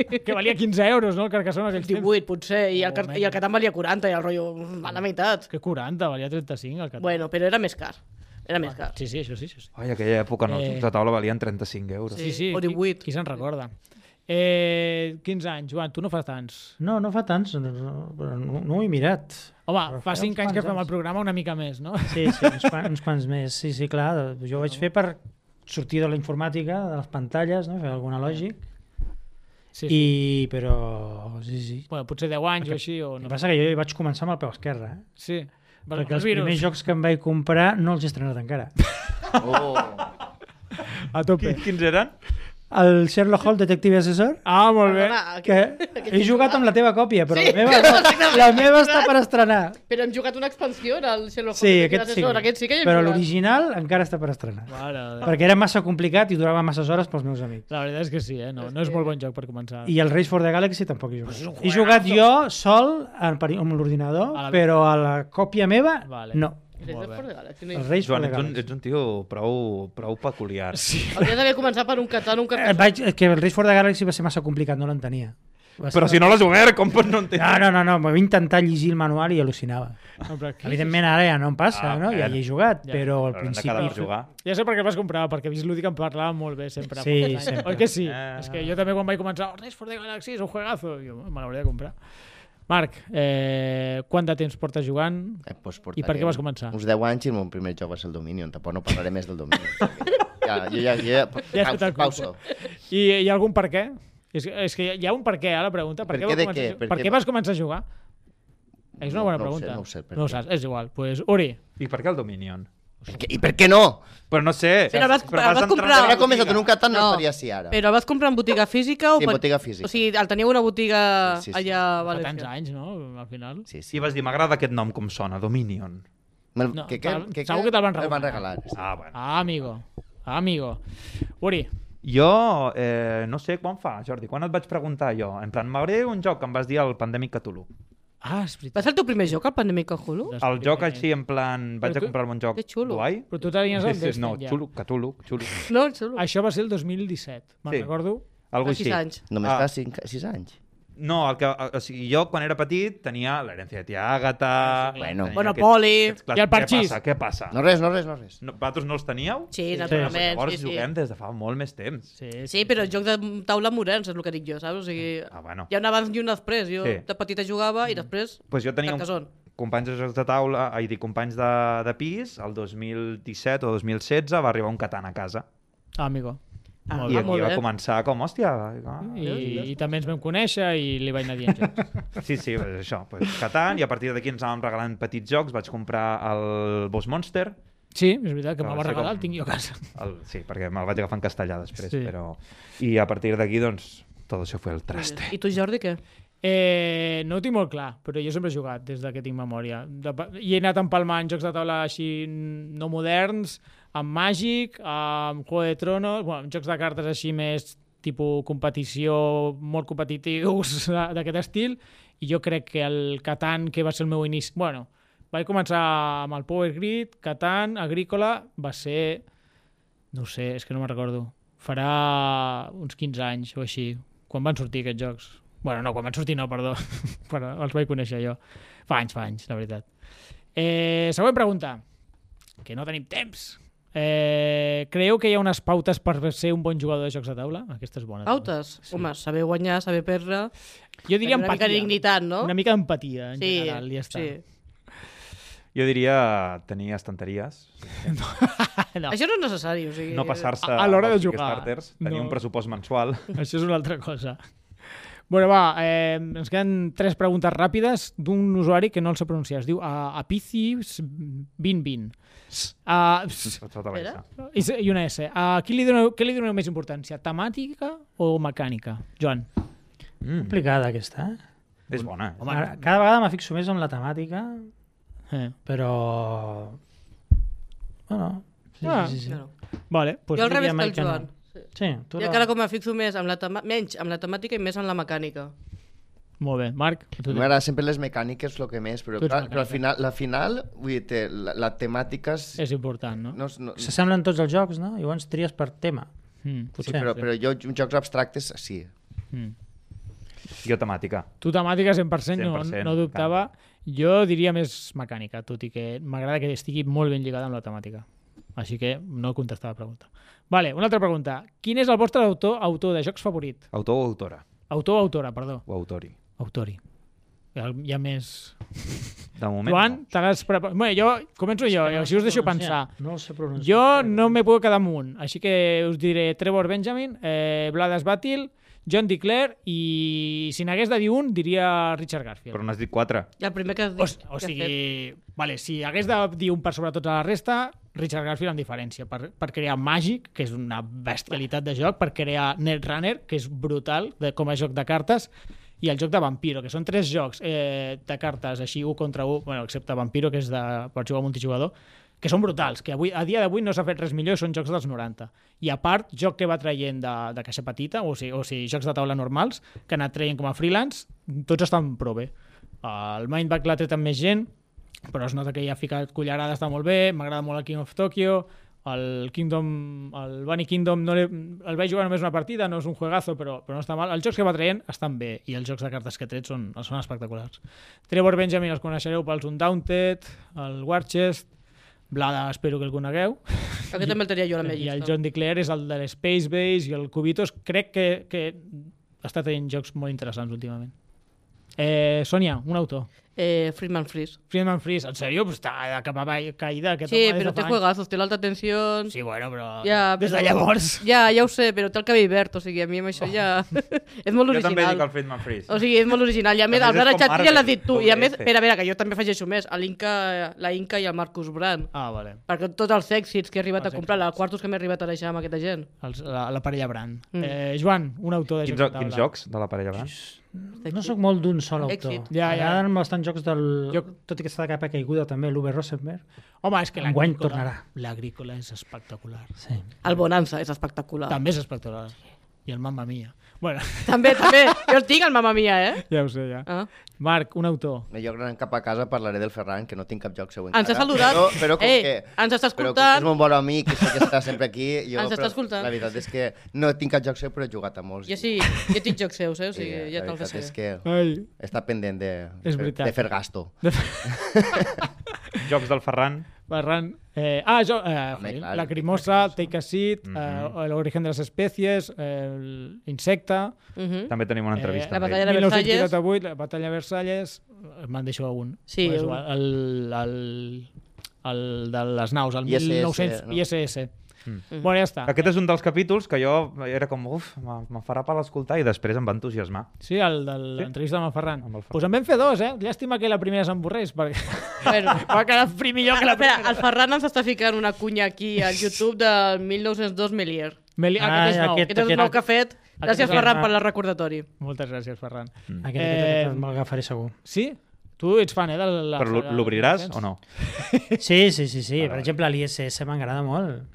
[SPEAKER 1] que valia 15 euros, no, el Carcassonne aquells temps.
[SPEAKER 3] 18 potser, i el, Car i el Catan valia 40, i el rotllo mm, a la meitat.
[SPEAKER 1] Oh, Que 40, valia 35 el Catan.
[SPEAKER 3] Bueno, però era més car. Era més car.
[SPEAKER 1] Sí, sí, això sí, això sí.
[SPEAKER 5] Ai, aquella època no,
[SPEAKER 1] Eh.
[SPEAKER 5] eh... la taula valien 35 euros.
[SPEAKER 1] sí, sí.
[SPEAKER 3] Sí, o 18.
[SPEAKER 1] Qui, qui se'n recorda? Eh, 15 anys, Joan, tu no fas tants.
[SPEAKER 2] No, no fa tants, no, no, però no, no ho he mirat.
[SPEAKER 1] Home, fa
[SPEAKER 2] fa
[SPEAKER 1] 5
[SPEAKER 2] uns
[SPEAKER 1] anys que
[SPEAKER 2] quants
[SPEAKER 1] fem el
[SPEAKER 2] anys.
[SPEAKER 1] programa una mica més, no?
[SPEAKER 2] Sí, sí, uns, quants, uns quants més. Sí, sí, clar, jo ho vaig fer per sortir de la informàtica, de les pantalles, no? fer alguna lògic,
[SPEAKER 1] Sí, sí.
[SPEAKER 2] i, però sí, sí.
[SPEAKER 1] Bueno, potser 10 anys o així, o
[SPEAKER 2] El
[SPEAKER 1] no.
[SPEAKER 2] que passa que jo hi vaig començar amb el peu esquerre, eh?
[SPEAKER 1] Sí. Per-
[SPEAKER 2] perquè
[SPEAKER 1] pel
[SPEAKER 2] els
[SPEAKER 1] virus.
[SPEAKER 2] primers jocs que em vaig comprar no els he estrenat encara.
[SPEAKER 4] Oh.
[SPEAKER 1] A tope.
[SPEAKER 5] Qui- Quins eren?
[SPEAKER 2] el Sherlock Holmes detective assessor?
[SPEAKER 1] Ah, molt bé.
[SPEAKER 3] Perdona,
[SPEAKER 2] Que
[SPEAKER 3] aquest
[SPEAKER 2] he
[SPEAKER 3] he
[SPEAKER 2] jugat amb la teva còpia, però
[SPEAKER 3] Sí,
[SPEAKER 2] la, meva,
[SPEAKER 3] exactament.
[SPEAKER 2] la meva està per estrenar.
[SPEAKER 3] Però hem jugat una expansió era el Sherlock
[SPEAKER 2] Sí,
[SPEAKER 3] Holmes.
[SPEAKER 2] aquest sí.
[SPEAKER 3] l'assessor, Aquest sí que hi hem
[SPEAKER 2] Però
[SPEAKER 3] jugat.
[SPEAKER 2] l'original encara està per estrenar.
[SPEAKER 1] Mare de...
[SPEAKER 2] Perquè era massa complicat i durava masses hores pels meus amics.
[SPEAKER 1] La veritat és que sí, eh? No, no és molt bon joc per començar.
[SPEAKER 2] I el Race for the Galaxy tampoc he jugat. He jugat jo sol en peri- amb l'ordinador,
[SPEAKER 1] A la-
[SPEAKER 2] però a la còpia meva,
[SPEAKER 1] Vale.
[SPEAKER 2] no.
[SPEAKER 3] Aquest
[SPEAKER 1] Molt
[SPEAKER 3] és
[SPEAKER 1] bé.
[SPEAKER 3] fora de Galaxy, no hi
[SPEAKER 2] El
[SPEAKER 3] és.
[SPEAKER 2] Race for
[SPEAKER 5] Joan,
[SPEAKER 2] the
[SPEAKER 5] ets un,
[SPEAKER 2] Galaxy.
[SPEAKER 5] ets un tio prou, prou peculiar. Sí.
[SPEAKER 3] Hauria d'haver començat per un Catan, un
[SPEAKER 2] Eh,
[SPEAKER 3] Catan.
[SPEAKER 2] Vaig, és que el Race for the Galaxy va ser massa complicat, no l'entenia. Va ser-
[SPEAKER 5] Però si no l'has obert, com pots no entendre?
[SPEAKER 2] No, no, no, no, m'havia intentat llegir el manual i al·lucinava.
[SPEAKER 1] No, però aquí...
[SPEAKER 2] Evidentment ara ja no em passa,
[SPEAKER 5] Ah,
[SPEAKER 2] no? Ja
[SPEAKER 5] bueno.
[SPEAKER 2] hi he jugat,
[SPEAKER 1] Ja.
[SPEAKER 2] però al
[SPEAKER 5] Però hem de quedar per
[SPEAKER 2] principi...
[SPEAKER 5] jugar.
[SPEAKER 1] Ja sé per què el vas comprar, perquè Vist Lúdic em parlava molt bé sempre. fa
[SPEAKER 2] Sí,
[SPEAKER 1] molts anys.
[SPEAKER 2] sempre.
[SPEAKER 1] Oi que sí?
[SPEAKER 5] Eh.
[SPEAKER 1] És que jo també quan vaig començar, oh, Race for the Galaxy és un juegazo, jo me l'hauré de comprar. Marc, eh, quant de temps portes jugant?
[SPEAKER 4] Eh, doncs
[SPEAKER 1] I per què vas començar?
[SPEAKER 4] Uns 10 anys i el meu primer joc va ser el Dominion. Tampoc no parlaré més del Dominion. o sigui, ja, jo ja... ja,
[SPEAKER 1] Ja has fet
[SPEAKER 4] pausa,
[SPEAKER 1] el
[SPEAKER 4] pausa.
[SPEAKER 1] I hi ha algun per què? És, és que hi ha un per què, eh, la pregunta. Per,
[SPEAKER 4] Per
[SPEAKER 1] què, vas
[SPEAKER 4] què de
[SPEAKER 1] començar,
[SPEAKER 4] què?
[SPEAKER 1] a ju-
[SPEAKER 4] Per
[SPEAKER 1] per
[SPEAKER 4] què
[SPEAKER 1] què
[SPEAKER 4] va-
[SPEAKER 1] vas començar a jugar? És una
[SPEAKER 4] No-
[SPEAKER 1] bona
[SPEAKER 4] no ho sé,
[SPEAKER 1] pregunta.
[SPEAKER 4] no ho sé, per
[SPEAKER 1] no ho
[SPEAKER 4] què.
[SPEAKER 1] saps, és igual. Pues, Uri,
[SPEAKER 5] I per què el Dominion?
[SPEAKER 4] Per què- I per què no?
[SPEAKER 5] Però no sé.
[SPEAKER 3] Però vas-
[SPEAKER 5] però
[SPEAKER 3] vas
[SPEAKER 5] entrar
[SPEAKER 3] comprar-
[SPEAKER 5] en
[SPEAKER 4] Hauria
[SPEAKER 5] la
[SPEAKER 4] començat
[SPEAKER 5] botiga.
[SPEAKER 4] en un Catan, no,
[SPEAKER 3] Ah, No,
[SPEAKER 4] estaria així ara.
[SPEAKER 3] Però el vas comprar en botiga física? O
[SPEAKER 4] Sí, en botiga física.
[SPEAKER 3] O sigui, el teniu una botiga
[SPEAKER 4] Sí, sí, sí.
[SPEAKER 3] allà a
[SPEAKER 1] fa tants
[SPEAKER 3] València.
[SPEAKER 1] anys, no? Al final.
[SPEAKER 4] Sí, sí.
[SPEAKER 5] Sí, vas dir, m'agrada aquest nom com sona, Dominion.
[SPEAKER 4] Me'l-
[SPEAKER 1] No,
[SPEAKER 4] que, que,
[SPEAKER 1] te'l-
[SPEAKER 4] que,
[SPEAKER 1] segur que te'l van
[SPEAKER 4] el van
[SPEAKER 1] regalar.
[SPEAKER 4] regalar.
[SPEAKER 5] Ah, bueno.
[SPEAKER 1] Ah, amigo. Ah, amigo. Uri,
[SPEAKER 5] Jo, eh, no sé quan fa, Jordi, quan et vaig preguntar jo? En plan, m'agradaria un joc que em vas dir el Pandemic Cthulhu.
[SPEAKER 1] ah, és
[SPEAKER 3] Va
[SPEAKER 1] veritat.
[SPEAKER 3] ser el teu primer joc, el Pandemic Cthulhu?
[SPEAKER 5] El joc així, en plan, vaig
[SPEAKER 1] Però
[SPEAKER 5] a
[SPEAKER 1] tu-
[SPEAKER 5] comprar-me un joc
[SPEAKER 3] que xulo.
[SPEAKER 5] guai.
[SPEAKER 1] Però tu tenies el
[SPEAKER 5] Sí, sí, no,
[SPEAKER 1] Destiny ja.
[SPEAKER 5] xulo, Cthulhu, xulo.
[SPEAKER 3] No, en solo.
[SPEAKER 1] Això va ser el 2017, me'n
[SPEAKER 5] Sí.
[SPEAKER 1] recordo.
[SPEAKER 5] Algo
[SPEAKER 3] Fa sis
[SPEAKER 5] així.
[SPEAKER 3] anys.
[SPEAKER 4] Només
[SPEAKER 5] Ah.
[SPEAKER 4] fa 6 anys.
[SPEAKER 5] No, el que, o sigui, jo quan era petit tenia l'herència de tia Àgata...
[SPEAKER 4] clar. Bueno.
[SPEAKER 5] tenia
[SPEAKER 3] Monopoli.
[SPEAKER 5] aquests clàssics.
[SPEAKER 1] Ah, I el parxís.
[SPEAKER 5] Què passa? Què passa?
[SPEAKER 4] No res, no res, no res.
[SPEAKER 5] No, vosaltres no els teníeu?
[SPEAKER 3] Sí,
[SPEAKER 5] Doncs
[SPEAKER 3] naturalment.
[SPEAKER 5] llavors
[SPEAKER 3] sí, sí.
[SPEAKER 5] juguem des de fa molt més temps.
[SPEAKER 1] Sí,
[SPEAKER 3] Sí, però el joc de taula moderns és el que dic jo, saps? O sigui,
[SPEAKER 5] Ah, bueno.
[SPEAKER 3] hi ha un abans i un després. Jo
[SPEAKER 5] Sí.
[SPEAKER 3] de petita jugava i després...
[SPEAKER 5] pues jo tenia un,
[SPEAKER 3] Carcassonne.
[SPEAKER 5] companys de jocs de taula, ah, ai, dic, companys de, de pis, el 2017 o 2016 va arribar un Catan a casa.
[SPEAKER 1] Ah, amigo.
[SPEAKER 5] Ah,
[SPEAKER 1] Molt
[SPEAKER 5] I,
[SPEAKER 1] bé.
[SPEAKER 5] aquí
[SPEAKER 3] molt
[SPEAKER 5] va
[SPEAKER 3] bé.
[SPEAKER 5] començar com, hòstia... Ah.
[SPEAKER 1] I, I també ens vam conèixer i li vaig anar dient jocs.
[SPEAKER 5] Sí, sí, pues això. Pues, Catan, i a partir d'aquí ens anàvem regalant petits jocs. Vaig comprar el Boss Monster,
[SPEAKER 1] Sí, és veritat, que
[SPEAKER 5] Ah,
[SPEAKER 1] me'l va
[SPEAKER 5] sí,
[SPEAKER 1] regalar, el
[SPEAKER 5] com-
[SPEAKER 1] tinc jo a casa.
[SPEAKER 5] el, sí, perquè me'l vaig agafar en castellà després,
[SPEAKER 1] Sí.
[SPEAKER 5] sí. però... I a partir d'aquí, doncs, tot això fue el traste.
[SPEAKER 3] I tu, Jordi, què?
[SPEAKER 1] Eh, no ho tinc molt clar, però jo sempre he jugat des de que tinc memòria. De, pa- I he anat empalmant jocs de taula així no moderns, amb Magic, amb Juego de Tronos, bueno, jocs de cartes així més tipus competició, molt competitius eh, d'aquest estil, i jo crec que el Catan, que va ser el meu inici... Bueno, vaig començar amb el Power Grid, Catan, Agrícola, va ser... No ho sé, és que no me'n recordo. Farà uns 15 anys o així, quan van sortir aquests jocs. bueno, no, quan van sortir no, perdó. Però els vaig conèixer jo. Fa anys, fa anys, la veritat. Eh, següent pregunta, que no tenim temps. Eh, creieu que hi ha unes pautes per ser un bon jugador de jocs de taula? Aquesta és
[SPEAKER 5] Ah,
[SPEAKER 1] bona. també.
[SPEAKER 3] Pautes? Home, saber guanyar, saber perdre...
[SPEAKER 1] Jo diria
[SPEAKER 3] una mica
[SPEAKER 1] empatia.
[SPEAKER 3] de dignitat, no?
[SPEAKER 1] Una mica d'empatia, en
[SPEAKER 3] sí,
[SPEAKER 1] general, ja està.
[SPEAKER 3] sí.
[SPEAKER 5] Jo diria tenir estanteries,
[SPEAKER 1] No,
[SPEAKER 3] Això no és necessari, o sigui...
[SPEAKER 5] no passar-se
[SPEAKER 1] a- a l'hora de
[SPEAKER 5] els
[SPEAKER 1] jugar.
[SPEAKER 5] Kickstarters, tenir
[SPEAKER 1] No.
[SPEAKER 5] un pressupost mensual.
[SPEAKER 1] això és una altra cosa. Bueno, va, eh, ens queden tres preguntes ràpides d'un usuari que no el sé pronunciar. Es diu uh, Apicis2020. Uh,
[SPEAKER 5] Sota la
[SPEAKER 3] Espera.
[SPEAKER 5] vista.
[SPEAKER 1] i i una S. Uh, qui li doneu, què li doneu més importància? Temàtica o mecànica? Joan.
[SPEAKER 5] Mm,
[SPEAKER 2] Complicada aquesta, eh?
[SPEAKER 5] és bona. eh?
[SPEAKER 1] Home,
[SPEAKER 2] Ara, cada vegada me fixo més en la temàtica,
[SPEAKER 1] eh.
[SPEAKER 2] però... Bueno, sí,
[SPEAKER 1] Ah.
[SPEAKER 2] sí, sí. sí.
[SPEAKER 3] No, no.
[SPEAKER 1] Vale, doncs pues,
[SPEAKER 3] Jo al
[SPEAKER 2] diria
[SPEAKER 3] revés que el
[SPEAKER 2] mai que no.
[SPEAKER 3] Joan.
[SPEAKER 2] sí tu
[SPEAKER 3] Jo
[SPEAKER 2] la-
[SPEAKER 3] encara com me fixo més amb la tema... menys amb la temàtica i més en la mecànica.
[SPEAKER 1] molt bé. Marc, a tu,
[SPEAKER 4] M'agrada sempre les mecàniques, el que més, però,
[SPEAKER 1] Tu ets
[SPEAKER 4] clar,
[SPEAKER 1] mecànic.
[SPEAKER 4] però al final, la final, vull dir, té, la, la temàtica és...
[SPEAKER 1] és important, no?
[SPEAKER 4] No, és- no, sí,
[SPEAKER 2] S'assemblen tots els jocs, no? Llavors tries per tema.
[SPEAKER 1] Mm,
[SPEAKER 2] Potser.
[SPEAKER 4] però, però jo, jocs abstractes, sí.
[SPEAKER 1] mm.
[SPEAKER 5] Jo temàtica.
[SPEAKER 1] Tu temàtica 100%, no,
[SPEAKER 5] 100%,
[SPEAKER 1] no dubtava. Jo diria més mecànica, tot i que m'agrada que estigui molt ben lligada amb la temàtica. Així que no contestava la pregunta. Vale, una altra pregunta. Quin és el vostre autor autor de jocs favorit?
[SPEAKER 5] Autor o autora?
[SPEAKER 1] Autor o autora, perdó.
[SPEAKER 5] O autori?
[SPEAKER 1] Autori. Hi ha- Hi ha més...
[SPEAKER 5] De moment,
[SPEAKER 1] Joan,
[SPEAKER 5] no.
[SPEAKER 1] te l'has preparat... Bé, jo començo jo, i així us deixo pensar.
[SPEAKER 2] No ho sé pronunciar.
[SPEAKER 1] Jo no me puc quedar amunt, així que us diré Trevor Benjamin, eh, Blades Batil, John DeClair i si n'hagués de dir un, diria Richard Garfield.
[SPEAKER 5] Però n'has dit quatre.
[SPEAKER 3] I el primer que has dit...
[SPEAKER 1] O, si- o
[SPEAKER 3] que has fet.
[SPEAKER 1] sigui, vale, si hagués de dir un per sobre tota la resta, Richard Garfield amb diferència, per, per crear Magic, que és una bestialitat de joc, per crear Netrunner, que és brutal de, com a joc de cartes, i el joc de Vampiro, que són tres jocs eh, de cartes així, un contra un, bueno, excepte Vampiro, que és de, per jugar multijugador, que són brutals, que avui, a dia d'avui no s'ha fet res millor, són jocs dels 90. I a part, joc que va traient de, de caixa petita, o sigui, o sigui, jocs de taula normals, que han anat traient com a freelance, tots estan prou bé. El Mindback l'ha tret amb més gent, però es nota que ja ha ficat cullerada, està molt bé, m'agrada molt el King of Tokyo, el Kingdom, el Bunny Kingdom no l'he- el vaig jugar només una partida, no és un juegazo, però, però no està mal. Els jocs que va traient estan bé i els jocs de cartes que tret són, són espectaculars. Trevor Benjamin els coneixereu pels Undaunted, el Warchest, Blada espero que el conegueu,
[SPEAKER 3] Aquest també el tenia jo a la meva
[SPEAKER 1] i el
[SPEAKER 3] llista.
[SPEAKER 1] John DeClair és el de l'Space Base i el Cubitos crec que, que està tenint jocs molt interessants últimament. Eh, Sònia, un autor.
[SPEAKER 3] Eh, Freeman Freeze.
[SPEAKER 1] Friedman Freeze, en sèrio? Pues està de cap avall caïda. Aquest
[SPEAKER 3] Sí,
[SPEAKER 1] home des
[SPEAKER 3] però
[SPEAKER 1] de
[SPEAKER 3] té
[SPEAKER 1] fa anys.
[SPEAKER 3] juegazos, té l'alta tensió...
[SPEAKER 1] Sí, bueno, però...
[SPEAKER 3] Ja,
[SPEAKER 1] Des de
[SPEAKER 3] però-
[SPEAKER 1] llavors.
[SPEAKER 3] Ja, ja ho sé, però té el cabell verd, o sigui, a mi amb això ja...
[SPEAKER 4] Oh.
[SPEAKER 3] és molt
[SPEAKER 5] Jo també
[SPEAKER 3] original.
[SPEAKER 5] dic el Friedman Freeze.
[SPEAKER 3] O sigui, és molt original. I a més,
[SPEAKER 5] més,
[SPEAKER 3] el
[SPEAKER 5] és
[SPEAKER 3] Brad
[SPEAKER 5] com
[SPEAKER 3] Chat ja
[SPEAKER 5] Marvel,
[SPEAKER 3] l'has dit tu. I a
[SPEAKER 5] doble
[SPEAKER 3] més,
[SPEAKER 5] F.
[SPEAKER 3] espera, espera, que jo també afegeixo més. L'Inca, la Inca i el Marcus Brand.
[SPEAKER 1] Ah, vale.
[SPEAKER 3] Perquè tots els èxits que he
[SPEAKER 4] Ah,
[SPEAKER 3] arribat
[SPEAKER 1] Els
[SPEAKER 3] a comprar, els quartos que m'he arribat a deixar amb aquesta gent.
[SPEAKER 1] Els, la, la parella Brand.
[SPEAKER 3] Mm.
[SPEAKER 1] Mm. Eh, Joan, un autor de
[SPEAKER 5] Quins,
[SPEAKER 1] jocs de taula.
[SPEAKER 5] quins jocs de la parella gran?
[SPEAKER 2] No sóc molt d'un sol autor.
[SPEAKER 3] Èxit.
[SPEAKER 1] Ja, ja.
[SPEAKER 2] M'agraden bastant jocs del...
[SPEAKER 1] Jo-
[SPEAKER 2] Tot i que està de capa caiguda també, l'Uwe Rosenberg.
[SPEAKER 1] Home, és que
[SPEAKER 2] Enguany
[SPEAKER 1] l'agrícola-
[SPEAKER 2] tornarà.
[SPEAKER 1] L'agrícola és espectacular.
[SPEAKER 2] Sí.
[SPEAKER 3] El Bonanza és espectacular.
[SPEAKER 1] També és espectacular. I el Mamma Mia. Bueno,
[SPEAKER 3] També, també. Jo el tinc, el Mamma Mia, eh?
[SPEAKER 1] ja ho sé, ja.
[SPEAKER 3] Ah.
[SPEAKER 1] Marc, un autor.
[SPEAKER 4] Jo anant cap a casa parlaré del Ferran, que no tinc cap joc seu encara.
[SPEAKER 3] Ens ha saludat.
[SPEAKER 4] Però, però com
[SPEAKER 3] Eh,
[SPEAKER 4] que...
[SPEAKER 3] ens està
[SPEAKER 4] Però com
[SPEAKER 3] escoltant.
[SPEAKER 4] que és un bon amic i sé que està sempre aquí. Jo,
[SPEAKER 3] Ens està
[SPEAKER 4] però
[SPEAKER 3] escoltant.
[SPEAKER 4] La veritat és que no tinc cap joc seu, però he jugat a molts.
[SPEAKER 3] Jo sí, jo tinc jocs seus, eh? O sigui,
[SPEAKER 4] I
[SPEAKER 3] ja
[SPEAKER 4] la
[SPEAKER 3] te'ls
[SPEAKER 4] veritat
[SPEAKER 3] deixaré.
[SPEAKER 4] és que
[SPEAKER 1] Ai.
[SPEAKER 4] està pendent de,
[SPEAKER 1] És
[SPEAKER 4] fer-
[SPEAKER 1] veritat.
[SPEAKER 4] de fer gasto.
[SPEAKER 5] Jocs del Ferran.
[SPEAKER 1] Ferran. Eh, ah, jo, eh,
[SPEAKER 4] Home,
[SPEAKER 1] joder,
[SPEAKER 4] clar,
[SPEAKER 1] Lacrimosa, Take a Seat, mm
[SPEAKER 4] Mm-hmm.
[SPEAKER 1] -hmm. eh, L'origen de les espècies, eh, Insecta...
[SPEAKER 3] Mhm.
[SPEAKER 5] També tenim una entrevista.
[SPEAKER 3] la
[SPEAKER 5] amb
[SPEAKER 3] batalla de
[SPEAKER 5] ell.
[SPEAKER 3] Versalles.
[SPEAKER 1] 1988, la batalla de Versalles, eh, me'n deixo algun.
[SPEAKER 3] Sí,
[SPEAKER 1] Bueno, és
[SPEAKER 3] un.
[SPEAKER 1] igual, el, el, el de les naus, el
[SPEAKER 4] ISS,
[SPEAKER 1] 1900
[SPEAKER 4] no?
[SPEAKER 1] ISS.
[SPEAKER 5] Mm.
[SPEAKER 1] Mm. Bueno, ja està.
[SPEAKER 5] Aquest és un dels capítols que jo era com, uf, me, me farà pal escoltar i després em va entusiasmar.
[SPEAKER 1] Sí, el de l'entrevista amb el Ferran.
[SPEAKER 5] Amb el
[SPEAKER 1] Doncs
[SPEAKER 5] Ferran.
[SPEAKER 1] pues en vam fer dos, eh? Llàstima que la primera s'emborrés, perquè
[SPEAKER 3] Bueno,
[SPEAKER 1] va quedar pri millor que la
[SPEAKER 3] espera,
[SPEAKER 1] primera.
[SPEAKER 3] el Ferran ens està ficant una cunya aquí al YouTube del 1902 Melier.
[SPEAKER 1] Meli...
[SPEAKER 2] Ah,
[SPEAKER 1] Aquest és
[SPEAKER 2] ja,
[SPEAKER 1] nou.
[SPEAKER 2] aquest-
[SPEAKER 3] Aquest és el nou que ha fet. Gràcies,
[SPEAKER 1] aquest-
[SPEAKER 3] Ferran, per el recordatori.
[SPEAKER 1] Moltes gràcies, Ferran.
[SPEAKER 5] Mm.
[SPEAKER 2] Aquest, aquest,
[SPEAKER 1] Eh,
[SPEAKER 2] aquest me'l agafaré segur.
[SPEAKER 1] Sí? Tu ets fan, eh? De la,
[SPEAKER 5] Però l'o- l'obriràs o no?
[SPEAKER 2] Sí, sí, sí, sí. Per exemple, l'ISS m'agrada molt.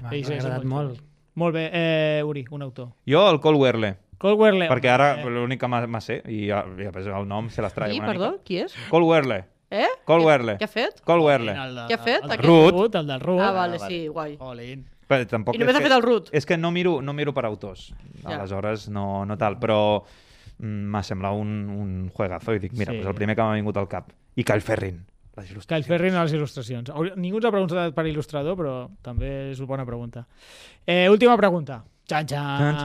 [SPEAKER 2] M'ha
[SPEAKER 1] Sí, sí, sí,
[SPEAKER 2] agradat molt.
[SPEAKER 1] molt. Molt bé. Eh, Uri, un autor.
[SPEAKER 5] Jo, el Cole Werle,
[SPEAKER 1] Coldware Leo.
[SPEAKER 5] perquè ara l'únic que me sé, i ja, ja pues, el nom se l'estraia
[SPEAKER 3] Qui,
[SPEAKER 5] una
[SPEAKER 3] perdó?
[SPEAKER 5] mica.
[SPEAKER 3] Qui és?
[SPEAKER 5] Cole Werle.
[SPEAKER 3] Eh?
[SPEAKER 5] Cole
[SPEAKER 3] Què-
[SPEAKER 5] Werle.
[SPEAKER 3] Què ha fet?
[SPEAKER 5] Cole Werle.
[SPEAKER 1] El de-
[SPEAKER 3] Què ha fet?
[SPEAKER 1] El del
[SPEAKER 5] Aquest? Ruth.
[SPEAKER 1] Ruth, el del Ruth.
[SPEAKER 3] Ah, vale,
[SPEAKER 4] vale.
[SPEAKER 3] sí, guai.
[SPEAKER 1] Olin.
[SPEAKER 5] Però tampoc
[SPEAKER 3] I només ha
[SPEAKER 5] és que-
[SPEAKER 3] fet el Ruth.
[SPEAKER 5] És que no miro, no miro per autors.
[SPEAKER 3] Ja.
[SPEAKER 5] Aleshores, no, no tal, però mm, m'ha semblat un, un juegazo i dic, mira,
[SPEAKER 1] Sí.
[SPEAKER 5] sí. pues el primer que m'ha vingut al cap. I Kyle Ferrin. Les
[SPEAKER 1] Kyle
[SPEAKER 5] il·lustracions.
[SPEAKER 1] Ferrin a les il·lustracions. Hauria- Ningú ens ha preguntat per il·lustrador, però també és una bona pregunta. Eh, última pregunta. Xan,
[SPEAKER 5] Tan,
[SPEAKER 1] xan.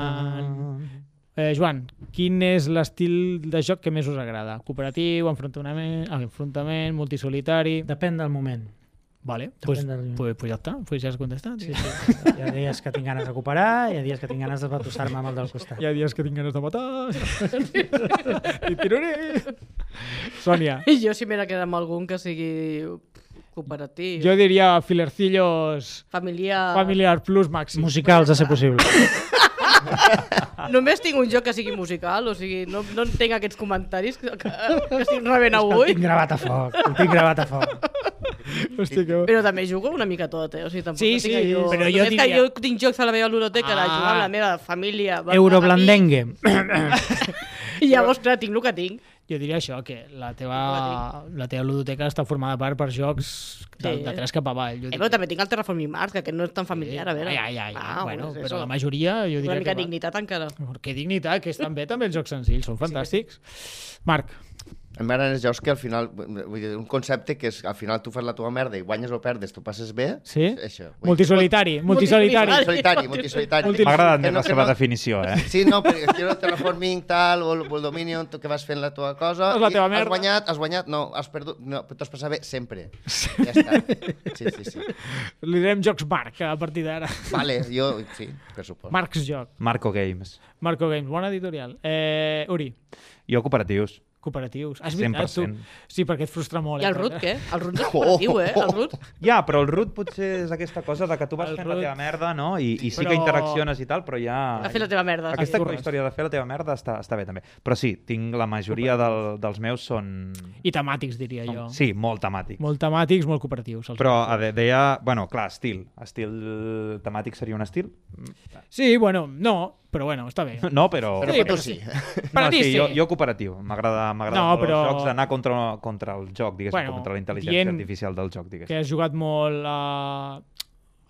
[SPEAKER 5] tan.
[SPEAKER 1] Eh, Joan, quin és l'estil de joc que més us agrada? Cooperatiu, enfrontament, ah, enfrontament multisolitari...
[SPEAKER 2] Depèn del moment.
[SPEAKER 1] Vale, pues,
[SPEAKER 2] del-
[SPEAKER 1] pues, pues ja està, pues ja has contestat. Sí, sí.
[SPEAKER 2] Hi ha dies que tinc ganes de cooperar, hi ha dies que tinc ganes de batussar-me amb el del costat.
[SPEAKER 1] Hi ha dies que tinc ganes de matar... I tiraré... Sònia,
[SPEAKER 3] I jo si m'he quedat amb algun que sigui cooperatiu,
[SPEAKER 1] jo diria filercillos
[SPEAKER 3] familiar...
[SPEAKER 1] familiar plus màxim.
[SPEAKER 2] Musicals, a ser possible.
[SPEAKER 3] Ah. Només tinc un joc que sigui musical, o sigui, no, no entenc aquests comentaris que, que, que estic rebent avui,
[SPEAKER 2] El tinc gravat a foc, el tinc gravat a foc.
[SPEAKER 1] Hosti, que...
[SPEAKER 3] però també jugo una mica a tot, eh? O sigui, tampoc
[SPEAKER 1] Sí,
[SPEAKER 3] estic
[SPEAKER 1] sí,
[SPEAKER 3] allò-
[SPEAKER 1] però jo
[SPEAKER 3] Només que
[SPEAKER 1] diria-
[SPEAKER 3] jo tinc jocs a la meva ludoteca de
[SPEAKER 1] Ah.
[SPEAKER 3] jugar amb la meva família. amb
[SPEAKER 2] Euroblandengue.
[SPEAKER 3] amics, I llavors, clar, tinc el que tinc.
[SPEAKER 1] Jo diria això, que la teva, la teva ludoteca està formada per per jocs de,
[SPEAKER 3] Sí.
[SPEAKER 1] de tres cap avall. Jo
[SPEAKER 3] Eh, però també tinc el Terraforming Mars, que aquest no és tan familiar, a veure.
[SPEAKER 1] Ai, ai, ai,
[SPEAKER 3] Ah,
[SPEAKER 1] bueno,
[SPEAKER 3] és
[SPEAKER 1] però
[SPEAKER 3] eso.
[SPEAKER 1] la majoria jo
[SPEAKER 3] Una
[SPEAKER 1] diria
[SPEAKER 3] mica
[SPEAKER 1] que...
[SPEAKER 3] dignitat encara.
[SPEAKER 1] Va... Que dignitat, que estan bé també els jocs senzills, són fantàstics. Marc,
[SPEAKER 4] A mi m'agraden els jocs que al final, vull dir, un concepte que és al final tu fas la teva merda i guanyes o perdes, tu passes bé,
[SPEAKER 1] Sí?
[SPEAKER 4] és això. Vull dir,
[SPEAKER 1] Multisolitari, multisolitari.
[SPEAKER 3] multisolitari.
[SPEAKER 4] Multisolitari, multisolitari.
[SPEAKER 1] Multi-
[SPEAKER 5] M'ha agradat més la
[SPEAKER 4] Que
[SPEAKER 5] seva
[SPEAKER 4] que
[SPEAKER 5] definició, eh?
[SPEAKER 4] Sí, no, perquè es tira el terraforming, tal, o el, o el Dominion, tu que vas fent la teva cosa,
[SPEAKER 1] És la
[SPEAKER 4] i
[SPEAKER 1] teva
[SPEAKER 4] has
[SPEAKER 1] merda.
[SPEAKER 4] guanyat, has guanyat, no, has perdut, no, però t'has passat bé sempre. Ja està. Sí, sí, sí.
[SPEAKER 1] Li direm Jocs Marc a partir d'ara.
[SPEAKER 4] Vale, jo, sí, per supost.
[SPEAKER 1] Marcs Joc,
[SPEAKER 5] Marco Games.
[SPEAKER 1] Marco Games, bona editorial. Eh, Uri,
[SPEAKER 5] Jo cooperatius.
[SPEAKER 1] cooperatius. Has vist, ah, tu?
[SPEAKER 5] 100%.
[SPEAKER 1] Sí, perquè et frustra molt.
[SPEAKER 3] I el
[SPEAKER 1] eh?
[SPEAKER 3] Ruth, què? El Ruth és cooperatiu, eh? El Ruth.
[SPEAKER 1] Oh.
[SPEAKER 5] Ja, però el root potser és aquesta cosa de que tu vas
[SPEAKER 1] El
[SPEAKER 5] fent
[SPEAKER 1] root.
[SPEAKER 5] la teva merda, no? I, i sí
[SPEAKER 1] Però-
[SPEAKER 5] que interacciones i tal, però ja...
[SPEAKER 3] Ha fet la teva merda.
[SPEAKER 5] Aquesta
[SPEAKER 1] Torres.
[SPEAKER 5] història de fer la teva merda està, està bé, també. Però sí, tinc la majoria del, dels meus són...
[SPEAKER 1] I temàtics, diria jo.
[SPEAKER 5] Sí, molt temàtics.
[SPEAKER 1] Molt temàtics, molt cooperatius. Els
[SPEAKER 5] Però a de- deia... Bueno, clar, estil. Estil temàtic seria un estil?
[SPEAKER 1] Sí, bueno, no, però bueno, està bé.
[SPEAKER 5] No, però...
[SPEAKER 4] Però
[SPEAKER 1] Mm. Sí,
[SPEAKER 4] per tu
[SPEAKER 1] però
[SPEAKER 4] sí.
[SPEAKER 1] Per
[SPEAKER 5] no,
[SPEAKER 1] a ti sí.
[SPEAKER 5] jo, jo cooperatiu. M'agrada m'agraden
[SPEAKER 1] No,
[SPEAKER 5] molt
[SPEAKER 1] però-
[SPEAKER 5] els jocs d'anar contra, contra el joc, diguéssim,
[SPEAKER 1] Bueno,
[SPEAKER 5] bueno, contra la intel·ligència
[SPEAKER 1] dient
[SPEAKER 5] artificial del joc, diguéssim.
[SPEAKER 1] que has jugat molt a...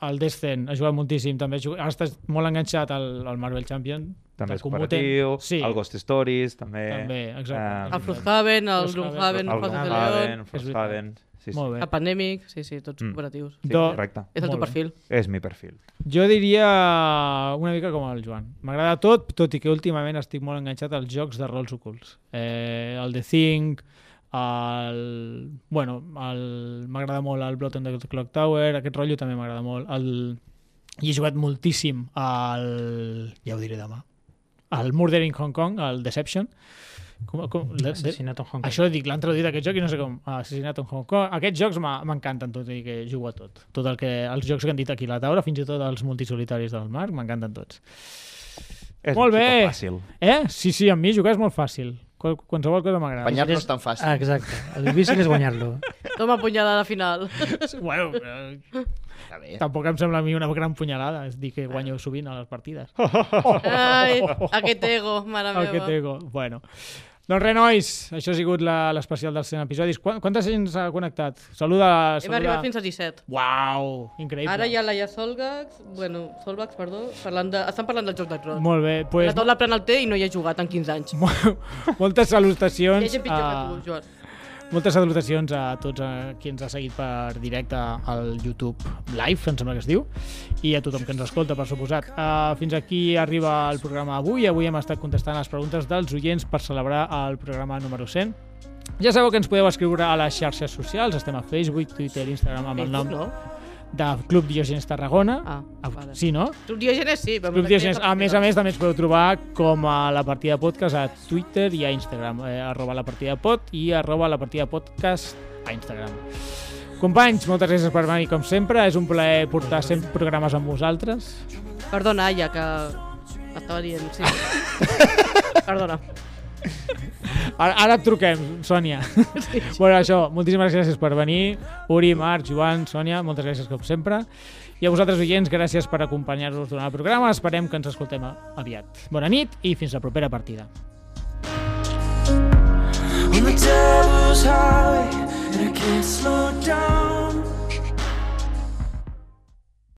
[SPEAKER 1] al Descent, has jugat moltíssim també, has jugat... ara estàs molt enganxat al, al Marvel Champion
[SPEAKER 5] També
[SPEAKER 1] del
[SPEAKER 5] és
[SPEAKER 1] Comuten.
[SPEAKER 5] cooperatiu,
[SPEAKER 1] sí,
[SPEAKER 5] el Ghost Stories, també...
[SPEAKER 1] També, exacte.
[SPEAKER 5] eh,
[SPEAKER 3] El Frosthaven,
[SPEAKER 1] Frosthaven.
[SPEAKER 3] el
[SPEAKER 5] el
[SPEAKER 3] Gloomhaven, el Paz de León,
[SPEAKER 5] Haven, Frosthaven... Sí, sí.
[SPEAKER 1] molt bé,
[SPEAKER 3] el Pandemic, sí, sí, tots
[SPEAKER 5] Mm.
[SPEAKER 3] cooperatius.
[SPEAKER 5] Sí,
[SPEAKER 1] Do-
[SPEAKER 5] correcte.
[SPEAKER 3] És el
[SPEAKER 1] Molt
[SPEAKER 3] teu
[SPEAKER 1] bé.
[SPEAKER 3] perfil.
[SPEAKER 5] És mi perfil.
[SPEAKER 1] jo diria una mica com el Joan m'agrada tot, tot i que últimament estic molt enganxat als jocs de rols ocults eh, el The Thing el... bueno el... m'agrada molt el Blood on the Clock Tower aquest rotllo també m'agrada molt el... i he jugat moltíssim al... ja ho diré demà al Murdering Hong Kong, el Deception com, com, de- de-
[SPEAKER 2] Assassinat en Hong Kong.
[SPEAKER 1] Això dic, l'han traduït aquest joc i no sé com. Assassinat en Hong Kong. Aquests jocs m'ha- m'encanten, tot i que jugo a tot. Tot el que, els jocs que han dit aquí a la taula, fins i tot els multisolitaris del Marc, m'encanten tots.
[SPEAKER 5] És
[SPEAKER 1] Molt bé.
[SPEAKER 5] Fàcil.
[SPEAKER 1] Eh? Sí, sí, amb mi jugar és molt fàcil. Qual, qualsevol cosa m'agrada.
[SPEAKER 4] Guanyar no és tan fàcil.
[SPEAKER 2] Ah, exacte. El difícil és guanyar-lo.
[SPEAKER 3] Toma punyalada final.
[SPEAKER 1] Bueno, eh,
[SPEAKER 4] Està bé.
[SPEAKER 1] tampoc em sembla a mi una gran punyalada. És dir que guanyo sovint a les partides.
[SPEAKER 3] Ai, aquest ego, mare
[SPEAKER 1] El que
[SPEAKER 3] meva.
[SPEAKER 1] tengo. Bueno. Doncs res, nois, això ha sigut la- l'especial dels 100 episodis. Qua- Quanta gent s'ha connectat? Saluda,
[SPEAKER 3] Hem
[SPEAKER 1] saluda.
[SPEAKER 3] arribat fins a 17.
[SPEAKER 1] Uau, increïble.
[SPEAKER 3] Ara hi ha la Ia Solgax, bueno, Solvax, perdó, parlant de, estan parlant del joc de Tron.
[SPEAKER 1] Molt bé, doncs...
[SPEAKER 3] La taula pren el té i no hi ha jugat en 15 anys.
[SPEAKER 1] Mol- moltes
[SPEAKER 3] Hi
[SPEAKER 1] salutacions
[SPEAKER 3] ha gent pitjor
[SPEAKER 1] a,
[SPEAKER 3] que tu, Joan.
[SPEAKER 1] moltes salutacions a tots a qui ens ha seguit per directe al YouTube Live, em sembla que es diu i a tothom que ens escolta, per suposat uh, fins aquí arriba el programa avui avui hem estat contestant les preguntes dels oients per celebrar el programa número 100 ja sabeu que ens podeu escriure a les xarxes socials, estem a Facebook, Twitter, Instagram amb el nom
[SPEAKER 3] Facebook,
[SPEAKER 1] de Club Diogenes Tarragona
[SPEAKER 3] Ah, vale.
[SPEAKER 1] sí, no?
[SPEAKER 3] Club Diogenes sí. però
[SPEAKER 1] Club
[SPEAKER 3] m'agradaria
[SPEAKER 1] Diogenes.
[SPEAKER 3] que
[SPEAKER 1] A més a
[SPEAKER 3] parlés.
[SPEAKER 1] més, també ens podeu trobar com a la partida podcast a Twitter i a Instagram. Eh, arroba la partida pod i arroba la partida podcast a Instagram. Companys, moltes gràcies per venir com sempre. És un plaer portar 100 programes amb vosaltres.
[SPEAKER 3] Perdona, Aya, que estava dient, sí. Perdona.
[SPEAKER 1] Ara, ara et truquem, Sònia. Sí. bueno, això, moltíssimes gràcies per venir. Uri, Marc, Joan, Sònia, moltes gràcies com sempre. I a vosaltres, oients, gràcies per acompanyar-nos durant el programa. Esperem que ens escoltem aviat. Bona nit i fins la propera partida.
[SPEAKER 6] on the devil's highway, and I can't slow down.